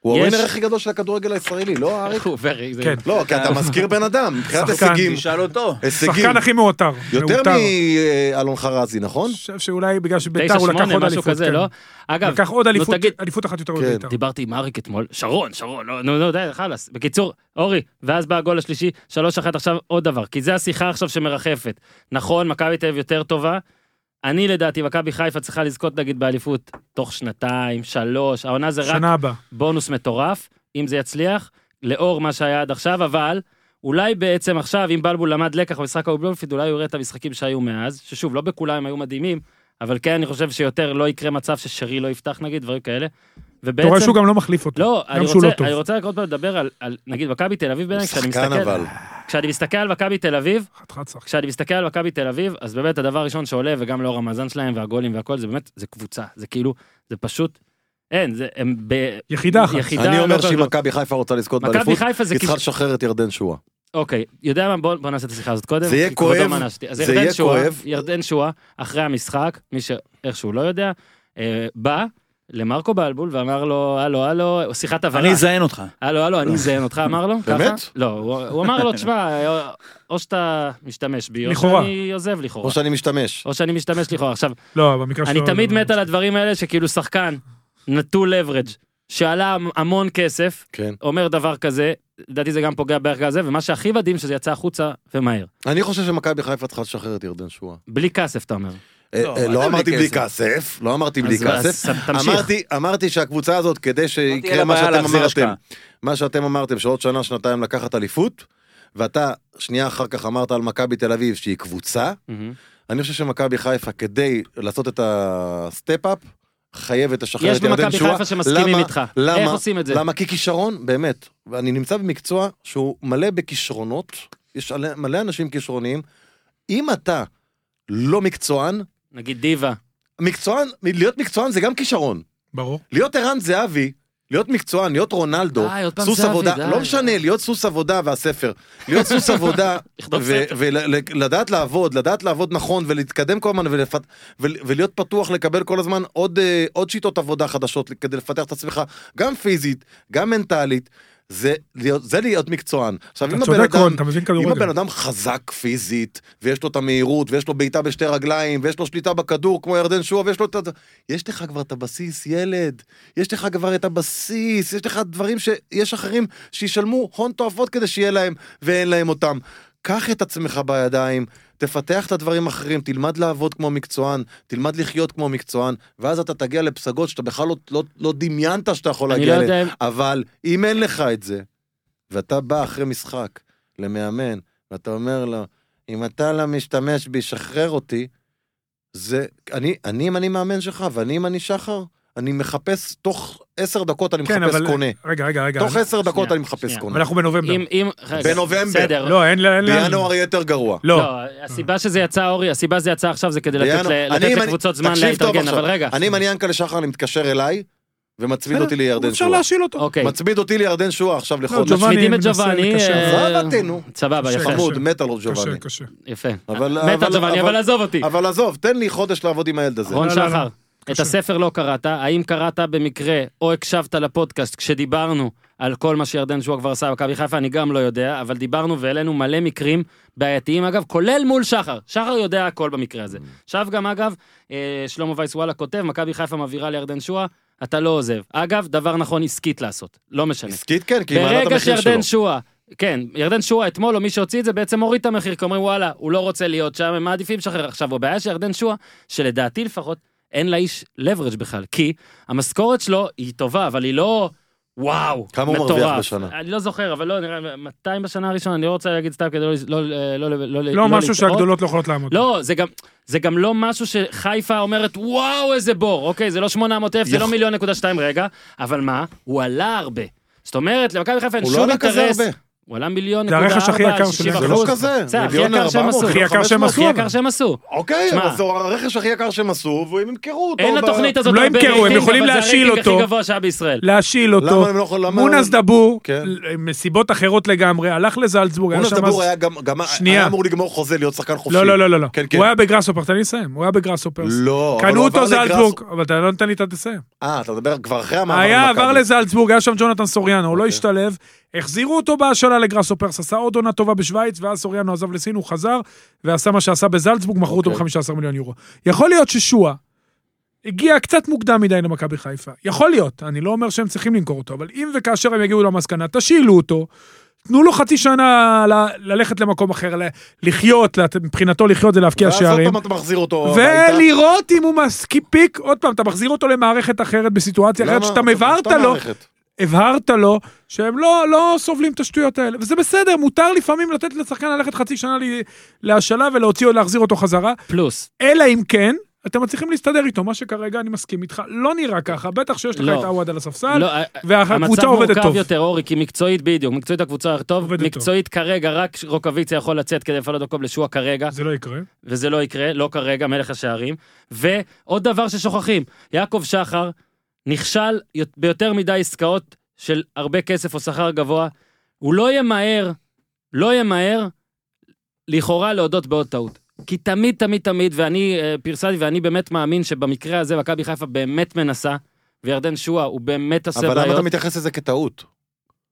S4: הוא
S1: יש-
S4: הווינר הכי גדול של הכדורגל הישראלי, לא אריק?
S1: הוא וריק, זה-
S5: כן.
S4: לא, כי
S1: אה,
S4: אתה מזכיר בן אדם, מבחינת
S5: שחקן.
S4: הישגים.
S6: תשאל אותו.
S4: הישגים.
S5: שחקן הכי מעוטר.
S4: יותר
S5: מעוטר.
S4: מאלון חרזי, נכון?
S5: אני חושב שאולי בגלל שביתר
S1: תשע,
S5: הוא לקח
S1: שמונה,
S5: עוד
S1: משהו
S5: אליפות.
S1: כזה,
S5: כן.
S1: לא? אגב,
S5: לקח עוד אליפות,
S1: תגיד-
S5: אליפות אחת יותר
S4: כן,
S5: מביתר.
S1: דיברתי עם אריק אתמול, שרון, שרון, לא, נו, נו, די, חלאס. בקיצור, אורי, ואז בא הגול השלישי, 3-1 עכשיו עוד דבר, כי זה השיחה עכשיו שמרחפת. נכון, מכבי תל אביב יותר טובה. אני לדעתי, מכבי חיפה צריכה לזכות נגיד באליפות תוך שנתיים, שלוש, העונה זה רק
S5: שנה הבאה.
S1: בונוס מטורף, אם זה יצליח, לאור מה שהיה עד עכשיו, אבל אולי בעצם עכשיו, אם בלבול למד לקח במשחק ההוא בבלומפילד, אולי הוא יראה את המשחקים שהיו מאז, ששוב, לא בכולם הם היו מדהימים, אבל כן, אני חושב שיותר לא יקרה מצב ששרי לא יפתח נגיד, דברים כאלה.
S5: אתה
S1: ובעצם...
S5: רואה שהוא גם לא מחליף אותו.
S1: לא,
S5: גם
S1: אני
S5: שהוא
S1: רוצה,
S5: לא טוב.
S1: אני רוצה רק עוד פעם לדבר על, על נגיד מכבי תל אביב בעיניי, כשאני
S4: שחקן
S1: מסתכל,
S4: אבל.
S1: כשאני מסתכל על מכבי תל אביב,
S5: חתיכת שחקן.
S1: כשאני מסתכל על מכבי תל אביב, אז באמת הדבר הראשון שעולה, וגם לאור המאזן שלהם והגולים והכל, זה באמת, זה קבוצה, זה כאילו, זה פשוט, אין, זה, הם ב...
S5: יחידה אחת.
S1: יחידה,
S4: אני
S1: לא
S4: אומר
S1: כזו.
S4: שאם מכבי חיפה רוצה לזכות
S1: מכבי
S4: באליפות,
S1: חיפה זה
S4: היא צריכה
S1: כיש...
S4: לשחרר את ירדן שואה.
S1: אוקיי, יודע מה, בוא, בוא נעשה את השיחה הזאת קודם.
S4: זה יהיה
S1: כי כבודו
S4: כואב,
S1: מענשתי. אז
S4: זה
S1: ירדן
S4: יהיה
S1: שועה-
S4: כואב.
S1: ירדן שואה, אחרי המשחק, מי שאיכשהו לא יודע, אה, בא למרקו בלבול ואמר לו, הלו, הלו, שיחת הבהרה.
S6: אני אזיין אותך.
S1: הלו, הלו, אני אזיין אותך, אמר לו? ככה?
S4: באמת?
S1: לא, הוא הוא אמר לו, תשמע, אה, או שאתה משתמש בי, או
S5: לכאורה.
S1: שאני עוזב לכאורה.
S4: או שאני משתמש.
S1: או שאני משתמש לכאורה. עכשיו,
S5: לא, במקרה שלו...
S1: אני תמיד
S5: לא.
S1: מת על הדברים האלה שכאילו שחקן נטול leverage, שעלה המון כסף,
S4: כן.
S1: אומר דבר כזה, לדעתי זה גם פוגע בערך הזה, ומה שהכי מדהים שזה יצא החוצה ומהר.
S4: אני חושב שמכבי חיפה צריכה לשחרר את ירדן שואה.
S1: בלי כסף, אתה אומר.
S4: אה,
S6: לא,
S4: אה,
S6: מה
S4: לא
S6: זה
S4: אמרתי
S6: בלי
S4: בלי
S6: כסף?
S4: כסף, לא אמרתי בלי
S1: אז-
S4: כסף.
S1: אז תמשיך.
S4: אמרתי- אמרתי שהקבוצה הזאת, כדי
S6: לה
S4: שיקרה מה
S6: בעיה
S4: שאתם
S6: להחזיר
S4: אמרתם,
S6: השקעה.
S4: מה שאתם אמרתם, שעוד שנה, שנתיים לקחת אליפות, ואתה שנייה אחר כך אמרת על מכבי תל אביב שהיא קבוצה,
S1: מהמם.
S4: אני חושב שמכבי חיפה, כדי לעשות את הסטפ-אפ, חייבת לשחרר
S1: יש
S4: את ירדן שואה.
S1: במכבי חיפה שמסכימים
S4: למה?
S1: איתך.
S4: למה?
S1: איך עושים את זה?
S4: למה? כי כישרון, באמת, אני נמצא במקצוע שהוא מלא בכישרונות, יש עלי- מלא אנשים כישרוניים. אם אתה לא מקצוען,
S1: נגיד דיווה.
S4: מקצוען, להיות מקצוען זה גם כישרון.
S5: ברור.
S4: להיות ערן זהבי, להיות מקצוען, להיות רונלדו,
S1: די, עוד פעם
S4: סוס
S1: זהבי, די.
S4: עבודה, לא משנה, להיות סוס עבודה והספר. להיות סוס עבודה,
S1: לכתוב ספר.
S4: ולדעת לעבוד, לדעת לעבוד נכון, ולהתקדם כל הזמן, ולפת- ול- ולהיות פתוח לקבל כל הזמן עוד, אה, עוד שיטות עבודה חדשות כדי לפתח את עצמך, גם פיזית, גם מנטלית. זה להיות, זה להיות מקצוען. עכשיו,
S5: אתה
S4: אם הבן
S5: צודק,
S4: אדם,
S5: רון, אתה מבין
S4: אם
S5: כדורגל.
S4: הבן אדם חזק פיזית, ויש לו את המהירות, ויש לו בעיטה בשתי רגליים, ויש לו שליטה בכדור, כמו ירדן שועה, ויש לו את... ה- יש לך כבר את הבסיס, ילד. יש לך כבר את הבסיס, יש לך דברים שיש אחרים שישלמו הון תועפות כדי שיהיה להם, ואין להם אותם. קח את עצמך בידיים, תפתח את הדברים האחרים, תלמד לעבוד כמו מקצוען, תלמד לחיות כמו מקצוען, ואז אתה תגיע לפסגות שאתה בכלל לא, לא, לא דמיינת שאתה יכול
S1: אני
S4: להגיע
S1: לא
S4: אליהן.
S1: יודע אם-
S4: אבל אם אין לך את זה, ואתה בא אחרי משחק למאמן, ואתה אומר לו, אם אתה לא משתמש בי, שחרר אותי, זה, אני, אני אם אני מאמן שלך, ואני אם אני שחר, אני מחפש, תוך עשר דקות אני
S5: כן,
S4: מחפש
S5: אבל-
S4: קונה.
S5: רגע, רגע, רגע.
S4: תוך עשר דקות
S1: שנייה,
S4: אני מחפש
S1: שנייה.
S5: אבל
S4: קונה.
S5: אנחנו בנובמבר.
S1: אם, אם... רגע,
S4: בנובמבר.
S1: בסדר.
S5: לא, אין לאן.
S4: בינואר יהיה יותר גרוע.
S5: לא.
S1: לא, הסיבה שזה יצא, אורי, הסיבה שזה יצא עכשיו זה כדי לתת
S4: בינואר-
S1: ל-
S4: אני-
S1: לתת
S4: אם אני-
S1: לקבוצות זמן
S4: תקשיב טוב
S1: להתארגן,
S4: עכשיו.
S1: אבל רגע.
S4: אני, אם אני ינקלה שחר, אני מתקשר אליי, ומצמיד
S5: בסדר,
S4: אותי לירדן
S5: אפשר לא,
S4: שואה.
S5: להשאיל אותו.
S1: אוקיי,
S4: מצמיד אותי לירדן שואה עכשיו לחודש.
S5: ג'ובאני
S1: מצמידים את
S5: מנסה
S1: ג'ובאני.
S5: לקשר.
S1: אה,
S4: זו אהבתנו.
S1: סבבה,
S5: כן. קשה,
S1: יפה.
S4: חמוד, מת על ג'ובאני.
S5: קשה, קשה.
S1: יפה.
S4: אבל-
S1: מת על
S4: אבל-
S1: ג'ובאני, אבל
S4: אבל-
S1: עזוב אותי.
S4: אבל עזוב, תן לי חודש לעבוד עם הילד הזה.
S1: רון
S5: לא, לא,
S1: שחר,
S5: לא.
S1: את
S5: קשה.
S1: הספר לא קראת, האם קראת במקרה או הקשבת לפודקאסט כשדיברנו על כל מה שירדן שואה כבר עשה במכבי חיפה, אני גם לא יודע, אבל דיברנו והעלינו מלא מקרים בעייתיים אגב, כולל מול שחר, שחר יודע הכל במקרה הזה. עכשיו גם אגב, אה, שלמה וייס וואלה כותב, מכבי חיפה מבהירה לירדן שואה, אתה לא עוזב. אגב, דבר נכון עסקית לעשות, לא משנה.
S4: עסקית כן, כי היא מעלה את
S1: ברגע
S4: המחיר שלו.
S1: שירדן שואה כן, ירדן שואה אתמול, או מי שהוציא את זה, בעצם הוריד את המחיר, כי אומרים וואלה, הוא לא רוצה להיות שם, הם מעדיפים לשחרר. עכשיו, הבעיה של ירדן שואה, שלדעתי לפחות, אין לאיש leverage בכלל, כי המשכורת שלו היא טובה, אבל היא לא... וואו,
S4: כמה הוא מרוויח
S1: מטורף.
S4: בשנה?
S1: אני לא זוכר, אבל לא, נראה, 200 בשנה הראשונה, אני לא רוצה להגיד סתם כדי לא... לא, לא, לא, לא,
S5: לא משהו
S1: לטעות.
S5: שהגדולות לא יכולות לעמוד.
S1: לא, זה גם, זה גם לא משהו שחיפה אומרת, וואו, איזה בור. אוקיי, זה לא 800 אלף, זה לא מיליון נקודה שתיים רגע, אבל מה? הוא עלה הרבה. זאת אומרת, למכבי חיפה אין
S4: הוא לא
S1: שום
S4: עלה כזה
S1: אינטרס.
S4: הרבה.
S1: הוא עלה מיליון
S5: זה
S1: נקודה ארבע,
S5: הרכש הכי יקר
S1: 60
S5: שלהם.
S4: זה לא
S1: אחוז.
S4: כזה,
S1: זה הכי
S4: מיליון
S1: יקר שהם
S4: ארבע
S1: עשו.
S4: מאות,
S5: הכי יקר שהם
S1: הכי
S5: עשו,
S1: יקר
S5: אבל.
S1: שהם עשו.
S4: אוקיי,
S1: שמע.
S4: אבל זה הרכש הכי יקר שהם עשו, והם ימכרו אותו.
S1: אין
S4: ב-
S1: לתוכנית הזאת
S5: הם לא
S1: הרבה
S5: ימכרו, הם
S1: רייטינג,
S5: יכולים
S1: אבל זה
S5: להשיל
S1: הרייטינג
S5: אותו.
S1: הכי גבוה שהיה בישראל.
S5: להשיל אותו.
S4: למה הם לא יכולים... למה-
S5: מונס דבור,
S4: כן.
S5: ל- מסיבות אחרות לגמרי, הלך לזלצבורג, היה
S4: מונס
S5: שם
S4: דבור
S5: אז...
S4: היה גם... גם-
S5: שנייה.
S4: היה אמור לגמור חוזה להיות שחקן חופשי.
S5: לא, לא, לא, לא, לא.
S4: כן, כן.
S5: הוא היה בגראסופרס, תן לי לסיים, הוא היה בגראסופרס.
S4: לא, אבל
S5: קנו
S4: הוא עבר
S5: אותו
S4: לגראס-
S5: זלצבורג, אבל אתה לא נותן לי את התסיים.
S4: אה, אתה מדבר כבר אחרי המעבר
S5: היה
S4: למכבי.
S5: עבר לזלצבורג, היה שם ג'ונתן סוריאנו, הוא לא
S4: אוקיי.
S5: השתלב, החזירו אותו בהשאלה לגראסופרס, עשה עוד עונה טובה בשוויץ, ואז סוריאנו עזב לסין, הוא חזר, ועשה מה שעשה בזלצבורג, מכרו אותו
S4: אוקיי.
S5: ב-15 מיליון יורו. יכול להיות ששועה הגיע קצת מוקדם מדי למכבי חיפה. יכול להיות, אני לא אומר שהם צריכים למכור אותו, אבל אם וכאשר הם יגיעו למסקנה, תשאילו אותו. תנו לו חצי שנה ל- ללכת למקום אחר, ל- לחיות, לת- מבחינתו לחיות זה להבקיע
S4: ואז עוד
S5: שערים.
S4: פעם אתה מחזיר אותו הביתה.
S5: ולראות אם הוא מספיק, עוד פעם, אתה מחזיר אותו למערכת אחרת בסיטואציה אחרת,
S4: למה?
S5: שאתה
S4: אתה-
S5: הבהרת
S4: אתה
S5: לו,
S4: מערכת.
S5: הבהרת לו, שהם לא, לא סובלים את השטויות האלה, וזה בסדר, מותר לפעמים לתת לשחקן ללכת חצי שנה ל- להשאלה ולהוציא או להחזיר אותו חזרה,
S1: פלוס.
S5: אלא אם כן, אתם מצליחים להסתדר איתו, מה שכרגע אני מסכים איתך, לא נראה ככה, בטח שיש לך
S1: לא.
S5: את עווד על הספסל,
S1: לא,
S5: והקבוצה אה, עובדת
S1: המצב
S5: טוב.
S1: מורכב יותר, אורי, כי מקצועית בדיוק, מקצועית הקבוצה יותר טוב.
S5: עובדת טוב.
S1: מקצועית כרגע רק רוקאביציה יכול לצאת כדי לפנות מקום לשועה כרגע.
S5: זה לא יקרה.
S1: וזה לא יקרה, לא כרגע, מלך השערים. ועוד דבר ששוכחים, יעקב שחר נכשל יות- ביותר מדי עסקאות של הרבה כסף או שכר גבוה. הוא לא ימהר, לא ימהר, לכאורה להודות בעוד טעות. כי תמיד, תמיד, תמיד, ואני אה, פרסמתי, ואני באמת מאמין שבמקרה הזה מכבי חיפה באמת מנסה, וירדן שואה הוא באמת עושה
S4: אבל למה אתה
S1: בעיות.
S4: מתייחס לזה כטעות?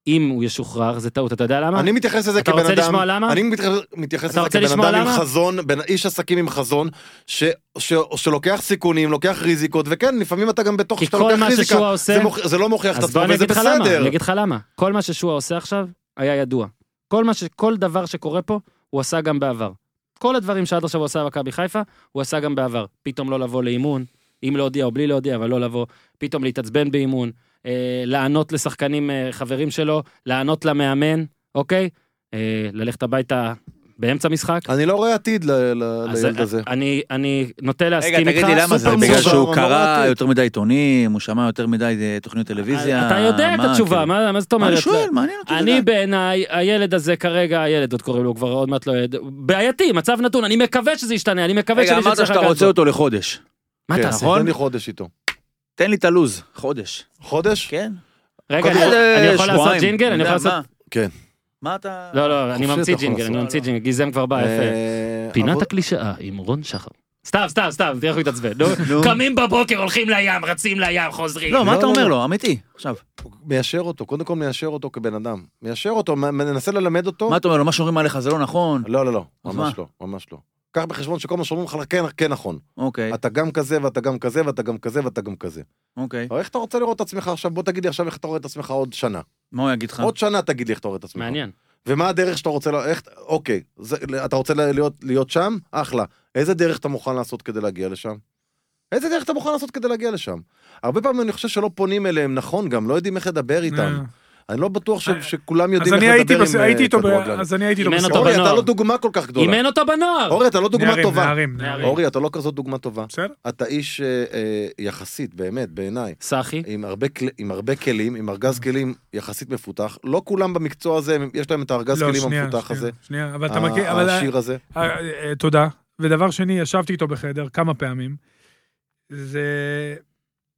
S1: אם הוא ישוחרר, זה טעות, אתה יודע למה?
S4: אני מתייחס לזה
S1: לא. אתה
S4: כבן אדם...
S1: רוצה לשמוע למה?
S4: אני מתייחס- מתייחס
S1: אתה
S4: לזה
S1: רוצה
S4: כבן
S1: לשמוע
S4: אדם עם
S1: למה?
S4: חזון, בן- איש עסקים עם חזון, ש- ש- שלוקח סיכונים, לוקח ריזיקות, וכן, לפעמים אתה גם בתוך
S1: כי
S4: שאתה
S1: כל
S4: לוקח
S1: מה
S4: ריזיקה.
S1: ששועה עושה-
S4: זה מוכ- זה לא מוכיח את
S1: אז בוא
S4: עצמו,
S1: אני
S4: וזה
S1: אגיד לך למה,
S4: בסדר.
S1: אני אגיד לך למה. כל מה ששועה עושה עכשיו, היה ידוע. כל מה ש... כל דבר שקורה פה, הוא עשה גם בעבר. כל הדברים שעד עכשיו הוא עשה במכבי חיפה, הוא עשה גם בעבר. פתאום לא לבוא לאימון, אם להודיע או בלי להודיע, אבל לא לבוא. פתאום להתעצבן באימון, אה, לענות לשחקנים אה, חברים שלו, לענות למאמן, אוקיי? אה, ללכת הביתה באמצע משחק.
S4: אני לא רואה עתיד ל- ל-
S1: אז אה,
S4: לילד הזה.
S1: אני, אני נוטה להסכים איתך.
S6: רגע, תגיד לי למה זה?
S4: סופר
S6: בגלל
S4: מוזר,
S6: שהוא
S4: אבל
S6: קרא
S4: נורא
S6: יותר מדי עיתונים, הוא שמע יותר מדי אה, תוכניות טלוויזיה.
S1: אתה יודע את
S6: מה,
S1: התשובה,
S6: כאילו?
S1: מה מה זאת אומרת?
S6: אני שואל, מעניין
S4: כאילו,
S6: אותי.
S1: אני
S6: לדעת.
S1: בעיניי, הילד הזה כרגע, הילד עוד קוראים לו כבר עוד מעט לא ילד, בעייתי, מצב נתון, אני מקווה שזה ישתנה, אני מקווה
S6: רגע,
S1: שמישהו
S6: אמרת
S1: יצליח
S6: שאתה
S1: לגעת
S6: רוצה
S1: בו.
S6: אותו לחודש.
S1: מה נכון?
S4: כן,
S1: תעשה?
S4: תן לי חודש איתו.
S6: תן לי את הלו"ז, חודש.
S4: חודש?
S6: כן.
S1: רגע, אני
S4: קודם
S1: יכול-
S6: אה,
S1: אני יכול
S6: שבועיים.
S1: לעשות ג'ינגל? אני יכול
S6: יודע,
S1: לעשות...
S6: מה?
S4: כן.
S6: מה אתה...
S1: לא, לא, אני
S4: חופשי,
S1: ממציא
S4: אתה יכול
S1: ג'ינגל, אני
S4: לעשות.
S1: ממציא ג'ינגל, גיזם כבר בא, יפה.
S4: אה,
S1: פינת
S4: אבל-
S1: הקלישאה עם רון שחר. סתם, סתם, סתם, תראה איך הוא התעצבן. נו,
S6: נו.
S1: קמים בבוקר, הולכים לים, רצים לים, חוזרים.
S6: לא, מה
S4: לא,
S6: אתה
S4: לא,
S6: אומר
S4: לא.
S6: לו? אמיתי, עכשיו.
S4: מיישר אותו, קודם כל מיישר אותו כבן אדם. מיישר אותו, מ- מנסה ללמד אותו.
S6: מה אתה אומר לו? מה שאומרים עליך זה לא נכון?
S4: לא, לא, לא,
S6: אז
S4: ממש לא, ממש לא. קח בחשבון שכל מה שאומרים לך כן, כן נכון.
S6: אוקיי,
S4: אתה גם כזה ואתה גם כזה ואתה גם כזה ואתה גם כזה.
S6: אוקיי.
S4: אבל איך אתה רוצה לראות את עצמך עכשיו? בוא תגיד לי עכשיו איך אתה רואה את עצמך עוד שנה.
S6: מה הוא יגיד לך?
S4: עוד שנה תגיד לי איך אתה רואה את עצמך.
S1: אה. מעניין.
S4: ומה הדרך שאתה רוצה, לה- איך, אוקיי, זה, אתה רוצה להיות, להיות שם? אחלה. איזה דרך אתה מוכן לעשות כדי להגיע לשם? איזה דרך אתה מוכן לעשות כדי להגיע לשם? הרבה פעמים אני חושב שלא פונים אליהם נכון גם, לא יודעים איך לדבר איתם. אני לא בטוח ש, שכולם
S5: אה, אז
S4: יודעים
S5: אני
S4: איך
S5: הייתי
S4: לדבר
S5: בס-
S4: עם
S5: הייתי
S4: אה,
S5: איתו ב-
S4: כדורגלן.
S5: אז אני הייתי איתו
S1: אם אין
S5: בסדר.
S1: אותו
S4: אורי, אתה
S1: בנוער.
S4: לא דוגמה כל כך
S1: אם
S4: גדולה.
S1: אין אותו בנוער.
S4: אורי, אתה לא דוגמה
S5: נערים,
S4: טובה.
S5: נערים, נערים.
S4: אורי, אתה לא כזאת דוגמה טובה.
S5: בסדר?
S4: אתה איש אה, אה, יחסית, באמת, בעיניי,
S1: סחי,
S4: עם הרבה, כל- עם הרבה כלים, עם ארגז
S5: Mm.
S4: כלים יחסית מפותח. לא כולם במקצוע הזה, הם- יש להם את הארגז
S5: לא,
S4: כלים
S5: שנייה,
S4: המפותח
S5: שנייה,
S4: הזה.
S5: שנייה, אבל אתה
S4: ה-
S5: מכיר, אבל...
S4: השיר הזה.
S5: אה, אה, אה, תודה. ודבר שני, ישבתי איתו בחדר כמה פעמים. זה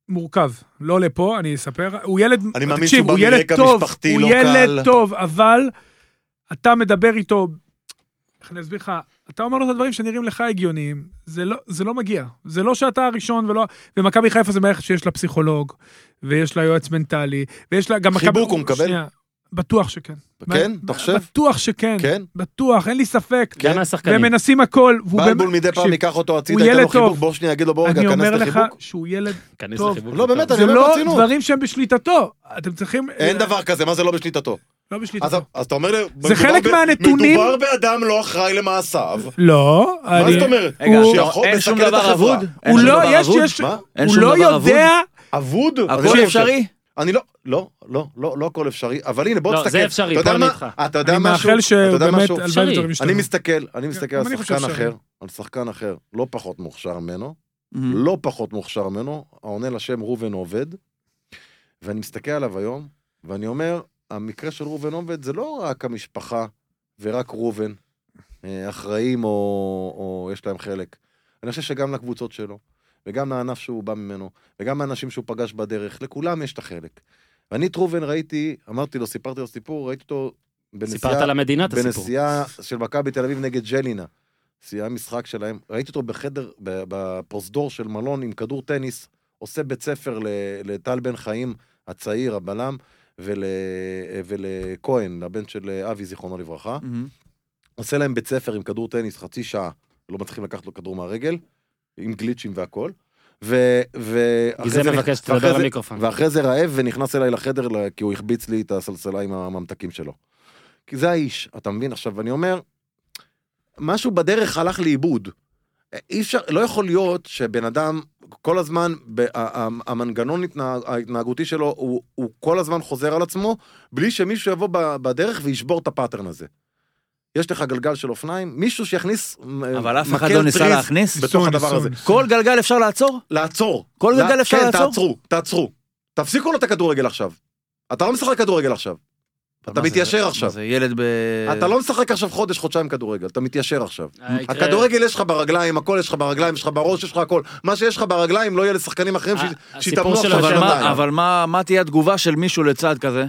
S5: מורכב, לא לפה, אני אספר. הוא ילד,
S4: אני מאמין
S5: תקשיב,
S4: שהוא
S5: הוא
S4: בא
S5: ילד
S4: מרקע
S5: טוב,
S4: משפחתי
S5: הוא
S4: לא
S5: ילד
S4: קל.
S5: טוב, אבל אתה מדבר איתו, איך אני אסביר לך, אתה אומר לו את הדברים שנראים לך הגיוניים, זה לא, זה לא מגיע. זה לא שאתה הראשון ולא... ומכבי חיפה זה מערכת שיש לה פסיכולוג, ויש לה יועץ מנטלי, ויש לה גם...
S4: חיבוק
S5: מכבי-
S4: הוא מקבל?
S5: שנייה. בטוח שכן.
S4: כן?
S5: ב-
S4: אתה חושב?
S5: בטוח שכן.
S4: כן?
S5: בטוח, אין לי ספק.
S1: גם מהשחקנים.
S5: והם מנסים הכל. והוא
S4: בלבול
S5: באמת-
S4: מדי פעם
S5: תקשיב,
S4: ניקח אותו הצידה,
S5: הוא
S4: ייתן לו
S5: ילד
S4: חיבוק,
S5: טוב.
S4: בוא שנייה, יגיד לו בוא רגע,
S5: אני
S4: כנס
S5: אומר לך
S4: לחיבוק.
S5: שהוא ילד
S1: כנס
S5: טוב.
S1: לחיבוק.
S4: לא, באמת,
S1: טוב.
S4: אני
S5: זה
S4: אומר
S5: לא
S4: ברצינות.
S5: דברים שהם בשליטתו. אתם צריכים...
S4: אין דבר כזה, מה זה לא בשליטתו?
S5: לא
S4: אז
S5: בשליטתו.
S4: אז אתה אומר, לי,
S5: זה
S4: מדובר
S5: חלק
S4: ב-
S5: מהנתונים.
S4: מדובר באדם לא אחראי למעשיו.
S5: לא,
S4: מה
S5: אני...
S4: זאת אומרת?
S6: רגע,
S5: הוא-
S6: לא,
S4: שיכול
S6: אין
S4: מסכן
S6: שום
S4: את
S6: דבר
S4: החברה.
S6: אבוד? אין
S5: הוא
S6: שום
S5: לא,
S6: דבר
S5: יש,
S6: אבוד?
S5: יש,
S4: מה?
S6: אין
S5: הוא
S6: שום
S5: לא
S6: דבר אבוד?
S5: יודע,
S4: אבוד? אני לא
S6: הכל
S4: חושב.
S6: אפשרי?
S4: אני לא, לא, לא, לא, לא הכל אפשרי, אבל הנה, בוא
S1: לא,
S4: תסתכל.
S1: זה אפשרי,
S4: אתה יודע
S1: פה אני
S4: מה?
S1: איתך.
S4: אתה יודע
S5: אני
S4: משהו?
S5: מאחל
S4: אתה
S5: שהוא
S4: יודע
S5: באמת,
S4: משהו?
S5: הלוואי דברים
S4: אני
S5: ישתנו.
S4: מסתכל, אני מסתכל
S5: גם
S4: על
S5: כן, אני חושב
S4: שחקן
S5: שאני.
S4: אחר, על שחקן אחר, לא פחות מוכשר ממנו,
S6: מהמם.
S4: לא פחות מוכשר ממנו, העונה לשם ראובן עובד, ואני מסתכל עליו היום, ואני אומר, המקרה של ראובן עובד זה לא רק המשפחה ורק ראובן, אה, אחראים או, או יש להם חלק. אני חושב שגם לקבוצות שלו, וגם לענף שהוא בא ממנו, וגם האנשים שהוא פגש בדרך, לכולם יש את החלק. ואני את ראובן ראיתי, אמרתי לו, סיפרתי לו סיפור, ראיתי אותו
S1: סיפרת
S4: בנסיעה
S1: על המדינה את הסיפור.
S4: בנסיעה של מכבי תל אביב נגד ג'לינה. סייעה משחק שלהם, ראיתי אותו בחדר, ב- בפרוזדור של מלון עם כדור טניס, עושה בית ספר ל- לטל בן חיים הצעיר, הבלם, ול, ולכהן, הבן של אבי, זיכרונו לברכה.
S6: מהמם.
S4: עושה להם בית ספר עם כדור טניס חצי שעה, לא מצליחים לקחת לו כדור מהרגל, עם גליצ'ים והכל. ו... ו...
S1: כי
S4: אחרי
S1: זה
S4: נכ-
S1: מבקש
S4: ואחרי
S1: לדבר
S4: זה-
S1: למיקרופון.
S6: אוקיי.
S4: ואחרי זה רעב ונכנס אליי לחדר ל- כי הוא החביץ לי את הסלסלה עם הממתקים שלו. כי זה האיש, אתה מבין? עכשיו, אני אומר, משהו בדרך הלך לאיבוד. אי אפשר, לא יכול להיות שבן אדם, כל הזמן, ב- ה- ה- המנגנון התנה- ההתנהגותי שלו, הוא, הוא כל הזמן חוזר על עצמו, בלי שמישהו יבוא ב- בדרך וישבור את הפאטרן הזה. יש לך גלגל של אופניים, מישהו שיכניס אה,
S6: אבל אף אחד
S4: מקל
S6: לא ניסה
S4: טריז
S6: להכניס?
S4: בתוך הדבר הזה.
S6: כל גלגל אפשר לעצור?
S4: לעצור.
S6: כל
S4: לא-
S6: גלגל אפשר
S4: כן,
S6: לעצור?
S4: תעצרו, תעצרו. תפסיקו לו את הכדורגל עכשיו. אתה לא משחק כדורגל עכשיו. אתה
S6: מה זה,
S4: מתיישר
S6: מה
S4: עכשיו.
S6: זה ילד ב...
S1: אה.
S4: אתה לא משחק עכשיו חודש, חודשיים כדורגל, אתה מתיישר עכשיו.
S1: יקרה-
S4: הכדורגל יש לך ברגליים, הכל יש לך ברגליים, יש לך בראש, יש לך הכל. מה שיש לך ברגליים לא יהיה לשחקנים אחרים ש-
S1: ה-
S4: שיתאמנו
S1: אה, הסיפור שלו
S4: עכשיו לא
S6: אבל לא
S1: שמה-
S6: מה-
S4: שנתיים.
S6: אבל מה- מה תהיה התגובה של מישהו לצד כזה?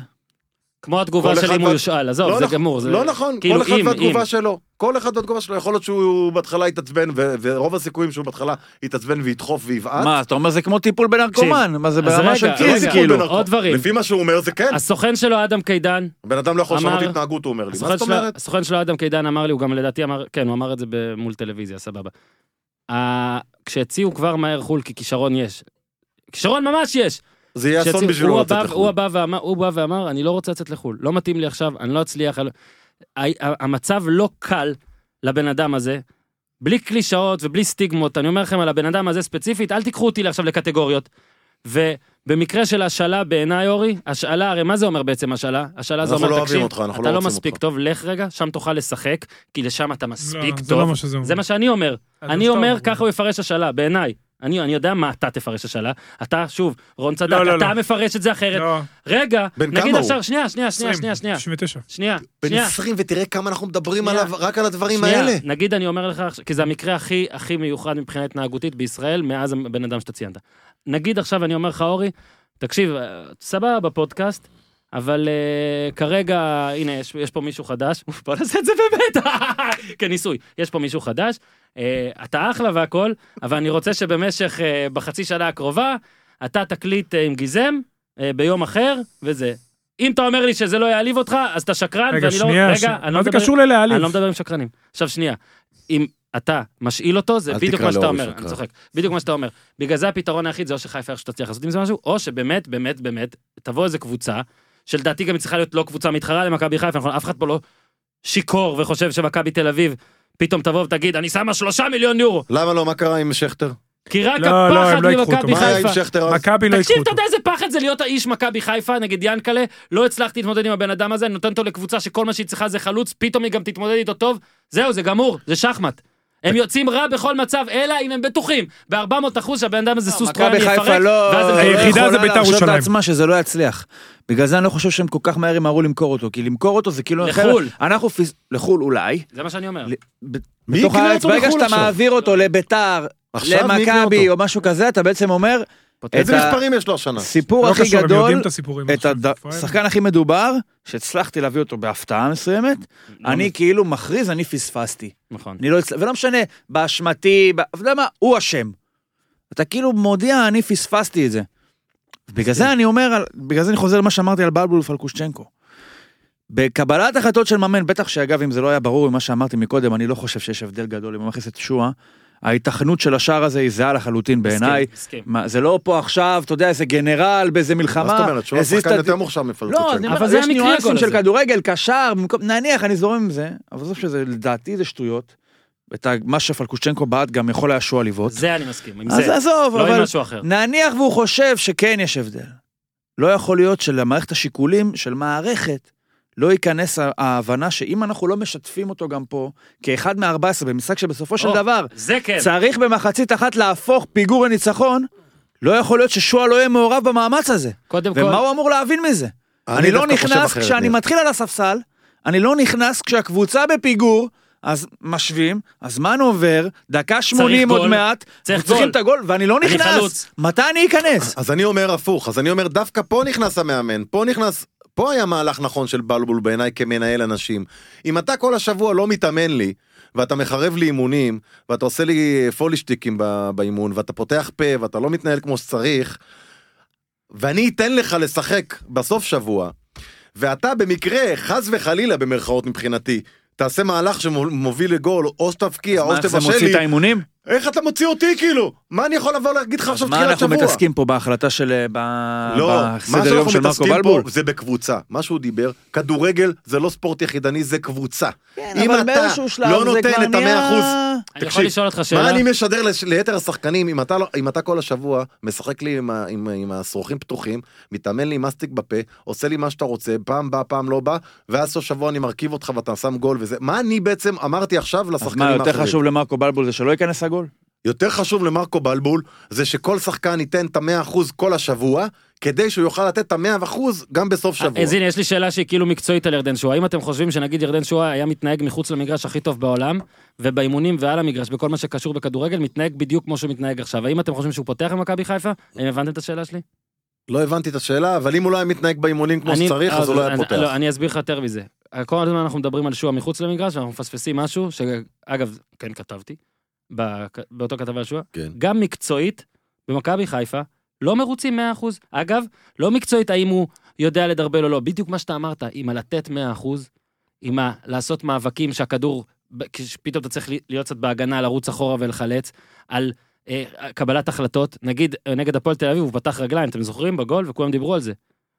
S1: כמו התגובה
S4: כל
S1: של
S4: אחד
S1: אם הוא
S4: וה-
S1: יושאל, עזוב,
S4: לא
S1: זה
S4: נכ-
S1: גמור. זה-
S4: לא נכון,
S1: כאילו,
S4: כל אחד
S1: אם,
S4: והתגובה
S1: אם.
S4: שלו. כל אחד והתגובה שלו, יכול להיות שהוא בהתחלה יתעצבן, ו- ורוב הסיכויים שהוא בהתחלה יתעצבן וידחוף ויבעט.
S6: מה, אתה אומר זה כמו טיפול בנרקומן? מה זה
S1: אז
S6: ברמה
S1: רגע,
S6: של
S1: רגע.
S6: קיז
S1: זה
S6: כאילו?
S1: בנרקומן. עוד דברים.
S4: נכון. לפי מה שהוא אומר זה כן,
S1: הסוכן שלו אדם קידן,
S4: בן אדם לא יכול לשנות
S1: אמר-
S4: התנהגות, הוא אומר לי. מה
S1: הסוכן
S4: זאת
S1: שלו-
S4: אומרת?
S1: הסוכן שלו אדם קידן אמר לי, הוא גם לדעתי אמר, כן, הוא אמר את זה ב- מול טלוויזיה, סבבה. ה- כשהציעו כבר מהר חו"ל, כי כישרון יש. כישרון ממש יש.
S4: זה יהיה אסון
S1: כשהציעו-
S4: בשבילו
S1: הוא
S4: לצאת
S1: הבא-
S4: לחו"ל.
S1: הוא הבא ואמר- הוא בא ואמר, אני לא רוצה לצאת לחו"ל, לא מתאים לי עכשיו, אני לא אצליח. אני לא-" ה- ה- המצב לא קל לבן אדם הזה. בלי קלישאות ובלי סטיגמות, אני אומר לכם על הבן אדם הזה ספציפית, אל תיקחו אותי עכשיו לקטגוריות. ובמקרה של השאלה בעיניי, אורי, השאלה, הרי מה זה אומר בעצם השאלה? השאלה זה
S4: אנחנו
S1: אומר,
S4: לא אוהבים
S1: תקשיב,
S4: אותך, אנחנו לא
S1: אתה לא
S4: רוצים
S1: מספיק
S4: אותך."
S1: טוב, לך רגע, שם תוכל לשחק, כי לשם אתה מספיק
S5: לא, זה לא
S1: טוב.
S5: מה שזה אומר.
S1: זה מה שאני אומר.
S5: אז
S1: אני
S5: לא סתם
S1: אומר,
S5: הוא-
S1: ככה הוא יפרש השאלה, בעיניי. אני, אני יודע מה אתה תפרש השאלה, אתה, שוב, רון צדק,
S5: לא, לא,
S1: אתה
S5: לא.
S1: מפרש את זה אחרת.
S5: לא,
S1: רגע,
S4: בן
S1: נגיד
S4: כמה
S1: עכשיו,
S4: הוא?
S1: שנייה, שנייה, שנייה,
S5: 20,
S1: שנייה, שנייה,
S5: 99.
S1: שנייה,
S4: בן
S1: שנייה,
S4: 20, ותראה כמה אנחנו מדברים
S1: שנייה.
S4: עליו, רק על הדברים
S1: שנייה,
S4: האלה.
S1: נגיד אני אומר לך, עכשיו- כי זה המקרה הכי הכי מיוחד מבחינה התנהגותית בישראל מאז הבן אדם שאתה ציינת. נגיד עכשיו אני אומר לך, אורי, תקשיב, אה, סבבה בפודקאסט, אבל uh, כרגע, הנה, יש, יש פה מישהו חדש, בוא נעשה את זה באמת, כניסוי, יש פה מישהו חדש, uh, אתה אחלה והכל, אבל אני רוצה שבמשך, uh, בחצי שנה הקרובה, אתה תקליט uh, עם גיזם, uh, ביום אחר, וזה. אם אתה אומר לי שזה לא יעליב אותך, אז אתה שקרן,
S5: רגע,
S1: ואני לא...
S5: שנייה, ש-
S1: אני לא
S5: מה זה
S1: מדבר-
S5: קשור ללהעליב?
S1: אני לא מדבר עם שקרנים. עכשיו שנייה, אם אתה משאיל אותו, זה
S4: אל
S1: בדיוק
S4: תקרא
S1: מה שאתה
S4: לאורי
S1: אומר,
S4: שקרן.
S1: אני צוחק, בדיוק מה שאתה אומר. בגלל זה הפתרון היחיד זה או שחיפה איך שתצליח לעשות עם זה משהו, או שבאמת, באמת, באמת, תבוא איזה קבוצה, שלדעתי גם היא צריכה להיות לא קבוצה מתחרה למכבי חיפה, נכון? אף אחד פה לא שיכור וחושב שמכבי תל אביב, פתאום תבוא ותגיד, אני שמה שלושה מיליון יורו,
S4: למה לא? מה קרה עם שכטר?
S1: כי רק
S5: לא, לא,
S1: הפחד
S5: הם לא ייקחו אותו.
S1: ממכבי
S4: מה היה עם
S1: חיפה.
S4: שכטר אז?
S5: מכבי לא ייקחו
S1: תקשיב, אתה
S5: אותו.
S1: יודע איזה פחד זה להיות האיש מכבי חיפה נגד ינקלה? לא הצלחתי להתמודד עם הבן אדם הזה, אני נותן אותו לקבוצה שכל מה שהיא צריכה זה חלוץ, פתאום היא גם תתמודד איתו טוב, זהו, זה גמור, זה שחמט. הם יוצאים רע בכל מצב, אלא אם הם בטוחים ב-400 אחוז שהבן אדם הזה סוס טרויאני
S6: מכבי חיפה
S1: יפרק,
S6: לא...
S1: ואז
S6: לא
S1: הם
S5: היחידה
S1: יפרקו.
S5: זה
S6: יכולה
S5: בית"ר
S6: להרשות
S5: ירושלים.
S6: לעצמה שזה לא יצליח. בגלל זה אני לא חושב שהם כל כך מהר ימהרו למכור אותו, כי למכור אותו זה כאילו...
S1: לחו"ל.
S6: אנחנו פיס... לחו"ל אולי.
S1: זה מה שאני אומר.
S6: ב-
S4: מי
S6: בתוך
S4: יקנה
S6: הארץ,
S4: אותו
S6: ברגע
S4: לחו"ל
S6: שאתה
S4: עכשיו?
S6: מעביר אותו לביתר,
S4: עכשיו מי יקנה
S6: למכבי
S4: אותו?
S6: או משהו כזה, אתה בעצם אומר,
S4: איזה
S6: את ה-
S4: מספרים יש לו השנה?
S6: סיפור
S5: לא
S6: הכי
S5: קשור, הם יודעים
S6: גדול,
S5: את הסיפורים.
S6: את השחקן הכי מדובר, שהצלחתי להביא אותו בהפתעה מסוימת,
S5: לא
S6: אני כאילו מכריז, אני פספסתי.
S1: נכון.
S6: אני לא הצלחתי, ולא משנה, באשמתי, ב- אתה יודע מה, הוא אשם. אתה כאילו מודיע, אני פספסתי את זה. בגלל זה אני אומר, על- בגלל זה אני חוזר למה שאמרתי על בלבול ופלקושצ'נקו. בקבלת החלטות של מאמן, בטח שאגב, אם זה לא היה ברור ממה שאמרתי מקודם, אני לא חושב שיש הבדל גדול אם הוא מכניס את שואה. ההיתכנות של השער הזה היא זהה לחלוטין בעיניי.
S1: מסכים, מסכים.
S6: מה, זה לא פה עכשיו, אתה יודע, איזה גנרל באיזה מלחמה.
S4: מה זאת אומרת? שהוא
S6: הזיז
S4: השחקן
S6: את-
S4: יותר מוכשר
S6: לא,
S4: מפלקוצ'נקו.
S1: אבל
S6: אבל
S1: זה
S6: יש
S1: המקרה הגול
S6: ניואנסים
S1: הזה.
S6: של כדורגל, קשר, במקום- נניח, אני זורם עם זה, אבל עזוב שזה, לדעתי זה שטויות. את ה- מה שפלקושצ'נקו בעט גם יכול היה שועה לבעוט.
S1: זה אני מסכים, עם
S6: אז
S1: זה.
S6: עזוב,
S1: לא עם
S6: אבל
S1: משהו אחר.
S6: נניח והוא חושב שכן יש הבדל. לא יכול להיות שלמערכת השיקולים של מערכת לא ייכנס ה- ההבנה שאם אנחנו לא משתפים אותו גם פה, כאחד מ-14 במשחק שבסופו של
S1: או,
S6: דבר
S1: זה כן.
S6: צריך במחצית אחת להפוך פיגור לניצחון, לא יכול להיות ששועה לא יהיה מעורב במאמץ הזה.
S1: קודם כל,
S6: ומה הוא אמור להבין מזה? אני לא
S4: דווקא חושב
S6: נכנס,
S4: אחרת,
S6: כשאני
S4: ניר.
S6: מתחיל על הספסל, אני לא נכנס כשהקבוצה בפיגור, אז משווים, הזמן עובר, דקה 80 עוד
S1: גול.
S6: מעט,
S1: צריך
S6: אנחנו צריכים
S1: גול.
S6: את הגול, ואני לא
S1: אני
S6: נכנס.
S1: חלוץ.
S6: מתי אני אכנס?
S4: אז אני אומר הפוך, אז אני אומר דווקא פה נכנס המאמן, פה נכנס, פה היה מהלך נכון של בלבול בעיניי כמנהל אנשים. אם אתה כל השבוע לא מתאמן לי, ואתה מחרב לי אימונים, ואתה עושה לי פולישטיקים ב- באימון, ואתה פותח פה, ואתה לא מתנהל כמו שצריך, ואני אתן לך לשחק בסוף שבוע, ואתה במקרה, חס וחלילה במרכאות מבחינתי, תעשה מהלך שמוביל לגול, או שתבקיע, או
S6: מה, איך זה
S4: שתבשל
S6: מוציא
S4: אה, לי,
S6: את האימונים?
S4: איך אתה מוציא אותי כאילו? מה אני יכול לבוא להגיד לך
S6: אז
S4: עכשיו
S6: מה
S4: תחילת
S6: אנחנו
S4: שבוע?
S6: מתעסקים פה בהחלטה של... אה, ב-
S4: לא, מה
S6: בסדר
S4: שאנחנו
S6: יום של מרקו
S4: מתעסקים פה
S6: בלבול?
S4: זה בקבוצה. מה שהוא דיבר, כדורגל זה לא ספורט יחידני, זה קבוצה.
S6: כן,
S4: אם
S6: אבל
S4: אתה
S6: באיזשהו שלב
S4: לא
S6: זה
S4: נותן
S6: כבר
S4: את המאה
S6: נהיה-
S4: אחוז,
S1: אני יכול
S4: תקשיב,
S1: לשאול אותך
S4: מה
S1: שאלה?
S4: אני משדר לש- ליתר השחקנים אם אתה לא- אם אתה כל השבוע משחק לי עם ה- עם ה- עם השרוכים פתוחים, מתאמן לי עם מסטיק בפה, עושה לי מה שאתה רוצה, פעם בא, פעם לא בא, ואז סוף שבוע אני מרכיב אותך ואתה שם גול וזה. מה אני בעצם אמרתי עכשיו
S6: אז מה,
S4: לשחקנים
S6: יותר
S4: האחרים?
S6: חשוב למרקו בלבול זה שלא ייכנס הגול?
S4: יותר חשוב למרקו בלבול זה שכל שחקן ייתן את המאה אחוז כל השבוע, כדי שהוא יוכל לתת את המאה אחוז גם בסוף שבוע.
S1: אז הנה, יש לי שאלה שהיא כאילו מקצועית על ירדן שואה. האם אתם חושבים שנגיד ירדן שואה היה מתנהג מחוץ למגרש הכי טוב בעולם, ובאימונים ועל המגרש, בכל מה שקשור בכדורגל, מתנהג בדיוק כמו שהוא מתנהג עכשיו? האם אתם חושבים שהוא פותח במכבי חיפה? האם הבנתם את השאלה שלי?
S4: לא הבנתי את השאלה, אבל אם הוא לא היה מתנהג באימונים כמו
S1: אני-
S4: שצריך, אז הוא לא היה פותח.
S1: לא, אני אסביר לך יותר מזה. כל הזמן אנחנו מדברים על שואה מחוץ למגרש, ואנחנו מפספסים משהו, שאגב, כן כתבתי, בק- באותו כתבה על שואה.
S4: כן.
S1: גם מקצועית, במכבי חיפה, לא מרוצים 100%. אגב, לא מקצועית האם הוא יודע לדרבל או לא, בדיוק מה שאתה אמרת, עם הלתת 100%, עם ה- לעשות מאבקים שהכדור, ב- כשפתאום אתה צריך להיות קצת בהגנה, לרוץ אחורה ולחלץ, על אה, קבלת החלטות. נגיד, אה, נגד הפועל תל אביב הוא פתח רגליים, אתם זוכרים? בגול, וכולם דיברו על זה.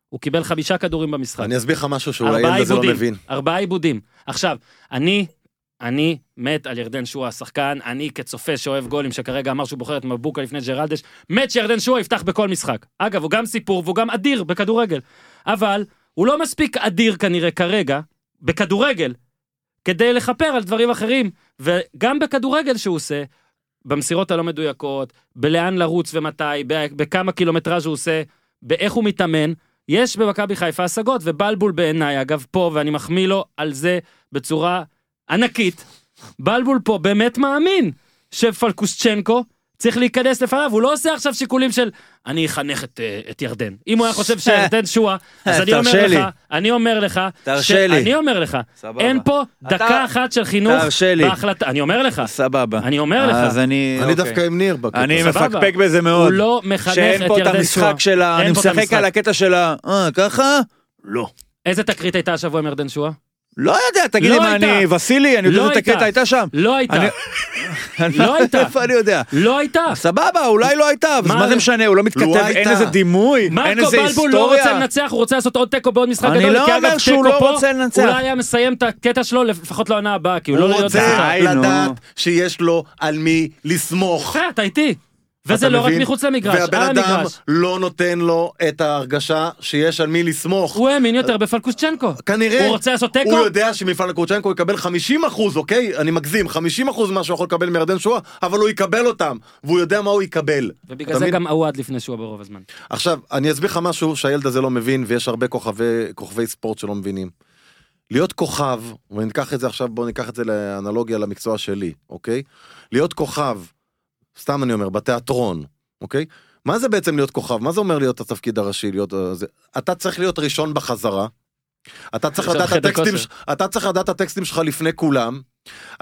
S1: הוא קיבל חמישה כדורים במשחק.
S4: אני אסביר לך משהו שאולי
S1: ארבעה אה,
S4: ילד הזה לא מבין.
S1: עיבודים, ארבעה עיבודים. עכשיו, אני, אני מת על ירדן שואה השחקן, אני כצופה שאוהב גולים, שכרגע אמר שהוא בוחר את מבוקה לפני ג'רלדש, מת שירדן שואה יפתח בכל משחק. אגב, הוא גם סיפור והוא גם אדיר בכדורגל. אבל הוא לא מספיק אדיר כנראה כרגע, בכדורגל, כדי לכפר על דברים אחרים. וגם בכדורגל שהוא עושה, במסירות הלא מדויקות, בלאן לרוץ ומתי, ב- בכמה קילומטראז' הוא עושה, באיך הוא מתאמן, יש במכבי חיפה השגות, ובלבול בעיניי, אגב, פה, ואני מחמיא לו על זה בצורה ענקית, בלבול פה באמת מאמין שפלקושצ'נקו צריך להיכנס לפניו, הוא לא עושה עכשיו שיקולים של אני אחנך את, אה, את ירדן. אם הוא היה חושב שירדן שועה, אז אני אומר
S6: תרשה לי.
S1: לך, אני אומר לך,
S6: תרשה
S1: ש-
S6: לי.
S1: אני אומר לך,
S6: סבבה.
S1: אין פה
S6: אתה-
S1: דקה אחת של חינוך
S6: תרשה לי.
S1: בהחלטה, אני אומר לך,
S6: סבבה.
S1: אני אומר לך.
S6: אז אני...
S4: אני
S6: אוקיי.
S4: דווקא עם ניר בקטע.
S6: אני
S1: סבבה.
S6: מפקפק בזה מאוד.
S1: הוא לא מחנך את
S6: שאין
S1: ירדן
S6: פה
S1: שואה.
S6: את המשחק של ה...
S1: אין
S6: אני
S1: פה את
S6: משחק
S1: המשחק.
S6: על הקטע של ה... אה, ככה? לא.
S1: איזה תקרית הייתה השבוע עם ירדן שועה?
S6: לא יודע, תגיד
S1: לא
S6: לי מה,
S1: הייתה.
S6: אני וסילי, אני יודע
S1: לא
S6: איזה
S1: הייתה.
S6: תקרית הייתה שם?
S1: לא הייתה,
S6: אני-
S1: לא הייתה.
S6: איפה אני יודע?
S1: לא הייתה.
S6: סבבה, אולי לא הייתה, אז
S1: מה
S6: מה זה
S1: זה-
S6: משנה, הוא לא מתכתב,
S4: לא
S6: אין
S4: הייתה.
S6: איזה דימוי, אין
S1: מרקו
S6: איזה
S1: בלבול לא רוצה
S6: היסטוריה.
S1: לנצח, הוא רוצה לעשות עוד תיקו בעוד משחק
S6: אני
S1: גדול,
S6: לא
S1: כי
S6: אומר
S1: אגב
S6: שהוא
S1: תיקו
S6: לא
S1: פה,
S6: רוצה לנצח.
S1: אולי היה מסיים את הקטע שלו לפחות לעונה הבאה, כי הוא לא
S4: הוא
S1: יודע...
S4: רוצה
S6: די, נו.
S4: לדעת שיש לו על מי לסמוך.
S1: יפה, אה, אתה איתי. וזה
S4: אתה
S1: לא רק
S4: מבין?
S1: מחוץ למגרש, על
S4: והבן אדם
S1: המגרש.
S4: לא נותן לו את ההרגשה שיש על מי לסמוך.
S1: הוא האמין יותר בפלקושצ'נקו.
S4: כנראה,
S1: הוא רוצה לעשות תיקו?
S4: הוא יודע שמפעל קורצ'נקו יקבל 50 אחוז, אוקיי? אני מגזים, 50 אחוז מה שהוא יכול לקבל מירדן שואה, אבל הוא יקבל אותם, והוא יודע מה הוא יקבל.
S1: ובגלל
S4: אתה
S1: זה
S4: מבין?
S1: גם עווד לפני שהוא ברוב הזמן.
S4: עכשיו, אני אסביר לך משהו שהילד הזה לא מבין, ויש הרבה כוכבי, כוכבי ספורט שלא מבינים. להיות כוכב, וניקח את זה עכשיו, בואו ניקח את זה לאנלוגיה למקצוע שלי, אוקיי? להיות כוכב, סתם אני אומר, בתיאטרון, אוקיי? מה זה בעצם להיות כוכב? מה זה אומר להיות התפקיד הראשי? להיות... אה, זה... אתה צריך להיות ראשון בחזרה. אתה צריך,
S1: ראשון
S4: לדעת
S1: בחדר
S4: הטקסטים,
S1: כושר.
S4: ש- אתה צריך לדעת את הטקסטים שלך לפני כולם.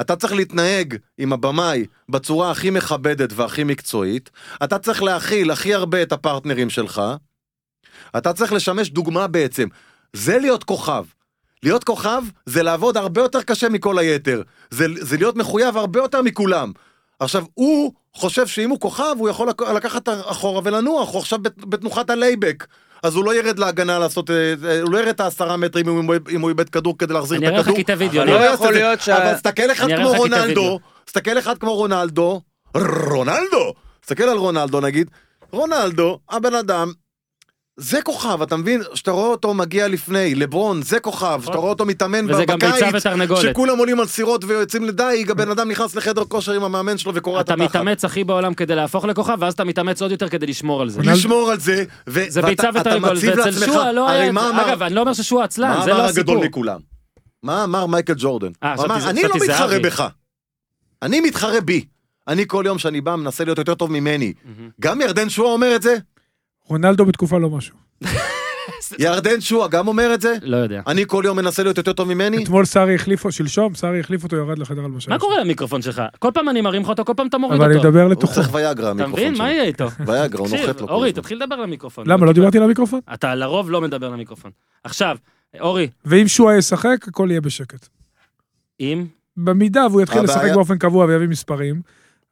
S4: אתה צריך להתנהג עם הבמאי בצורה הכי מכבדת והכי מקצועית. אתה צריך להכיל הכי הרבה את הפרטנרים שלך. אתה צריך לשמש דוגמה בעצם. זה להיות כוכב. להיות כוכב זה לעבוד הרבה יותר קשה מכל היתר. זה, זה להיות מחויב הרבה יותר מכולם. עכשיו, הוא חושב שאם הוא כוכב, הוא יכול לק- לקחת אחורה ולנוח, הוא עכשיו בת- בתנוחת הלייבק. אז הוא לא ירד להגנה לעשות, אה, אה, הוא לא ירד את העשרה מטרים אם הוא, אם הוא איבד כדור כדי להחזיר את
S1: אני
S4: הכדור.
S1: אראה לך כיתה וידאו, אני
S4: אבל הוא
S1: אראה-
S4: לא יעשה
S6: יכול
S4: את זה.
S6: להיות שה-
S4: אבל תסתכל אחד
S1: אני אראה
S4: כמו
S1: לך כיתה
S4: רונלדו,
S1: וידאו.
S4: תסתכל אחד כמו רונלדו, רונלדו! תסתכל על רונלדו נגיד, רונלדו, הבן אדם, זה כוכב, אתה מבין? שאתה רואה אותו מגיע לפני, לברון, זה כוכב, שאתה רואה אותו מתאמן
S1: וזה גם ביצה
S4: בקיץ,
S1: ותרנגולת.
S4: שכולם עולים על סירות ויוצאים לדייג, הבן אדם נכנס לחדר כושר עם המאמן שלו וקורע את
S1: אתה
S4: התחת.
S1: מתאמץ הכי בעולם כדי להפוך לכוכב, ואז אתה מתאמץ עוד יותר כדי לשמור על זה.
S4: לשמור על זה, ו-
S1: זה
S4: ואתה-
S1: ביצה
S4: אתה
S1: ותרנגולת,
S4: מציב
S1: ואצל
S4: לעצמך-
S1: שועה לא
S4: הרי
S1: היה...
S4: מה אמר-
S1: אגב, אני לא אומר ששועה עצלן,
S4: מה
S1: זה
S4: אמר
S1: לא
S4: הגדול
S1: הסיפור.
S4: מכולם? מה אמר מייקל ג'ורדן?
S1: אה,
S4: הוא אמר,
S1: חשבתי-
S4: אני לא
S1: חשבתי
S4: מתחרה
S1: זהבי."
S4: בך. אני מתחרה בי. אני כל יום שאני בא מנסה להיות יותר טוב ממני. גם ירדן שועה אומר את זה?
S5: רונלדו בתקופה לא משהו.
S4: ירדן שועה גם אומר את זה?
S1: לא יודע.
S4: אני כל יום מנסה להיות יותר טוב ממני?
S5: אתמול סארי החליף, שלשום סארי החליף אותו, ירד לחדר הלבשה.
S4: לא
S1: מה קורה למיקרופון שלך? כל פעם אני מרים לך אותו, כל פעם אתה מוריד
S5: אבל אני
S1: אותו.
S5: מדבר
S4: הוא
S5: לתוכו.
S4: צריך ויאגרה
S1: אוקיי. אתה
S4: המיקרופון
S1: מבין? מה יהיה איתו?
S4: ויאגרה, הוא נוחת
S1: תקשיב,
S4: לו.
S1: אורי,
S4: כל
S1: תתחיל לדבר למיקרופון.
S5: למה, לא דיברתי למיקרופון?
S1: אתה לרוב לא מדבר למיקרופון. עכשיו, אורי,
S5: ואם שועה ישחק, הכל יהיה בשקט.
S1: אם...
S5: במידה והוא יתחיל
S4: הבעיה-
S5: לשחק באופן קבוע ויביא מספרים,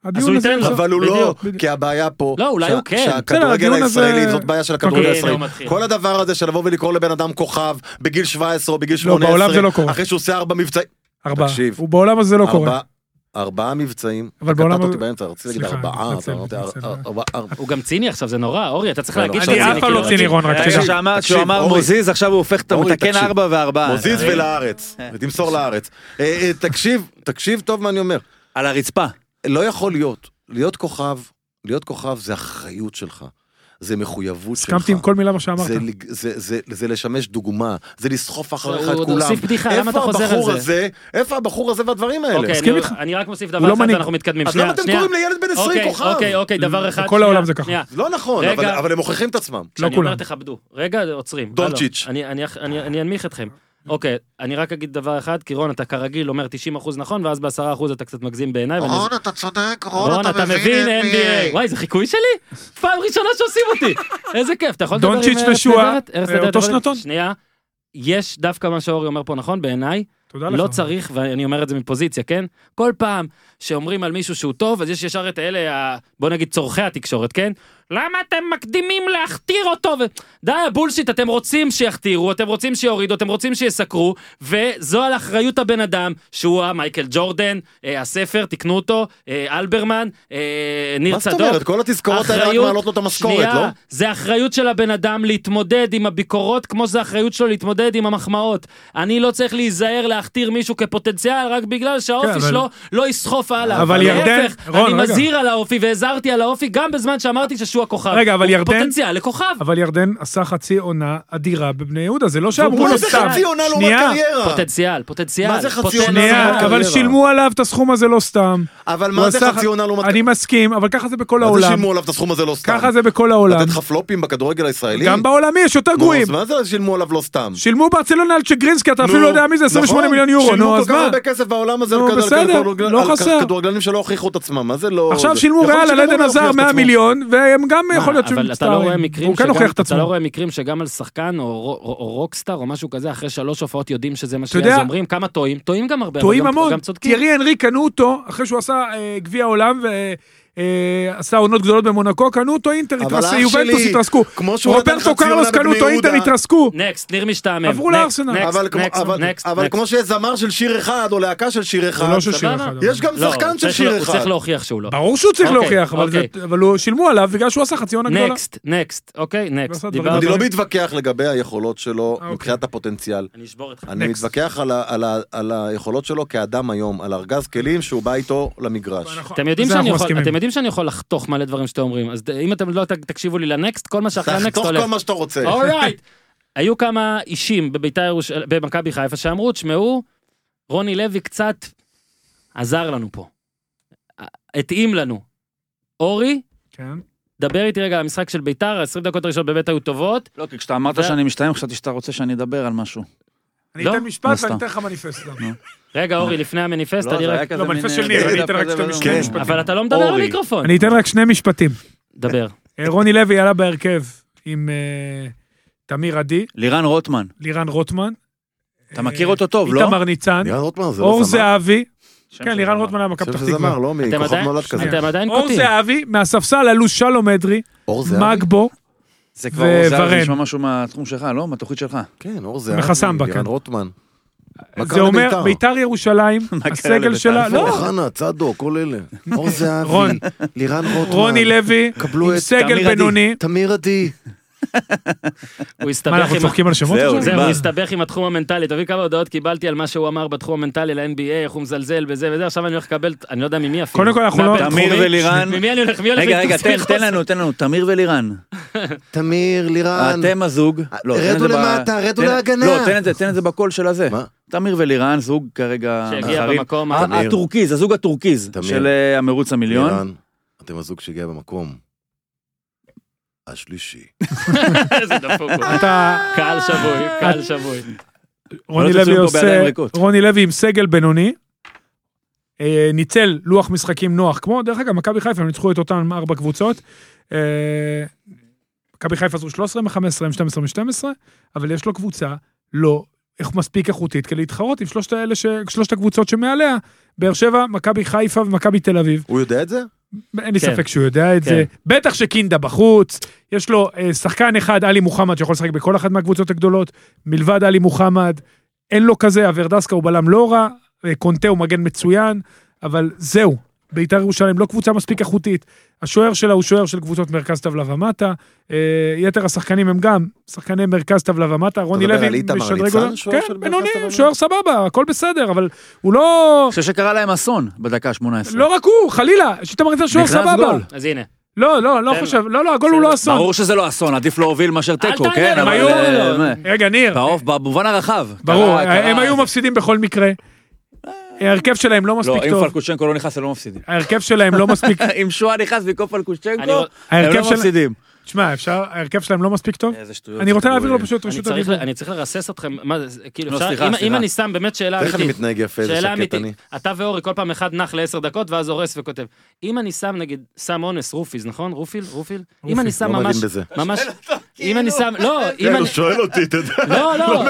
S5: הדיון
S1: הוא
S5: הזה...
S1: ייתן
S4: הזמן.
S1: לו.
S4: אבל הוא לא,
S5: בדיוק.
S4: כי הבעיה פה,
S1: לא, אולי
S4: שה-
S1: הוא כן.
S4: שהכדורגל
S5: בסדר, הדיון הזה-
S4: הישראלי, זאת בעיה של הכדורגל
S5: אוקיי,
S1: הנה הוא
S4: הישראלי.
S1: מתחיל.
S4: כל הדבר הזה של לבוא ולקרוא לבן אדם כוכב בגיל 17 או בגיל
S5: לא,
S4: 18,
S5: בעולם זה לא קורה.
S4: אחרי שהוא עושה ארבע מבצעים,
S5: ארבעה.
S4: תקשיב.
S5: הוא בעולם הזה לא קורה.
S4: ארבע- ארבעה מבצעים,
S5: אבל
S4: אבל
S5: בעולם
S4: בעולם... קטעת אותי
S5: הזה-
S4: באמצע, רציתי להגיד
S5: סליחה,
S4: ארבעה,
S5: מתנצל,
S4: אתה אמרת
S5: מתנצל.
S4: ארבע- ארבע- ארבע-
S1: הוא גם ציני עכשיו, זה נורא, אורי, אתה צריך
S4: לא,
S1: להגיד
S4: אני
S1: שהוא
S5: אני אף פעם
S1: כאילו.
S5: לא ציני רון, רק
S6: רגע
S5: תדע.
S6: שאמרת
S4: תקשיב,
S6: שהוא אמר
S4: אורי.
S6: מוזיז, עכשיו הוא הופך, אתה
S4: אורי,
S6: מתקן
S4: תקשיב.
S6: ארבע וארבעה.
S4: מוזיז
S6: אה,
S4: ולארץ, ותמסור לארץ. אה, אה, תקשיב, תקשיב טוב מה אני אומר.
S6: על הרצפה.
S4: לא יכול להיות, להיות כוכב, להיות כוכב זה אחריות שלך, זה מחויבות שלך.
S5: הסכמתי עם כל מילה מה שאמרת. לא
S4: זה, לג- זה, זה, זה לשמש דוגמה, זה לסחוף אחריך
S1: הוא
S4: את
S1: עוד
S4: כולם.
S1: הוסיף בדיחה, למה אתה חוזר על
S4: איפה הבחור
S1: זה?
S4: הזה, איפה הבחור הזה והדברים האלה?
S1: אוקיי,
S5: מסכים
S1: אני-
S5: איתך.
S1: אני רק מוסיף
S5: הוא
S1: דבר
S5: לא
S1: אחד
S5: מנהיג.
S1: ואנחנו מתקדמים.
S4: אז
S1: שנייה,
S4: למה אתם
S1: שנייה.
S4: קוראים לילד בן 20
S1: אוקיי,
S4: כוכב?
S1: אוקיי, אוקיי, דבר אחד.
S5: בכל העולם
S1: שנייה,
S5: זה ככה.
S1: שנייה.
S4: לא נכון,
S1: רגע.
S4: אבל, אבל הם מוכיחים את עצמם.
S1: כשאני
S5: לא כולם.
S1: אומר תכבדו, רגע עוצרים.
S4: דונצ'יץ'.
S1: הלו, אני- אני אח- אני אני אנמיך אתכם. אוקיי, אני רק אגיד דבר אחד, כי רון, אתה כרגיל אומר 90% נכון, ואז ב-10% אתה קצת מגזים בעיניי. ואני-
S4: אתה צודק,
S1: רון, אתה מבין NBA. וואי, זה חיקוי שלי? פעם ראשונה שעושים אותי. איזה כיף, אתה יכול לדבר עם
S5: דונצ'יץ'
S1: ארץ
S5: ושועה,
S1: נהדרת? ארץ
S5: אה,
S1: נהדרת,
S5: אותו
S1: אתה יכול-
S5: שנתון.
S1: שנייה. יש דווקא מה שאורי אומר פה נכון בעיניי,
S5: תודה לך.
S1: לא צריך, ואני אומר את זה מפוזיציה, כן? כל פעם שאומרים על מישהו שהוא טוב, אז יש ישר את אלה, ה- בוא נגיד צורכי התקשורת, כן? למה אתם מקדימים להכתיר אותו? ו... די, הבולשיט, אתם רוצים שיכתירו, אתם רוצים שיורידו, אתם רוצים שיסקרו, וזו על אחריות הבן אדם, שהוא המייקל ג'ורדן, אה, הספר, תקנו אותו, אה, אלברמן, אה, ניר
S4: מה
S1: צדוק.
S4: זאת אומרת? כל התזכורות האלה רק
S1: אחריות-
S4: מעלות לו את המשכורת, לא?
S1: שנייה, זה אחריות של הבן אדם להתמודד עם הביקורות כמו שזה אחריות שלו להתמודד עם המחמאות. אני לא צריך להיזהר להכתיר מישהו כפוטנציאל רק בגלל שהאופי
S5: כן, אבל-
S1: שלו לא יסחוף הלאה.
S5: אבל ירדן-
S1: להפך,
S5: רון,
S1: אני
S5: רגע.
S1: מזהיר על האופי והזהרתי על האופי גם בזמן שאמרתי ששועה כוכב.
S5: רגע, אבל
S1: הוא
S5: ירדן-
S1: פוטנציאל לכוכב.
S5: אבל ירדן עשה חצי עונה אדירה בבני יהודה, זה לא שאמרו
S4: הוא
S5: לו
S4: לא זה
S5: סתם.
S4: חצי עונה לעומת
S5: שנייה,
S4: קריירה. לא,
S1: פוטנציאל, פוטנציאל.
S4: מה זה חצי
S1: פוטנציאל.
S4: עונה?
S5: שנייה,
S4: לעומת
S5: אבל
S4: קריירה.
S5: שילמו עליו את הסכום הזה לא סתם.
S4: אבל
S5: הוא
S4: מה זה
S5: עשה-
S4: חצי עונה לעומת
S5: אני מסכים, אבל ככה זה בכל
S4: מה זה
S5: העולם.
S4: שילמו עליו את הסכום הזה לא סתם?
S5: ככה זה בכל העולם.
S4: לתת לך פלופים בכדורגל הישראלי?
S5: גם בעולמי יש יותר
S4: נו,
S5: גרועים.
S4: אז מה זה שילמו עליו לא סתם?
S5: שילמו ברצלונה על צ'גרינסקי, אתה
S4: נו,
S5: אפילו לא יודע מי זה, 28
S4: נכון,
S5: מיליון יורו,
S4: שילמו
S5: נו,
S4: כל
S5: אז
S4: כך
S5: מה?
S4: הרבה כסף בעולם הזה
S5: נו,
S4: על כדורגל-
S5: בסדר,
S4: כדורגל-
S5: לא
S4: על
S5: חסר.
S4: כדורגלנים שלא הוכיחו את עצמם, מה זה לא...
S5: עכשיו
S4: זה-
S5: שילמו
S4: יכול להיות
S5: ריאל
S4: שגם
S5: על
S4: הוא
S5: עדן
S4: לא
S5: עזר
S4: הוכיח את
S5: 100
S4: עצמו.
S5: מיליון, והם גם יכול להיות שהם
S1: אבל אתה לא רואה מקרים
S5: הוא כן הוכיח
S1: שגם-
S5: את
S1: אתה לא
S5: עצמו.
S1: רואה מקרים שגם על שחקן או רו- או- או רוקסטאר או משהו כזה אחרי שלוש הופעות יודעים שזה מה
S5: יודע-
S1: שיהיה אז אומרים כמה טועים טועים גם הרבה אבל
S5: טועים
S1: גם-
S5: המון.
S1: גם צודקים
S5: תיארי אנרי קנו אותו, אחרי שהוא עשה אה, גביע עולם ועשה עונות גדולות במונקו, קנו אותו אינטר,
S4: אבל
S5: התרס-
S4: אח
S5: יובנטוס
S4: שלי,
S5: התרסקו.
S4: כמו שהוא נתן
S5: רוברטו
S4: חצי
S5: קרלוס
S4: עונה
S5: קנו
S4: בבני
S5: אותו
S4: יהודה.
S5: אינטר, התרסקו.
S1: נקסט ניר משתעמם
S5: עברו
S1: Next,
S5: לארסנל.
S1: next,
S4: אבל כמו-
S1: next,
S4: אבל-
S1: next,
S4: אבל
S1: next.
S4: כמו שיש זמר של שיר אחד, או להקה של שיר
S5: זה
S4: אחד,
S5: לא ששיר
S1: סבבה.
S5: אחד. אבל.
S4: יש גם
S1: לא, הוא
S4: שחקן של
S1: צריך-
S4: שיר
S1: הוא צריך
S4: אחד.
S1: להוכיח שהוא לא.
S5: ברור שהוא צריך
S1: אוקיי,
S5: להוכיח, אבל זה-
S1: אוקיי.
S5: אבל הוא- שילמו עליו בגלל שהוא עשה חצי עונה גדולה.
S1: נקסט, נקסט, אוקיי, נקסט.
S5: לעשות
S1: דיברנו-
S4: אני לא מתווכח לגבי היכולות שלו
S5: אוקיי.
S4: מבחינת הפוטנציאל.
S1: אני אשבור איתך.
S4: אני
S5: Next.
S4: מתווכח על ה- על ה- על היכולות שלו כאדם היום, על ארגז כלים שהוא בא איתו למגרש.
S5: ואנחנו-
S1: אתם יודעים,
S5: לא- בזה
S1: שאני
S5: אנחנו
S1: יכול,
S5: מסכימים.
S1: אתם יודעים שאני יכול לחתוך מלא דברים שאתם אומרים, אז ד- אם אתם לא ת- תקשיבו לי לנקסט, כל מה שאחרי הנקסט
S4: תחתוך
S1: הולך.
S4: כל מה שאתה רוצה.
S1: אורייט. היו כמה אישים בביתר ירוש... במכבי חיפה שאמרו, תשמעו, רוני לוי קצת עזר לנו פה. התאים לנו. אורי,
S5: כן.
S1: דבר איתי רגע על המשחק של ביתר, ה-20 דקות הראשונות באמת היו טובות.
S6: לא, כי כשאתה אמרת
S1: זה-
S6: שאני משתיים, חשבתי שאתה רוצה שאני אדבר על משהו.
S5: אני
S1: לא?
S5: אתן משפט
S6: לא
S5: ואני
S6: סתם.
S5: אתן לך מניפסט. גם.
S1: רגע, אורי, לפני המניפסט, אני רק...
S5: לא, מניפסט של ניר, אני אתן רק שתי משפטים.
S4: כן.
S5: משפטים.
S1: אבל אתה לא מדבר
S6: אורי.
S1: למיקרופון.
S5: אני אתן רק שני משפטים.
S1: דבר.
S5: אה, רוני לוי עלה בהרכב עם אה, תמיר עדי,
S6: לירן רוטמן.
S5: לירן רוטמן, אה,
S6: אתה מכיר אותו טוב, לא?
S5: איתמר ניצן,
S4: לירן רוטמן זה
S5: אור
S4: לא זמר.
S5: זהבי,
S6: שם
S5: כן,
S6: של
S5: לירן
S6: זמר.
S5: רוטמן היה
S4: אני
S5: מכבי פתח
S4: חושב שזה זמר,
S5: תקווה.
S4: לא
S1: אתם
S4: מכוכב
S1: עדיין-
S4: נולד כזה.
S5: שנייה.
S1: אתם עדיין
S5: אור
S1: קוטעים.
S5: זהבי, מהספסל עלו שלום אדרי,
S4: אור זהבי?
S5: מגבו,
S6: זה כבר אור זהבי,
S5: וורן.
S6: נשמע משהו מהתחום שלך, לא? מהתוכנית שלך.
S4: כן, אור זהבי.
S5: מחסמבה, כן.
S4: לירן רוטמן. מה
S5: זה
S4: קרה
S5: אומר
S4: לביתר?
S5: ביתר ירושלים,
S6: קרה
S5: הסגל
S6: לביתר?
S5: שלה,
S4: איפה
S5: לא,
S4: אוחנה, צדו, כל אלה. אור זהבי.
S5: רון.
S4: לירן רוטמן.
S5: רוני לוי,
S4: קבלו
S5: עם
S4: את
S6: תמיר
S5: סגל
S6: עדי.
S5: בינוני,
S4: תמיר עדי.
S1: הוא
S5: מה,
S1: הסתבך
S5: אנחנו
S1: עם... ה-
S5: צוחקים על שמות
S6: זהו,
S5: עכשיו?
S1: זהו,
S6: נגמר.
S1: הוא הסתבך עם התחום המנטלי. תבין כמה הודעות קיבלתי על מה שהוא אמר בתחום המנטלי ל-NBA, איך הוא מזלזל בזה וזה, עכשיו אני הולך לקבל, אני לא יודע ממי אפילו.
S5: קודם כל, אנחנו לא-
S1: מהבינתחומי.
S6: תמיר ולירן.
S1: ממי אני הולך, מי הולך
S6: רגע, רגע,
S1: להתעסק
S6: תן- תן
S1: חוסר?
S6: לנו, תן לנו, תמיר ולירן.
S4: תמיר, לירן.
S6: אתם הזוג. לא, תן את
S4: רדו
S6: זה ב-
S4: למטה, רדו
S6: תן-
S4: להגנה.
S6: לא, תן את זה, תן את זה בקול של הזה.
S4: מה?
S6: תמיר ולירן, זוג כרגע...
S1: שהגיע
S6: מתחרים.
S1: במקום
S6: ה-
S1: ה-
S4: תמיר.
S6: הטורקיז, הזוג הטורקיז
S4: תמיר.
S6: של אה, המרוץ המיליון.
S4: לירן, אתם הזוג שהגיע במקום. השלישי.
S6: אה.
S1: איזה דפוק הוא.
S5: אתה,
S1: קהל שבוי, קהל שבוי.
S5: רוני
S6: לא
S5: לוי
S6: תוציאו פה בידיים
S5: עושה,
S6: ריקות.
S5: רוני לוי עם סגל בינוני, אה, ניצל לוח משחקים נוח, כמו, דרך אגב, מכבי חיפה, הם ניצחו את אותן ארבע קבוצות. אה, מכבי חיפה עשו 13 מ-15, הם 12 מ-12, אבל יש לו קבוצה לא איך- מספיק איכותית כדי להתחרות עם שלושת, האלה ש, שלושת הקבוצות שמעליה, באר שבע, מכבי חיפה ומכבי תל אביב.
S4: הוא יודע את זה?
S5: אין לי
S1: כן.
S5: ספק שהוא יודע את
S1: כן.
S5: זה. בטח שקינדה בחוץ, יש לו אה, שחקן אחד, עלי מוחמד, שיכול לשחק בכל אחת מהקבוצות הגדולות, מלבד עלי מוחמד, אין לו כזה, אברדסקה הוא בלם לא רע, אה, קונטה הוא מגן מצוין, אבל זהו, בית"ר ירושלים לא קבוצה מספיק איכותית. השוער שלה הוא שוער של קבוצות מרכז טבלה ומטה, אה, יתר השחקנים הם גם שחקני מרכז טבלה ומטה, רוני
S4: מדבר
S5: לוי
S4: על איתמר ניצן,
S5: אותם.
S4: שוער של
S5: כן,
S4: מרכז
S5: בינוני,
S4: טבלה ומטה?
S5: שוער סבבה, הכל בסדר, אבל הוא לא...
S6: אני חושב שקרה להם אסון בדקה ה-18.
S5: לא רק הוא, חלילה, שאיתמר ניצן שוער
S6: נכנס
S5: סבבה.
S6: גול.
S1: אז הנה.
S5: לא, לא, לא
S1: תן לו.
S5: חושב, לא, לא, הגול הוא לא אסון.
S6: כן. ברור שזה לא אסון, עדיף להוביל מאשר תיקו,
S1: תענה,
S6: כן?
S1: הם
S6: אבל,
S5: היו-
S6: אה, מה,
S5: רגע, ניר,
S6: בעוף- במובן הרחב.
S5: ברור,
S6: קרה- קרה-
S5: הם היו מפסידים בכל מקרה. ההרכב שלהם לא
S6: אה, לא,
S5: מספיק
S6: אם
S5: טוב.
S6: פלקושצ'נקו לא נכנס, הם לא מפסידים.
S5: ההרכב שלהם לא מספיק,
S6: אם שואה נכנס במקום
S1: אני-
S6: פלקושצ'נקו, הם
S5: ההרכב
S6: לא
S5: של...
S6: מפסידים.
S5: תשמע, אפשר, ההרכב שלהם לא מספיק טוב?
S6: איזה שטויות.
S5: אני
S6: זה
S5: רוצה להעביר לו
S6: כדורגל.
S5: פשוט
S1: אני
S5: רשות
S1: צריך-
S5: הדיבור.
S1: אני צריך לרסס אתכם, מה זה, כאילו,
S6: לא,
S1: אפשר-
S6: סליחה,
S1: אם-
S6: סליחה.
S1: אם אני שם באמת שאלה
S4: איך אני
S1: אמיתית,
S4: מתנהג יפה, איזה
S1: שאלה
S4: שקט
S1: אמיתית,
S4: אני.
S1: אתה ואורי כל פעם אחד נח לעשר דקות ואז הורס וכותב, אם אני שם נגיד, סם אונס, רופיז, נכון? רופיל? רופיל? אם אני שם
S4: לא
S1: ממש,
S4: מבין בזה.
S1: ממש, אם אני שם, לא, אם אני,
S4: שואל אותי, אתה יודע.
S1: לא, לא,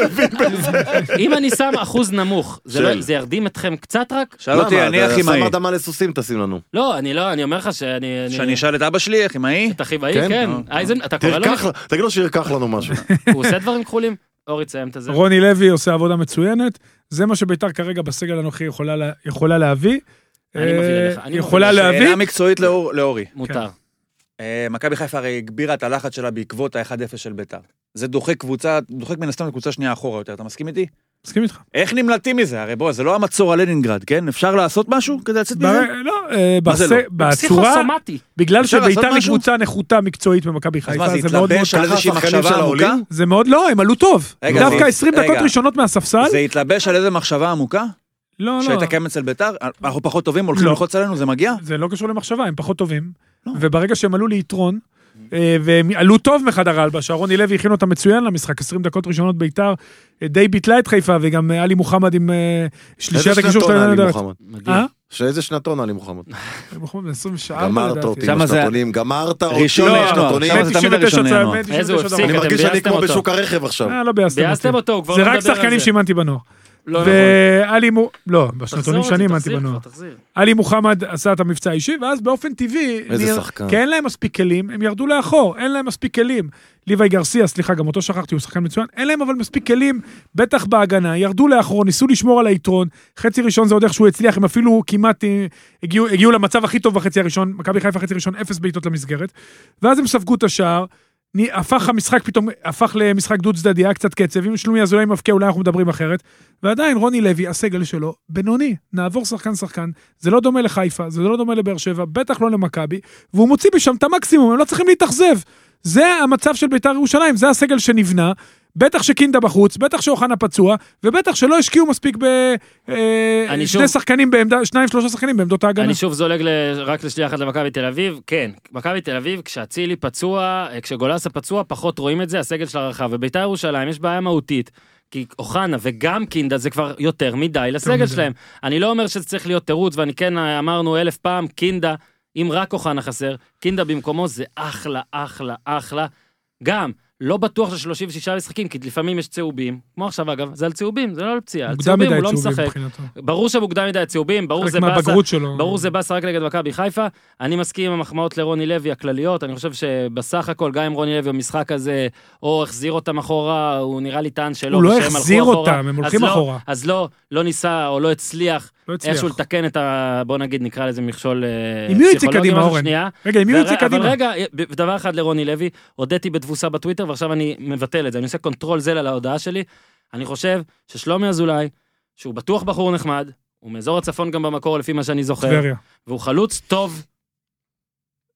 S1: אם אני שם אחוז נמוך, זה לא-
S4: של.
S1: זה ירדים אתכם קצת רק?
S6: שאל אותי, אני
S4: למה?
S6: הכימאי.
S4: שם אדמה לסוסים תשים לנו.
S1: לא, אני לא, אני אומר לך שאני,
S6: שאני אשאל את אבא שלי, הכימאי?
S1: את הכימאי,
S4: כן?
S1: כן, אייזן, אתה קורא לו,
S5: לא
S4: תרקח, לה- תגיד לו שירקח לנו משהו.
S1: הוא עושה דברים כחולים? אורי, תסיים את זה.
S5: רוני לוי עושה עבודה מצוינת, זה מה שביתר כרגע בסגל הנוכחי יכולה לה- יכולה להביא.
S1: אני מבהיר
S5: אה,
S1: לך, אני
S5: יכולה
S1: מבהיר
S5: להביא,
S6: שאלה מקצועית לאור- לאורי.
S1: מותר.
S6: אה, מכבי חיפה הרי הגבירה את הלחץ שלה בעקבות ה-1-0 של ביתר. זה דוחק קבוצה, דוחק מן הסתם לקבוצה שנייה אחורה יותר, אתה מסכים איתי?
S5: מסכים איתך.
S6: איך נמלטים מזה? הרי בוא, זה לא המצור על לנינגרד, כן? אפשר לעשות משהו כדי לצאת מזה?
S5: ב- לא, אה,
S6: מה זה
S5: בס-
S6: לא?
S5: בצורה,
S1: פסיכוסומטי.
S5: בגלל
S6: אפשר לעשות
S5: שביתר היא
S6: משהו?
S5: קבוצה נחותה מקצועית במכבי
S6: אז מה,
S5: חיפה,
S6: זה
S5: זה מאוד מאוד
S6: התלבש על
S4: ככה
S6: איזושהי
S4: השחקנים
S6: מחשבה
S4: שלה
S6: עמוקה?
S4: עולים?
S5: אה, זה מאוד לא, הם עלו טוב.
S6: רגע,
S5: דווקא
S6: זה-
S5: 20 דקות
S6: רגע.
S5: ראשונות מהספסל,
S6: זה התלבש על איזה מחשבה עמוקה?
S5: לא, לא.
S6: שהייתה קיימת אצל ביתר? אנחנו פחות טובים, הולכים
S5: לא.
S6: ללחוץ עלינו, זה מגיע?
S5: זה לא קשור למחשבה, הם פחות טובים.
S6: לא.
S5: וברגע שהם עלו ליתרון, אה, והם עלו טוב מחדר ההלבשה, רוני לוי הכין אותם מצוין למשחק, 20 דקות ראשונות ביתר, אה, די ביטלה את חיפה, וגם אה, עלי מוחמד עם אה, שלישיית
S4: איזה
S5: הקישור
S4: שנתון
S5: שלהם.
S4: היה
S5: אני
S4: לי
S5: יודעת.
S4: מוחמד?
S1: מדהים.
S5: אה?
S4: שאיזה שנתון היה לי מוחמד?
S5: עלי מוחמד בן 24
S4: גמרת אותי עם
S6: שמה זה-
S4: השנתונים, גמרת אותי
S6: ראשון
S4: עם
S5: לא,
S6: ינואר,
S4: השנתונים.
S6: שם זה תמיד הראשון לינואר.
S1: איזה הוא הפסיק,
S4: אני
S1: אתם
S4: מרגיש שאני
S1: ביאסתם
S4: כמו
S1: אותו.
S4: בשוק הרכב עכשיו.
S5: אה, לא ביאסתם אותי.
S1: ביאסתם אותו, הוא כבר
S5: זה
S1: לא
S5: רק
S1: מדבר על
S5: שחקנים
S1: זה.
S5: שאימנתי בנוער.
S1: לא נכון.
S5: ואלי מו... לא,
S1: תחזור
S5: בשנתונים
S1: אותי,
S5: שאני אימנתי
S1: תחזיר
S5: בנוער.
S1: כבר, תחזיר.
S5: עלי מוחמד עשה את המבצע האישי, ואז באופן טבעי...
S4: איזה
S5: ניר-
S4: שחקן.
S5: כי אין להם מספיק כלים, הם ירדו לאחור, אין להם מספיק כלים. ליוואי גרסיה, סליחה, גם אותו שכחתי, הוא שחקן מצוין, אין להם אבל מספיק כלים, בטח בהגנה, ירדו לאחור, ניסו לשמור על היתרון, חצי ראשון זה עוד איכשהו הצליח, הם אפילו כמעט אה, הגיעו, הגיעו למצב הכי טוב בחצי הראשון, מכבי חיפה חצי ראשון, אפס בעיטות למסגרת, ואז הם ספגו את השער, ני- הפך המשחק פתאום, הפך למשחק דו צדדי, היה קצת קצב, אם שלומי אזולאי מבקיע אולי אנחנו מדברים אחרת, ועדיין רוני לוי, הסגל שלו, בינוני, נעבור שחקן שחקן, זה לא דומה לחיפה, זה לא דומה לבאר שבע, בטח לא למכבי, והוא מוציא משם את המקסימום, הם לא צריכים להתאכזב. זה המצב של בית"ר ירושלים, זה הסגל שנבנה, בטח שקינדה בחוץ, בטח שאוחנה פצוע, ובטח שלא השקיעו מספיק ב... אה,
S1: אני
S5: שני
S1: שוב-
S5: שחקנים בעמדה, שניים שלושה שחקנים בעמדות ההגנה.
S1: אני שוב זולג ל- רק לשנייה אחת למכבי תל אביב, כן, מכבי תל אביב, כשאצילי פצוע, אה, כשגולסה פצוע, פחות רואים את זה, הסגל שלה רחב, ובית"ר ירושלים יש בעיה מהותית. כי אוחנה וגם קינדה זה כבר יותר מדי לסגל
S5: מדי.
S1: שלהם. אני לא אומר שזה צריך להיות תירוץ, ואני כן אה, אמרנו אלף פעם, קינדה, אם רק אוחנה חסר, קינדה במקומו זה אחלה, אחלה, אחלה. גם לא בטוח ש-36 משחקים, כי לפעמים יש צהובים, כמו עכשיו אגב, זה על צהובים, זה לא על פציעה, על
S5: מוקדם
S1: צהובים
S5: מדי
S1: הוא לא
S5: צהובים
S1: משחק.
S5: מבחינתו.
S1: ברור שמוקדם מדי הצהובים, ברור
S5: חלק
S1: זה באסה,
S5: מהבגרות שלו.
S1: ברור זה באסה רק נגד מכבי חיפה. אני מסכים עם המחמאות לרוני לוי הכלליות, אני חושב שבסך הכל, גם אם רוני לוי במשחק הזה, או החזיר אותם אחורה, הוא נראה לי טען שלא,
S5: הוא לא
S1: ושהם הלכו
S5: החזיר
S1: אחורה.
S5: אותם, הם
S1: אז
S5: הולכים
S1: לא-
S5: אחורה.
S1: אז לא, לא ניסה או לא הצליח
S5: לא הצליח.
S1: איכשהו לתקן את ה... בוא נגיד, נקרא לזה מכשול אה,
S5: עם מי הוא יצא
S1: פסיכולוגי,
S5: קדימה,
S1: משהו
S5: אורן?
S1: שנייה.
S5: רגע, עם מי הוא יוצא
S1: והרי-
S5: קדימה?
S1: אבל רגע, אה, ב- דבר אחד לרוני לוי, הודיתי בתבוסה בטוויטר ועכשיו אני מבטל את זה, אני עושה קונטרול זל על ההודעה שלי. אני חושב ששלומי אזולאי, שהוא בטוח בחור נחמד, הוא מאזור הצפון גם במקור לפי מה שאני זוכר,
S5: טבריה.
S1: והוא חלוץ טוב,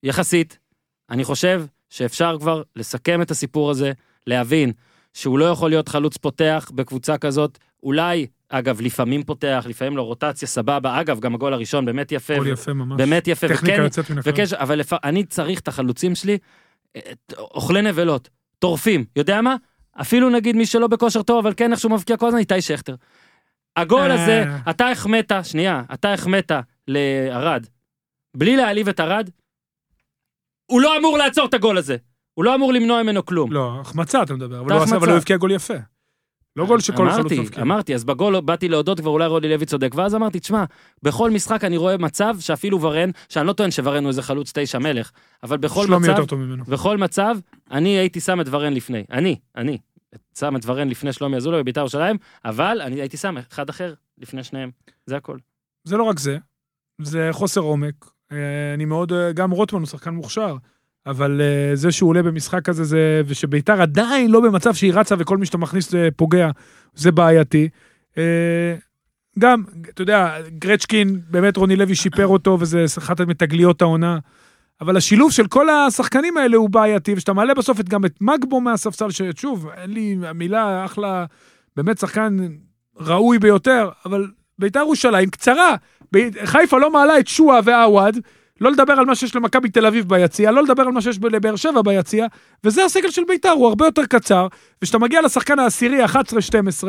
S1: יחסית. אני חושב שאפשר כבר לסכם את הסיפור הזה, להבין שהוא לא יכול להיות חלוץ פותח בקבוצה כזאת, אולי, אגב, לפעמים פותח, לפעמים לא רוטציה, סבבה. אגב, גם הגול הראשון באמת יפה,
S5: גול יפה ממש.
S1: באמת יפה,
S5: טכניקה
S1: וכן
S5: יוצאת מן הכלל.
S1: וקשר, אבל לפ... אני צריך את החלוצים שלי, את- אוכלי נבלות, טורפים, יודע מה? אפילו נגיד מי שלא בכושר טוב, אבל כן איכשהו מבקיע כל הזמן, איתי שכטר. הגול
S5: אה.
S1: הזה, אתה החמאת, שנייה, אתה החמאת לארד, בלי להעליב את ארד, הוא לא אמור לעצור את הגול הזה. הוא לא אמור למנוע ממנו כלום.
S5: לא, החמצה אתה מדבר, אבל
S1: אתה
S5: הוא עשה-
S1: החמצה.
S5: אבל הוא הבקיע גול יפה. לא גול שכל חלוץ
S1: אמרתי,
S5: מבקיע.
S1: אמרתי, אז בגול באתי להודות, כבר אולי רולי לוי צודק, ואז אמרתי, תשמע, בכל משחק אני רואה מצב שאפילו ורן, שאני לא טוען שוורן הוא איזה חלוץ תשע מלך, אבל בכל
S5: שלומי
S1: מצב,
S5: יותר טוב ממנו.
S1: בכל מצב, אני הייתי שם את ורן לפני. אני, אני, שם את ורן לפני שלומי אזולאי בבית"ר ירושלים, אבל אני הייתי שם אחד אחר לפני שניהם. זה הכל.
S5: זה לא רק זה, זה חוסר עומק. אה, אני מאוד, אה, גם רוטמן הוא שחקן מוכשר, אבל אה, זה שהוא עולה במשחק כזה, זה, ושביתר עדיין לא במצב שהיא רצה וכל מי שאתה מכניס אה, פוגע, זה בעייתי. אה, גם, אתה יודע, גרצ'קין, באמת רוני לוי שיפר אותו, וזה אחת מתגליות העונה. אבל השילוב של כל השחקנים האלה הוא בעייתי, וכשאתה מעלה בסוף את, גם את מגבו מהספסל, ששוב, אין לי המילה, אחלה, באמת שחקן ראוי ביותר, אבל בית"ר ירושלים קצרה. ב- חיפה לא מעלה את שועה ועווד, לא לדבר על מה שיש למכבי תל אביב ביציע, לא לדבר על מה שיש ב- לבאר שבע ביציע, וזה הסגל של בית"ר, הוא הרבה יותר קצר, וכשאתה מגיע לשחקן העשירי, 11-12,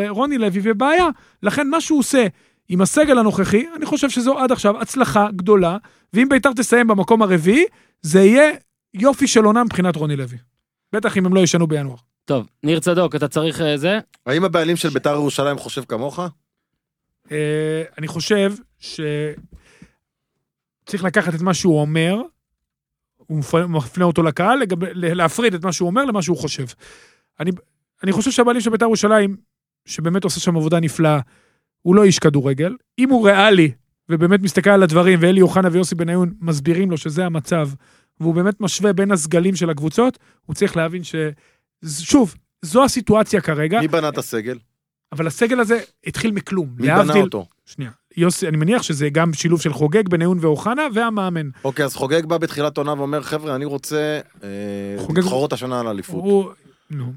S5: רוני לוי ובעיה. לכן מה שהוא עושה עם הסגל הנוכחי, אני חושב שזו עד עכשיו הצלחה גדולה, ואם בית"ר תסיים במקום הרביעי, זה יהיה יופי של עונה מבחינת רוני לוי. בטח אם הם לא ישנו בינואר.
S1: טוב, ניר צדוק, אתה צריך אה, זה?
S4: האם הבעלים של ביתר ירושלים חושב כמוך?
S5: אה, אני חושב שצריך לקחת את מה שהוא אומר, הוא מפנה- מפנה אותו לקהל, לגב, ל- להפריד את מה שהוא אומר למה שהוא חושב. אני, אני חושב שהבעלים של בית"ר ירושלים, שבאמת עושה שם עבודה נפלאה, הוא לא איש כדורגל. אם הוא ריאלי ובאמת מסתכל על הדברים, ואלי אוחנה ויוסי בניון מסבירים לו שזה המצב, והוא באמת משווה בין הסגלים של הקבוצות, הוא צריך להבין ש... שוב, זו הסיטואציה כרגע,
S4: מי בנה את הסגל?
S5: אבל הסגל הזה התחיל מכלום.
S4: מי בנה
S5: להבדיל-
S4: אותו?
S5: שנייה. יוסי, אני מניח שזה גם שילוב של חוגג, בניון ואוחנה, והמאמן.
S4: אוקיי, אז חוגג בא בתחילת עונה ואומר, חבר'ה, אני רוצה אה,
S5: חוגג-
S4: להתחרות השנה על אליפות.
S5: הוא... נו.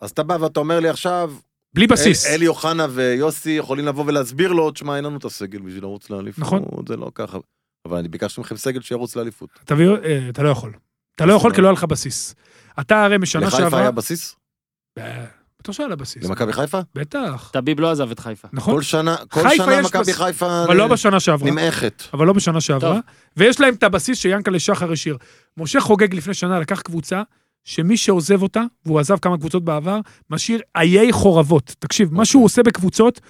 S4: אז אתה בא ואתה אומר לי עכשיו,
S5: בלי בסיס.
S4: אל- אלי אוחנה ויוסי יכולים לבוא ולהסביר לו, תשמע, אין לנו את הסגל בשביל לרוץ לאליפות.
S5: נכון.
S4: זה לא ככה. אבל אני ביקשתי מכם סגל שירוץ לאליפות.
S5: תביא- אה, אתה לא יכול. אתה לא יכול כי לא היה לך בסיס. אתה הרי משנה
S4: לחיפה
S5: שעברה...
S4: היה בסיס?
S5: אה, בטח שהיה לה בסיס.
S4: למכבי חיפה?
S5: בטח.
S1: טביב לא עזב את חיפה.
S5: נכון.
S4: כל שנה, כל
S5: חיפה
S4: שנה
S5: יש
S4: מכבי
S5: בסיס,
S4: חיפה
S5: אבל לא בשנה שעברה.
S4: נמעכת.
S5: אבל לא בשנה שעברה.
S1: טוב.
S5: ויש להם את הבסיס שיאנקלה שחר השאיר. משה חוגג לפני שנה לקח קבוצה שמי שעוזב אותה, והוא עזב כמה קבוצות בעבר, משאיר איי חורבות. תקשיב,
S4: אוקיי.
S5: מה שהוא עושה בקבוצות,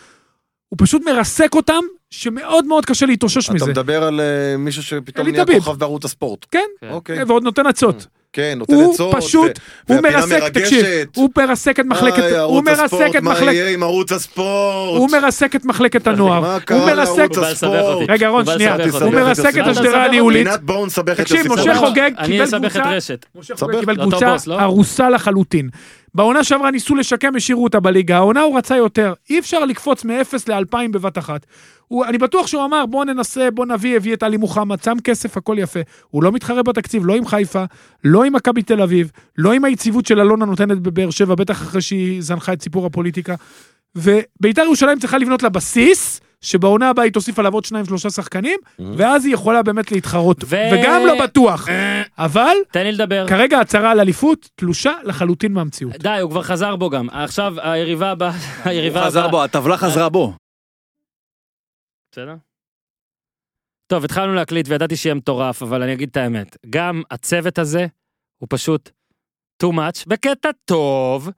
S5: הוא פשוט מרסק אותם, שמאוד מאוד קשה להתאושש מזה.
S4: אתה מדבר על אה, מישהו שפתאום
S5: אלי
S4: נהיה
S5: טביב.
S4: כוכב בערוץ הספורט.
S5: כן,
S4: אוקיי.
S5: ועוד נותן עצות.
S4: כן, נותן
S5: הוא
S4: עצות.
S5: פשוט,
S4: ו-
S5: הוא
S4: והפינה
S5: מרסק, תקשיב,
S4: מרגשת.
S5: הוא מרסק את מחלקת,
S4: איי,
S5: הוא
S4: ערוץ
S5: מרסק
S4: הספורט,
S5: את
S4: מה
S5: מחלקת,
S4: יהיה עם ערוץ הספורט?
S5: הוא מרסק את מחלקת הנוער,
S4: מה
S5: הוא
S4: קרה
S5: מרסק,
S4: לערוץ
S1: הוא בא לסבך
S4: הספורט?
S1: אותי.
S5: רגע רון
S1: הוא בא
S5: שנייה,
S1: לסבך
S5: הוא
S1: אותי.
S5: מרסק את
S1: מה אתה
S5: השדרה
S1: מסבך
S5: הניהולית,
S4: פינת בואו נסבך את יוסי
S5: תקשיב, משה
S4: סבג.
S5: חוגג
S1: אני
S5: קיבל
S1: אסבך את
S5: קבוצה-
S1: רשת.
S5: משה
S4: סבבה.
S5: חוגג קיבל
S1: לא,
S5: קבוצה
S1: טוב, בוס, לא?
S5: הרוסה לחלוטין. בעונה שעברה ניסו לשקם, השאירו אותה בליגה, העונה הוא רצה יותר. אי אפשר לקפוץ מ-0 ל-2,000 בבת אחת. הוא, אני בטוח שהוא אמר, בוא ננסה, בוא נביא, הביא את עלי מוחמד, שם כסף, הכל יפה. הוא לא מתחרה בתקציב, לא עם חיפה, לא עם מכבי תל אביב, לא עם היציבות של אלונה נותנת בבאר שבע, בטח אחרי שהיא זנחה את סיפור הפוליטיקה. וביתר ירושלים צריכה לבנות לה בסיס, שבעונה הבאה היא תוסיף עליו עוד שניים, שלושה שחקנים, ואז היא יכולה באמת להתחרות.
S1: Mm-hmm. ו-
S5: וגם לא בטוח, אבל
S1: תן לי לדבר.
S5: כרגע הצהרה על אליפות תלושה לחלוטין מהמציאות.
S1: די, הוא כבר חזר בו גם. עכשיו, היריבה הבאה, היריבה
S6: הוא
S1: הבאה.
S6: חזר בו, הטבלה חזרה בו.
S1: בסדר? טוב, התחלנו להקליט וידעתי שיהיה מטורף, אבל אני אגיד את האמת. גם הצוות הזה הוא פשוט too much, בקטע טוב,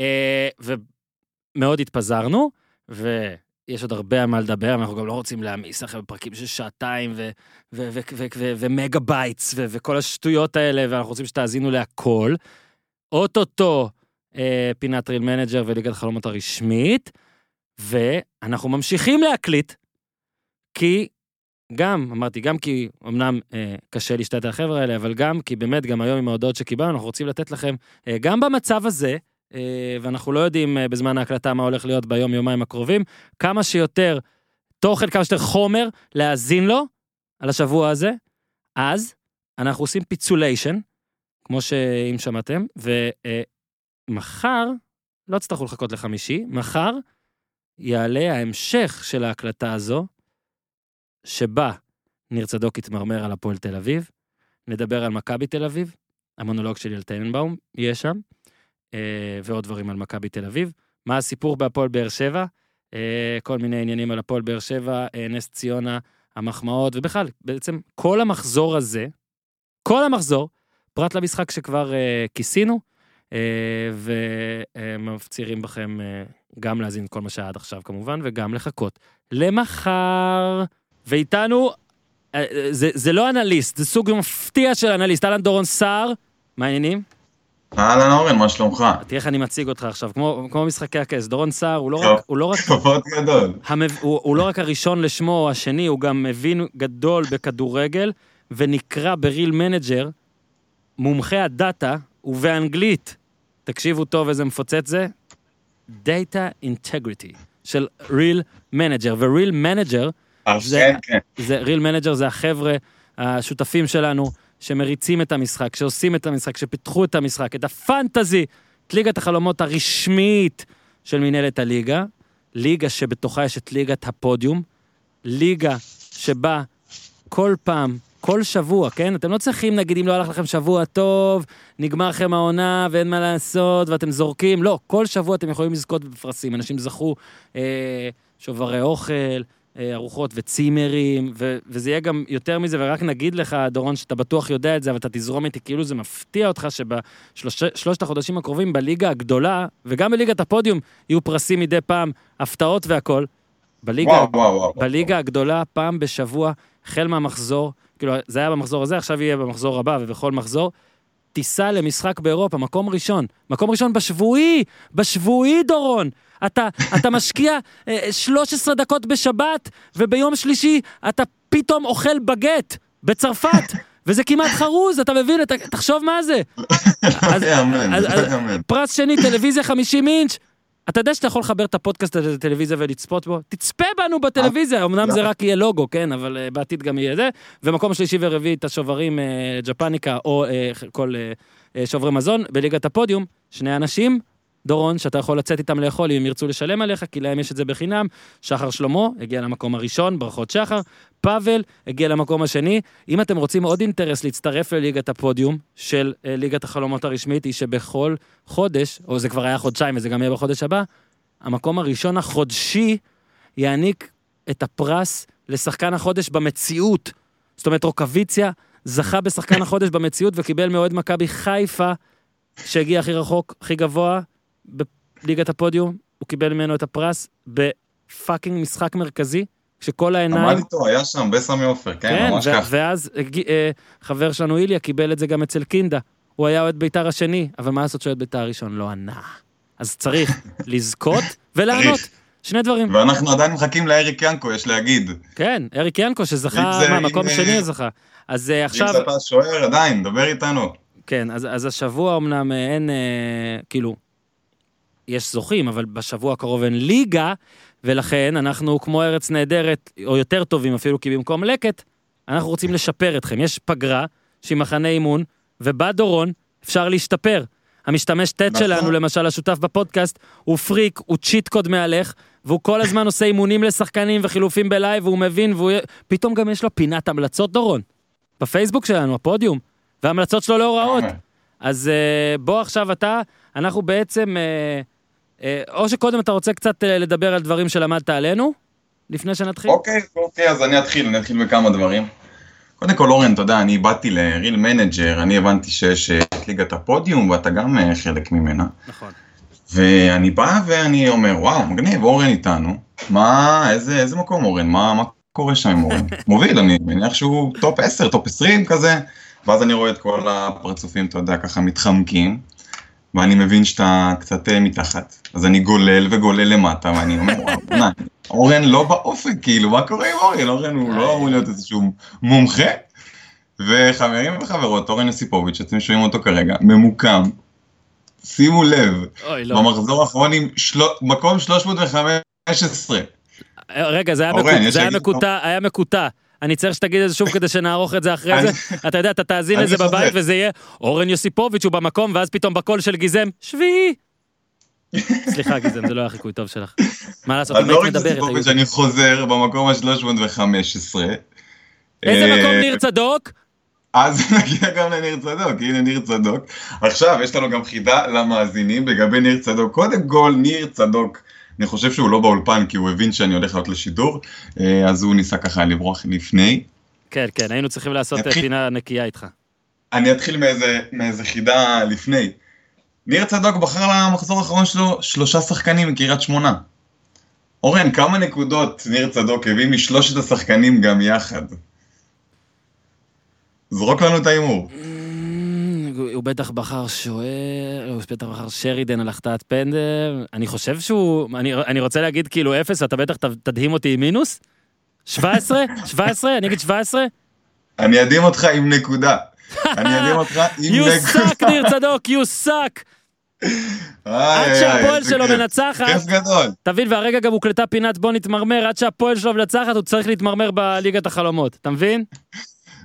S1: אה, ומאוד התפזרנו, ויש עוד הרבה מה לדבר, אבל אנחנו גם לא רוצים להעמיס לכם בפרקים של שעתיים ו- ו- ו- ו- ו- ומגה בייטס ו- וכל השטויות האלה, ואנחנו רוצים שתאזינו להכל. אוטוטו אה, פינת ריל מנג'ר וליגת החלומות הרשמית, ואנחנו ממשיכים להקליט, כי גם, אמרתי, גם כי אמנם אה, קשה להשתלט על החבר'ה האלה, אבל גם כי באמת, גם היום עם ההודעות שקיבלנו, אנחנו רוצים לתת לכם, אה, גם במצב הזה, אה, ואנחנו לא יודעים אה, בזמן ההקלטה מה הולך להיות ביום-יומיים הקרובים, כמה שיותר תוכן, כמה שיותר חומר להאזין לו על השבוע הזה, אז אנחנו עושים פיצוליישן, כמו שאם שמעתם, ומחר, לא תצטרכו לחכות לחמישי, מחר יעלה ההמשך של ההקלטה הזו, שבה ניר צדוק יתמרמר על הפועל תל אביב, נדבר על מכבי תל אביב, המונולוג שלי על טננבאום יהיה שם, אה, ועוד דברים על מכבי תל אביב. מה הסיפור בהפועל באר שבע? אה, כל מיני עניינים על הפועל באר שבע, אה, נס ציונה, המחמאות, ובכלל, בעצם כל המחזור הזה, כל המחזור, פרט למשחק שכבר אה, כיסינו, אה, ומפצירים בכם אה, גם להזין כל מה שהיה עד עכשיו כמובן, וגם לחכות למחר. ואיתנו, אה, אה, זה, זה לא אנליסט, זה סוג מפתיע של אנליסט, אהלן דורון סער, מה העניינים?
S7: אהלן אורן, מה שלומך?
S1: תראה איך אני מציג אותך עכשיו, כמו, כמו משחקי הכס, דורון סער הוא לא
S7: טוב.
S1: רק, הוא לא רק,
S7: כבוד גדול.
S1: המב... הוא, הוא לא רק הראשון לשמו או השני, הוא גם מבין גדול בכדורגל, ונקרא בריל מנג'ר, מומחה הדאטה, ובאנגלית, תקשיבו טוב איזה מפוצץ זה, Data Integrity של ריל מנג'ר, וריל מנג'ר
S7: אז
S1: זה-
S7: כן, כן.
S1: זה ריל מנג'ר זה החבר'ה, השותפים שלנו, שמריצים את המשחק, שעושים את המשחק, שפיתחו את המשחק, את הפנטזי, את ליגת החלומות הרשמית של מנהלת הליגה, ליגה שבתוכה יש את ליגת הפודיום, ליגה שבה כל פעם, כל שבוע, כן? אתם לא צריכים, נגיד, אם לא הלך לכם שבוע טוב, נגמר לכם העונה ואין מה לעשות ואתם זורקים, לא, כל שבוע אתם יכולים לזכות בפרסים. אנשים זכו אה, שוברי אוכל, אה, ארוחות וצימרים, ו- וזה יהיה גם יותר מזה, ורק נגיד לך, דורון, שאתה בטוח יודע את זה, אבל אתה תזרום איתי, כאילו זה מפתיע אותך שבשלושת החודשים הקרובים בליגה הגדולה, וגם בליגת הפודיום, יהיו פרסים מדי פעם, הפתעות והכול. בליגה,
S7: וואו, וואו, וואו.
S1: בליגה הגדולה, פעם בשבוע, החל מהמחזור, כאילו, זה היה במחזור הזה, עכשיו יהיה במחזור הבא ובכל מחזור, טיסה למשחק באירופה, מקום ראשון. מקום ראשון בשבועי, בשבועי, דורון. אתה, אתה משקיע אה, 13 דקות בשבת, וביום שלישי אתה פתאום אוכל בגט בצרפת, וזה כמעט חרוז, אתה מבין? אתה, תחשוב מה זה. אז-
S7: לא יאמן,
S1: אז- אז-
S7: לא יאמן.
S1: פרס שני, טלוויזיה 50 אינץ'. אתה יודע שאתה יכול לחבר את הפודקאסט הזה לטלוויזיה ולצפות בו? תצפה בנו בטלוויזיה, אמנם זה רק יהיה לוגו, כן, אבל אה, בעתיד גם יהיה זה. ומקום שלישי ורביעי, את השוברים אה, ג'פניקה, או אה, כל אה, אה, שוברי מזון, בליגת הפודיום, שני אנשים, דורון, שאתה יכול לצאת איתם לאכול אם הם ירצו לשלם עליך, כי להם יש את זה בחינם. שחר שלמה הגיע למקום הראשון, ברכות שחר. פאבל הגיע למקום השני. אם אתם רוצים עוד אינטרס להצטרף לליגת הפודיום של אה, ליגת החלומות הרשמית, היא שבכל חודש, או זה כבר היה חודשיים וזה גם יהיה בחודש הבא, המקום הראשון החודשי יעניק את הפרס לשחקן החודש במציאות. זאת אומרת, רוקוויציה זכה בשחקן החודש במציאות וקיבל מאוהד מכבי חיפה, שהגיע הכי רחוק, הכי גבוה, בליגת הפודיום. הוא קיבל ממנו את הפרס בפאקינג משחק מרכזי, כשכל העיניים...
S7: עמד איתו, היה שם בסמי עופר, כן,
S1: כן,
S7: ממש
S1: ו-
S7: ככה.
S1: ואז הגי- אה, חבר שלנו איליה קיבל את זה גם אצל קינדה. הוא היה אוהד בית"ר השני, אבל מה לעשות שאוהד בית"ר הראשון לא ענה. אז צריך לזכות ולענות. שני דברים.
S7: ואנחנו עדיין מחכים לאריק ינקו, יש להגיד.
S1: כן, אריק ינקו שזכה,
S7: אם זה-
S1: מה, מקום
S7: אם-
S1: שני הוא זכה. אז אה,
S7: עכשיו...
S1: עכשיו,
S7: אם זה אתה שוער, עדיין, דבר איתנו.
S1: כן, אז, אז השבוע אמנם אה, אין, אה, כאילו, יש זוכים, אבל בשבוע הקרוב אין ליגה, ולכן אנחנו כמו ארץ נהדרת, או יותר טובים אפילו, כי במקום לקט, אנחנו רוצים לשפר אתכם. יש פגרה שהיא מחנה אימון, ובא דורון, אפשר להשתפר. המשתמש טט
S7: נכון.
S1: שלנו, למשל, השותף בפודקאסט, הוא פריק, הוא צ'יט קוד מהלך, והוא כל הזמן עושה אימונים לשחקנים וחילופים בלייב, והוא מבין, והוא... פתאום גם יש לו פינת המלצות, דורון. בפייסבוק שלנו, הפודיום. וההמלצות שלו לא רעות. אז אה, בוא עכשיו אתה, אנחנו בעצם, אה, אה, או שקודם אתה רוצה קצת אה, לדבר על דברים שלמדת עלינו, לפני שנתחיל?
S7: אוקיי, אוקיי, אז אני אתחיל, אני אתחיל בכמה דברים. קודם כל, אורן, אתה יודע, אני באתי לריל מנג'ר, אני הבנתי שיש אה, את ליגת הפודיום, ואתה גם אה, חלק ממנה.
S1: נכון.
S7: ואני בא ואני אומר, וואו, מגניב, אורן איתנו. מה, איזה, איזה מקום אורן? מה, מה קורה שם עם אורן? מוביל, אני מניח שהוא טופ 10, טופ 20 כזה. ואז אני רואה את כל הפרצופים, אתה יודע, ככה מתחמקים. ואני מבין שאתה קצת אה, מתחת. אז אני גולל וגולל למטה, ואני אומר, וואו, מה, אורן לא באופק, כאילו, מה קורה עם אורן? אורן הוא
S1: אה.
S7: לא אמור להיות איזשהו מומחה. וחברים וחברות, אורן יוסיפוביץ', אתם שומעים אותו כרגע, ממוקם. שימו לב,
S1: אוי, לא.
S7: במחזור האחרון עם של... מקום 315.
S1: אה, רגע, זה היה
S7: אורן,
S1: מקוט-
S7: יש
S1: זה היה
S7: להגיד-
S1: מקוטע, היה מקוטע. אני צריך שתגיד את זה שוב כדי שנערוך את זה אחרי
S7: אני-
S1: זה. אתה יודע, אתה תאזין
S7: אני
S1: לזה
S7: חוזר.
S1: בבית וזה יהיה אורן יוסיפוביץ' הוא במקום, ואז פתאום בקול של גיזם, שביעי. סליחה, גיזם, זה לא היה חיקוי טוב שלך. מה לעשות,
S7: אז
S1: אם היית
S7: לא רק
S1: מדברת,
S7: הסיפור
S1: היו-
S7: שאני חוזר במקום ה-315.
S1: איזה
S7: אה,
S1: מקום ניר צדוק?
S7: אז נגיע גם לניר צדוק, הנה ניר צדוק. עכשיו, יש לנו גם חידה למאזינים לגבי ניר צדוק. קודם כל, ניר צדוק, אני חושב שהוא לא באולפן כי הוא הבין שאני הולך לעלות לשידור, אה, אז הוא ניסה ככה לברוח לפני.
S1: כן, כן, היינו צריכים לעשות אה,
S7: נתחיל-
S1: פינה נקייה איתך.
S7: אני אתחיל מאיזה, מאיזה חידה לפני. ניר צדוק בחר למחזור האחרון שלו שלושה שחקנים מקריית שמונה. אורן, כמה נקודות ניר צדוק הביא משלושת השחקנים גם יחד? זרוק לנו את ההימור.
S1: הוא בטח בחר שוער, הוא בטח בחר שרידן על החטאת פנדל. אני חושב שהוא, אני, אני רוצה להגיד כאילו אפס, ואתה בטח ת- תדהים אותי עם מינוס? 17? 17? אני אגיד 17?
S7: אני אדהים אותך עם נקודה. אני אדהים אותך עם
S1: You
S7: נקודה.
S1: suck, ניר צדוק, you suck!
S7: איי,
S1: עד
S7: איי,
S1: שהפועל
S7: איזה
S1: שלו
S7: כיף.
S1: מנצחת,
S7: כיף גדול.
S1: תבין, והרגע גם הוקלטה פינת בוא נתמרמר, עד שהפועל שלו מנצחת, הוא צריך להתמרמר בליגת החלומות, אתה מבין?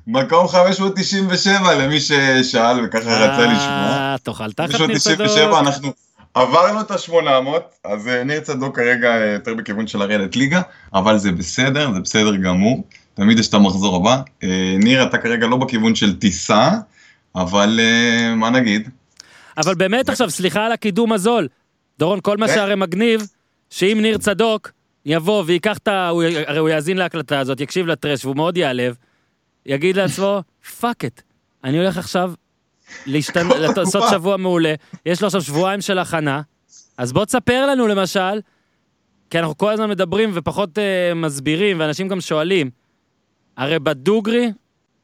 S7: מקום 597 למי ששאל וככה רצה לשמוע.
S1: אה, תאכל תחת
S7: פשוט
S1: ניר צדוק.
S7: 97, אנחנו עברנו את ה-800, אז אה, ניר צדוק כרגע אה, יותר בכיוון של לרדת ליגה, אבל זה בסדר, זה בסדר גמור. תמיד יש את המחזור הבא. אה, ניר, אתה כרגע לא בכיוון של טיסה, אבל אה, מה נגיד?
S1: אבל באמת עכשיו, סליחה על הקידום הזול. דורון, כל מה
S7: כן.
S1: שהרי מגניב, שאם ניר צדוק יבוא ויקח את ה... הוא י- הרי הוא יאזין להקלטה הזאת, יקשיב לטרש, והוא מאוד ייעלב, יגיד לעצמו, פאק את, אני הולך עכשיו להשתנ...
S7: כל
S1: לת- לעשות
S7: הקופה."
S1: שבוע מעולה, יש לו עכשיו שבועיים של הכנה, אז בוא תספר לנו למשל, כי אנחנו כל הזמן מדברים ופחות אה, מסבירים, ואנשים גם שואלים, הרי בדוגרי,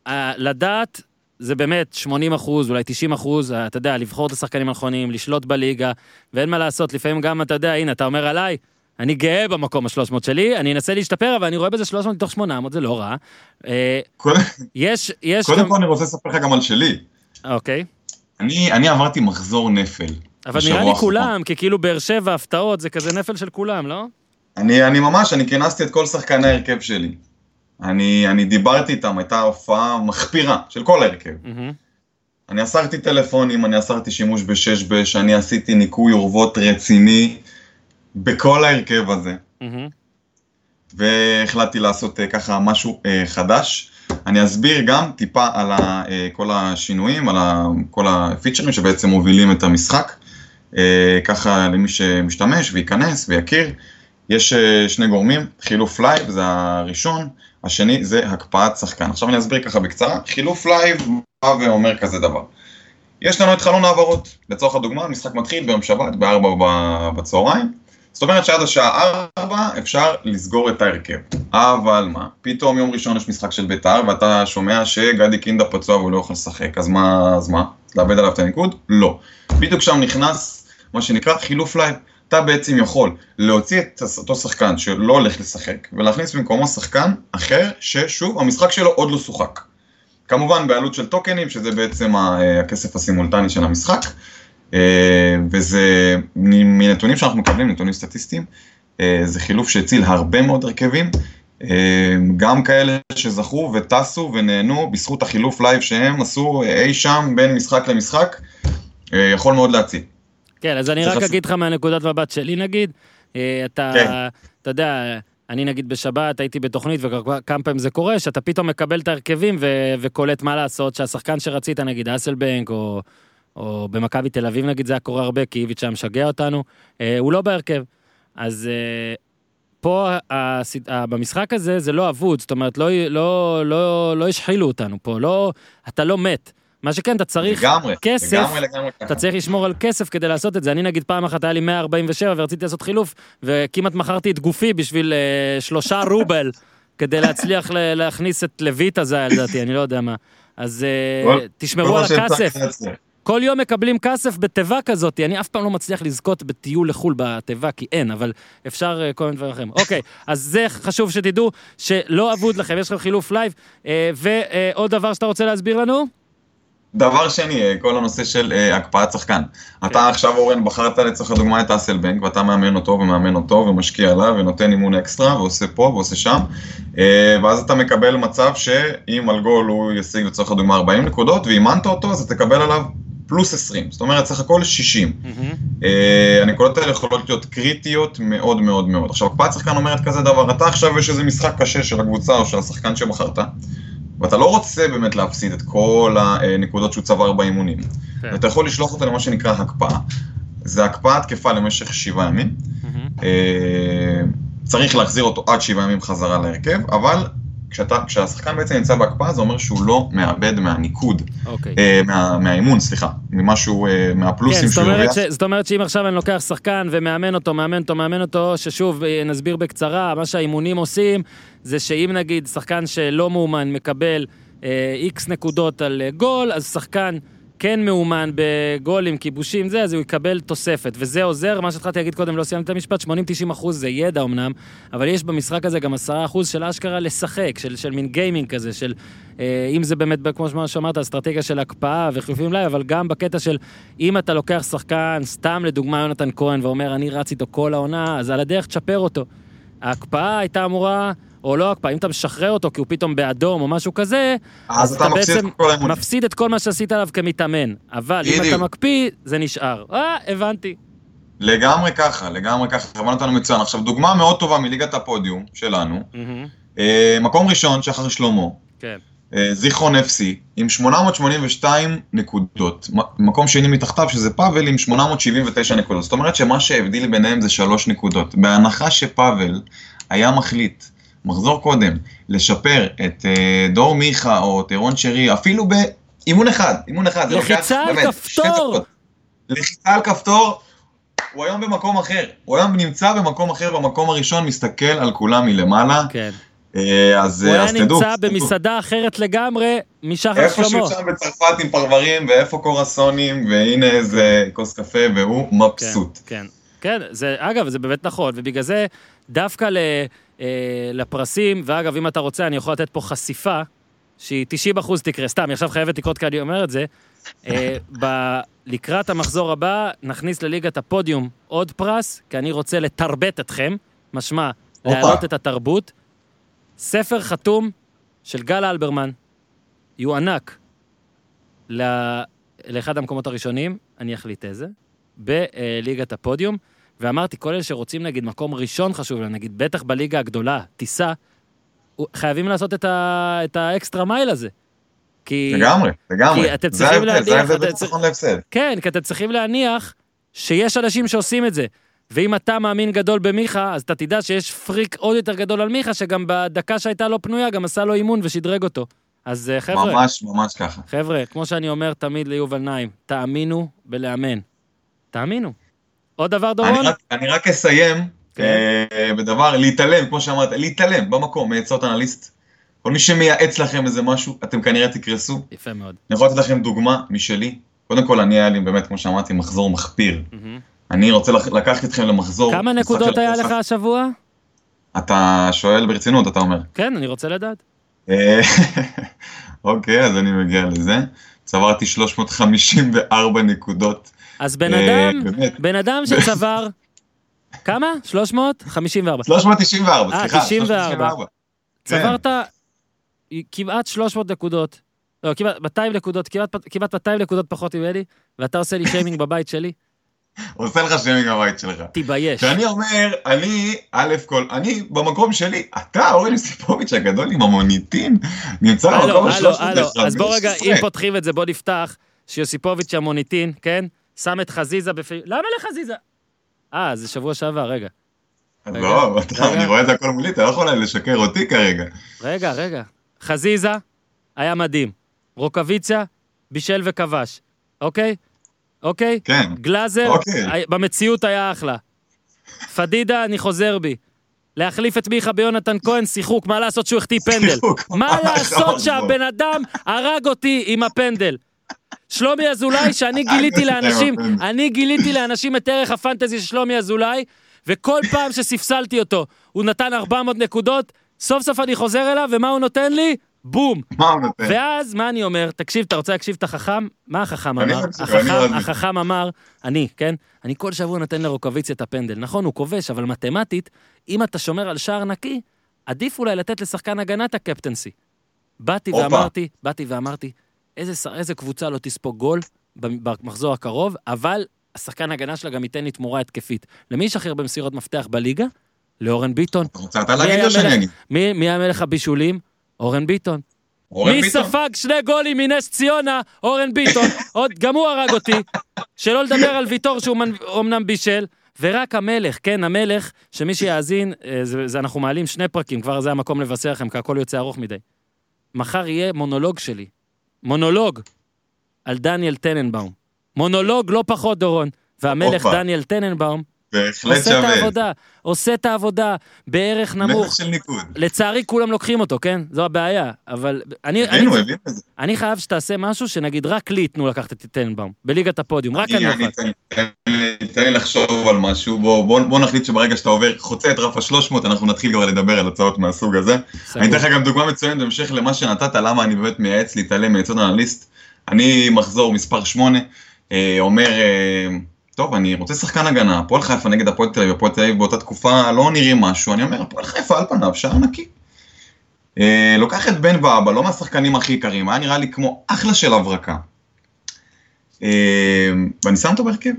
S1: אה, לדעת זה באמת 80 אחוז, אולי 90 אחוז, אה, אתה יודע, לבחור את השחקנים הנכונים, לשלוט בליגה, ואין מה לעשות, לפעמים גם, אתה יודע, הנה, אתה אומר עליי, אני גאה במקום ה-300 שלי, אני אנסה להשתפר, אבל אני רואה בזה 300 מתוך 800, זה לא רע. אה,
S7: קודם
S1: יש, יש
S7: קודם
S1: גם...
S7: כל אני רוצה לספר לך גם על שלי.
S1: אוקיי.
S7: אני אני עברתי מחזור נפל.
S1: אבל
S7: בשבוע
S1: נראה לי
S7: האחרון.
S1: כולם, כי כאילו באר שבע, הפתעות, זה כזה נפל של כולם, לא?
S7: אני, אני ממש, אני כינסתי את כל שחקני ההרכב שלי. אני, אני דיברתי איתם, הייתה הופעה מחפירה של כל ההרכב.
S1: מהמם.
S7: אני אסרתי טלפונים, אני אסרתי שימוש בשש בש, אני עשיתי ניקוי אורוות רציני בכל ההרכב הזה,
S1: מהמם.
S7: והחלטתי לעשות אה, ככה משהו אה, חדש. אני אסביר גם טיפה על ה, אה, כל השינויים, על ה, כל הפיצ'רים שבעצם מובילים את המשחק. אה, ככה למי שמשתמש וייכנס ויכיר. יש אה, שני גורמים, חילוף לייב זה הראשון, השני זה הקפאת שחקן. עכשיו אני אסביר ככה בקצרה, חילוף לייב בא ואומר כזה דבר. יש לנו את חלון ההעברות, לצורך הדוגמה המשחק מתחיל ביום שבת ב-4 בצהריים, זאת אומרת שעד השעה 4 אפשר לסגור את ההרכב. אבל מה, פתאום יום ראשון יש משחק של בית"ר ואתה שומע שגדי קינדה פצוע והוא לא יכול לשחק, אז מה, אז מה, לאבד עליו את הניקוד? לא. בדיוק שם נכנס מה שנקרא חילוף לייב. אתה בעצם יכול להוציא את אותו שחקן שלא הולך לשחק ולהכניס במקומו שחקן אחר ששוב המשחק שלו עוד לא שוחק. כמובן בעלות של טוקנים שזה בעצם ה- אה, הכסף הסימולטני של המשחק אה, וזה מ- מנתונים שאנחנו מקבלים, נתונים סטטיסטיים, אה, זה חילוף שהציל הרבה מאוד הרכבים, אה, גם כאלה שזכו וטסו ונהנו בזכות החילוף לייב שהם עשו אי שם בין משחק למשחק, אה, יכול מאוד להציל.
S1: כן, אז אני
S7: זה
S1: רק
S7: חשוב.
S1: אגיד לך מהנקודת מבט שלי נגיד, אה, אתה,
S7: כן.
S1: אתה יודע, אני נגיד בשבת הייתי בתוכנית וכמה פעמים זה קורה, שאתה פתאום מקבל את ההרכבים ו- וקולט מה לעשות, שהשחקן שרצית נגיד אסלבנק או, או במכבי תל אביב נגיד, זה היה קורה הרבה, כי איביץ' היה משגע אותנו, אה, הוא לא בהרכב. אז אה, פה, הסד- ה- במשחק הזה, זה לא אבוד, זאת אומרת, לא, י- לא, לא, לא השחילו אותנו פה, לא, אתה לא מת. מה שכן, אתה צריך,
S7: לגמרי,
S1: כסף,
S7: לגמרי, לגמרי ככה.
S1: אתה צריך לשמור על כסף כדי לעשות את זה. אני נגיד פעם אחת היה לי 147 ורציתי לעשות חילוף, וכמעט מכרתי את גופי בשביל אה, שלושה רובל, כדי להצליח ל- להכניס את לויטה זה היה לדעתי, אני לא יודע מה. אז אה,
S7: כל- כל
S1: תשמרו על
S7: מה שהצלחת
S1: הכסף.
S7: להצליח.
S1: כל יום מקבלים כסף בתיבה כזאת, אני אף פעם לא מצליח לזכות בטיול לחו"ל בתיבה, כי אין, אבל אפשר אה, כל מיני דברים אחרים. אוקיי, אז זה חשוב שתדעו שלא אבוד לכם, יש לכם חילוף לייב. אה, ועוד דבר שאתה רוצה להסביר לנו?
S7: דבר שני, אה, כל הנושא של אה, הקפאת שחקן.
S1: כן.
S7: אתה עכשיו, אורן, בחרת לצורך הדוגמה את אסלבנק, ואתה מאמן אותו ומאמן אותו ומשקיע עליו ונותן אימון אקסטרה ועושה פה ועושה שם, אה, ואז אתה מקבל מצב שאם על גול הוא ישיג לצורך הדוגמה 40 נקודות, ואימנת אותו אז אתה תקבל עליו פלוס 20, זאת אומרת סך הכל 60. אה, הנקודות האלה יכולות להיות קריטיות מאוד מאוד מאוד. עכשיו, הקפאת שחקן אומרת כזה דבר, אתה עכשיו יש איזה משחק קשה של הקבוצה או של השחקן שבחרת, ואתה לא רוצה באמת להפסיד את כל הנקודות שהוא צבר באימונים.
S1: כן.
S7: ואתה יכול לשלוח אותו למה שנקרא הקפאה. זה הקפאה תקפה למשך שבעה ימים. אה, צריך להחזיר אותו עד שבעה ימים חזרה להרכב, אבל כשאתה, כשהשחקן בעצם נמצא בהקפאה זה אומר שהוא לא מאבד מהניקוד,
S1: אוקיי.
S7: אה, מה, מהאימון, סליחה, ממשהו, אה,
S1: כן,
S7: מהפלוסים
S1: זאת
S7: שהוא
S1: אומרת,
S7: יורח.
S1: ש... זאת אומרת שאם עכשיו אני לוקח שחקן ומאמן אותו, מאמן אותו, מאמן אותו, ששוב, אה, נסביר בקצרה, מה שהאימונים עושים, זה שאם נגיד שחקן שלא מאומן מקבל אה, איקס נקודות על אה, גול, אז שחקן כן מאומן בגולים, כיבושים, זה, אז הוא יקבל תוספת. וזה עוזר, מה שהתחלתי להגיד קודם, לא סיימתי את המשפט, 80-90 אחוז זה ידע אמנם, אבל יש במשחק הזה גם 10 אחוז של אשכרה לשחק, של, של מין גיימינג כזה, של אה, אם זה באמת, כמו שמה שאמרת, אסטרטגיה של הקפאה וחילופים לייב, אבל גם בקטע של אם אתה לוקח שחקן, סתם לדוגמה יונתן כהן, ואומר, אני רץ איתו כל העונה, אז על הדרך תשפר אותו. ההקפאה הייתה אמורה, או לא הקפאה, אם אתה משחרר אותו כי הוא פתאום באדום או משהו כזה,
S7: אז אתה מפסיד את
S1: בעצם
S7: כל האימונים.
S1: מפסיד את כל מה שעשית עליו כמתאמן. אבל אם אתה
S7: בדיוק.
S1: מקפיא, זה נשאר. אה, הבנתי.
S7: לגמרי ככה, לגמרי ככה, כמובן אותנו מצוין. עכשיו, דוגמה מאוד טובה מליגת הפודיום שלנו, אה, מקום ראשון, שחר שלמה,
S1: כן.
S7: אה, זיכרון FC, עם 882 נקודות, מ- מקום שני מתחתיו, שזה פאבל, עם 879 נקודות. זאת אומרת שמה שהבדיל ביניהם זה 3 נקודות. בהנחה שפאבל היה מחליט, מחזור קודם, לשפר את אה, דור מיכה או את אירון שרי, אפילו באימון אחד, אימון אחד. זה לוקח,
S1: לחיצה על
S7: באמת, שתי
S1: כפתור.
S7: דקות. לחיצה על כפתור, הוא היום במקום אחר. הוא היום נמצא במקום אחר, במקום הראשון, מסתכל על כולם מלמעלה.
S1: כן.
S7: אה, אז
S1: הוא
S7: אה,
S1: היה
S7: אז תדעו.
S1: נמצא
S7: תדעו.
S1: במסעדה אחרת לגמרי משחר שלמה.
S7: איפשהו שם בצרפת עם פרברים, ואיפה קורסונים, והנה איזה כוס קפה, והוא מבסוט.
S1: כן, כן, כן, זה, אגב, זה באמת נכון, ובגלל זה דווקא ל, אה, לפרסים, ואגב, אם אתה רוצה, אני יכול לתת פה חשיפה, שהיא 90 אחוז תקרה, סתם, היא עכשיו חייבת לקרות כי אני אומר את זה. אה, ב, לקראת המחזור הבא, נכניס לליגת הפודיום עוד פרס, כי אני רוצה לתרבט אתכם, משמע,
S7: הופה.
S1: להעלות את התרבות. ספר חתום של גל אלברמן, יוענק ל... לאחד המקומות הראשונים, אני אחליט איזה, בליגת הפודיום, ואמרתי, כל אלה שרוצים, נגיד, מקום ראשון חשוב להם, נגיד, בטח בליגה הגדולה, טיסה, הוא- חייבים לעשות את, ה... את האקסטרה מייל הזה. כי...
S7: לגמרי, לגמרי.
S1: כי אתם
S7: זה
S1: צריכים
S7: ההבדל,
S1: להניח,
S7: זה ההבדל
S1: אתם
S7: בין
S1: צריכים-
S7: ניצחון להפסד.
S1: כן, כי אתם צריכים להניח שיש אנשים שעושים את זה. ואם אתה מאמין גדול במיכה, אז אתה תדע שיש פריק עוד יותר גדול על מיכה, שגם בדקה שהייתה לא פנויה, גם עשה לו אימון ושדרג אותו. אז אה, חבר'ה,
S7: ממש ממש ככה.
S1: חבר'ה, כמו שאני אומר תמיד ליובל נעים, תאמינו בלאמן. תאמינו. עוד דבר,
S7: אני
S1: דורון?
S7: רק- אני רק אסיים
S1: כן.
S7: אה, בדבר, להתעלם, כמו שאמרת, להתעלם במקום מעצות אנליסט. כל מי שמייעץ לכם איזה משהו, אתם כנראה תקרסו.
S1: יפה מאוד.
S7: אני יכול לתת לכם דוגמה משלי. קודם כל, אני היה לי באמת, כמו שאמרתי, מחזור מחפיר.
S1: מהמם.
S7: אני רוצה לק- לקחת אתכם למחזור.
S1: כמה
S7: משחק
S1: נקודות
S7: של
S1: היה
S7: הפועל
S1: לך השבוע?
S7: אתה שואל ברצינות, אתה אומר.
S1: כן, אני רוצה לדעת.
S7: אה, אוקיי, אז אני מגיע לזה. צברתי 354 נקודות.
S1: אז בן
S7: אה,
S1: אדם,
S7: באמת.
S1: בן אדם שצבר, כמה? 354.
S7: 394,
S1: אה, 94.
S7: סליחה. 394. לא, כן.
S1: צברת כמעט 300 נקודות, לא, כמעט 200 נקודות, כמעט, כמעט 200 נקודות פחות ממני, ואתה עושה לי שיימינג בבית שלי?
S7: עושה לך שיימינג הבית שלך.
S1: תתבייש.
S7: כשאני אומר, אני, א' כל, אני במקום שלי, אתה, אורן יוסיפוביץ' הגדול עם המוניטין, נמצא במקום
S1: הלו, הלו, הלו,
S7: ה-315.
S1: אז בוא רגע,
S7: לא,
S1: אם פותחים את זה, בוא נפתח, שיוסיפוביץ' המוניטין, כן? שם את חזיזה בפי... למה לחזיזה? אה, זה שבוע שעבר, רגע. רגע,
S7: לא, אתה-
S1: רגע.
S7: אני רואה את זה הכל מולי, אתה לא יכול לשקר אותי כרגע.
S1: רגע, רגע. חזיזה, היה מדהים. רוקוויציה, בישל וכבש. אוקיי? אוקיי?
S7: כן,
S1: גלאזר,
S7: אוקיי.
S1: היה- במציאות היה אחלה. פדידה, אני חוזר בי. להחליף את מיכה ביונתן כהן, שיחוק, מה לעשות שהוא החטיא פנדל?
S7: שיחוק, נכון,
S1: מה
S7: ממש,
S1: לעשות
S7: ממש
S1: שהבן אדם הרג אותי עם הפנדל? שלומי אזולאי, שאני
S7: הרג
S1: גיליתי
S7: אותי עם
S1: לאנשים,
S7: הפנדל.
S1: אני גיליתי לאנשים את ערך הפנטזי של שלומי אזולאי, וכל פעם שספסלתי אותו, הוא נתן 400 נקודות, סוף סוף אני חוזר אליו, ומה הוא נותן לי? בום.
S7: מה הוא נותן?
S1: ואז, מה אני אומר? תקשיב, אתה רוצה להקשיב את החכם? מה החכם
S7: אני
S1: אמר?
S7: מקשיב, אני
S1: החכם,
S7: רז.
S1: החכם אמר, אני, כן? אני כל שבוע נותן לרוקוויציה את הפנדל. נכון, הוא כובש, אבל מתמטית, אם אתה שומר על שער נקי, עדיף אולי לתת לשחקן הגנה את הקפטנסי. באתי
S7: הופה.
S1: ואמרתי, באתי ואמרתי, איזה, ש- איזה קבוצה לא תספוג גול במ- במחזור הקרוב, אבל השחקן הגנה שלה גם ייתן לי תמורה התקפית. למי יש הכי הרבה מסירות מפתח בליגה? לאורן ביטון.
S7: אתה רוצה אתה
S1: מי
S7: להגיד
S1: היה
S7: או שאני
S1: מלך-
S7: אגיד?
S1: מי, מי היה מלך הבישולים? אורן ביטון.
S7: אורן
S1: מי
S7: ביטון.
S1: ספג שני גולים מנס ציונה? אורן ביטון. עוד, גם הוא הרג אותי. שלא לדבר על ויטור שהוא מנ- אומנם בישל. ורק המלך, כן, המלך, שמי שיאזין, אה, זה, זה אנחנו מעלים שני פרקים, כבר זה המקום לבשר לכם, כי הכל יוצא ארוך מדי. מחר יהיה מונולוג שלי. מונולוג על דניאל טננבאום. מונולוג לא פחות, דורון. והמלך
S7: הופה.
S1: דניאל טננבאום
S7: בהחלט
S1: עושה את
S7: שווה.
S1: העבודה, עושה את העבודה בערך נמוך.
S7: מלך של ניקוד.
S1: לצערי כולם לוקחים אותו, כן? זו הבעיה, אבל אני, אני,
S7: הבינו, הבינו את זה.
S1: אני חייב שתעשה משהו שנגיד רק לי ייתנו לקחת את טננבאום, בליגת הפודיום, רק אני
S7: אני-
S1: אוכל.
S7: אני- תן לי- תן לי לחשוב על משהו, בוא- בוא בוא נחליט שברגע שאתה עובר, חוצה את רף ה-300, אנחנו נתחיל כבר לדבר על הצעות מהסוג הזה.
S1: סגור.
S7: אני אתן לך גם דוגמה מצוינת בהמשך למה שנתת, למה אני באמת מייעץ להתעלם מעצות אנליסט. אני מחזור מספר 8, אומר, אה, טוב, אני רוצה שחקן הגנה, הפועל חיפה נגד הפועל תל אביב, הפועל תל אביב באותה תקופה לא נראים משהו, אני אומר, הפועל חיפה על פניו, שער נקי. אה, לוקח את בן ואבא, לא מהשחקנים הכי יקרים, היה נראה לי כמו אחלה של הברקה. אה, ואני שם אותו בהרכב.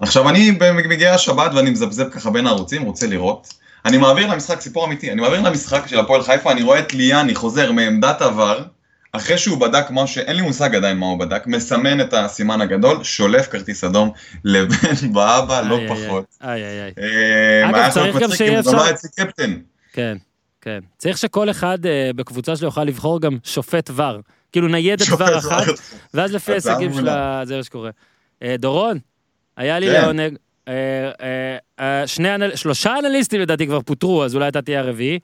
S7: עכשיו אני מגיע השבת ואני מזפזפ ככה בין הערוצים, רוצה לראות. אני מעביר למשחק, סיפור אמיתי, אני מעביר למשחק של הפועל חיפה, אני רואה את ליאני חוזר מעמדת עבר, אחרי שהוא בדק מה שאין לי מושג עדיין מה הוא בדק, מסמן את הסימן הגדול, שולף כרטיס אדום לבן באבא, לא
S1: איי, איי,
S7: פחות.
S1: איי, איי, איי.
S7: אה,
S1: אגב,
S7: היה יכול
S1: צריך גם
S7: להיות מצחיק
S1: שיהיה
S7: אם זה לא
S1: אפשר-
S7: היה אצלי קפטן.
S1: כן, כן. צריך שכל אחד אה, בקבוצה שלו יוכל לבחור גם שופט ור. כאילו ניידת
S7: שופט
S1: ור אחת,
S7: ור.
S1: ואז לפי
S7: הצעה
S1: ההישגים של
S7: מעולה.
S1: ה... זה מה שקורה. אה, דורון, היה לי
S7: כן.
S1: לעונג. אה, אה, אה, שני אנל... שלושה אנליסטים לדעתי כבר פוטרו, אז אולי אתה תהיה הרביעי.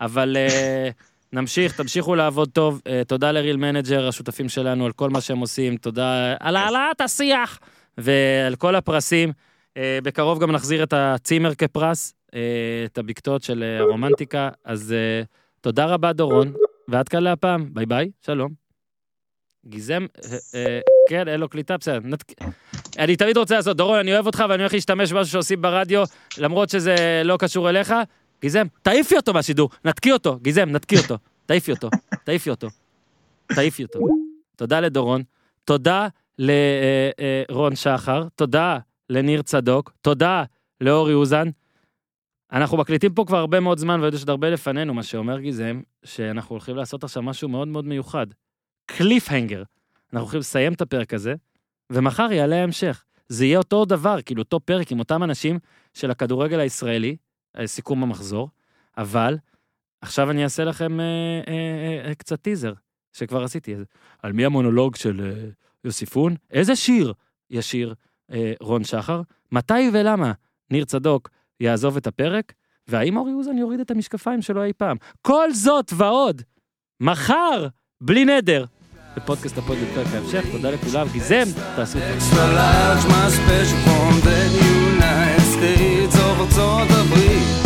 S1: אבל אה, נמשיך, תמשיכו לעבוד טוב. אה, תודה לריל מנג'ר, השותפים שלנו, על כל מה שהם עושים. תודה על העלאת השיח ועל כל הפרסים. אה, בקרוב גם נחזיר את הצימר כפרס, אה, את הבקתות של אה, הרומנטיקה. אז אה, תודה רבה, דורון, ועד כאן להפעם. ביי ביי, שלום. גיזם, אה, אה, כן, אין לו קליטה, בסדר. נת- אני תמיד רוצה לעשות, דורון, אני אוהב אותך ואני הולך להשתמש במשהו שעושים ברדיו, למרות שזה לא קשור אליך. גיזם, תעיפי אותו מהשידור, נתקי אותו, גיזם, נתקי אותו, תעיפי אותו, תעיפי אותו, תעיפי אותו. תודה לדורון, תודה לרון שחר, תודה לניר צדוק, תודה לאורי אוזן. אנחנו מקליטים פה כבר הרבה מאוד זמן, ויודע שעוד הרבה לפנינו, מה שאומר גיזם, שאנחנו הולכים לעשות עכשיו משהו מאוד מאוד מיוחד. קליפהנגר. אנחנו הולכים לסיים את הפרק הזה, ומחר יעלה ההמשך. זה יהיה אותו דבר, כאילו אותו פרק עם אותם אנשים של הכדורגל הישראלי, אה, סיכום המחזור, אבל עכשיו אני אעשה לכם אה, אה, אה, קצת טיזר, שכבר עשיתי. אז על מי המונולוג של אה, יוסיפון? איזה שיר ישיר אה, רון שחר? מתי ולמה ניר צדוק יעזוב את הפרק? והאם אורי אוזן יוריד את המשקפיים שלו אי פעם? כל זאת ועוד, מחר, בלי נדר, בפודקאסט הפודיום פרק ההמשך, תודה לכולם, גיזם, תעשו טוב.
S2: extra large, my special form, then United States of Old Republic.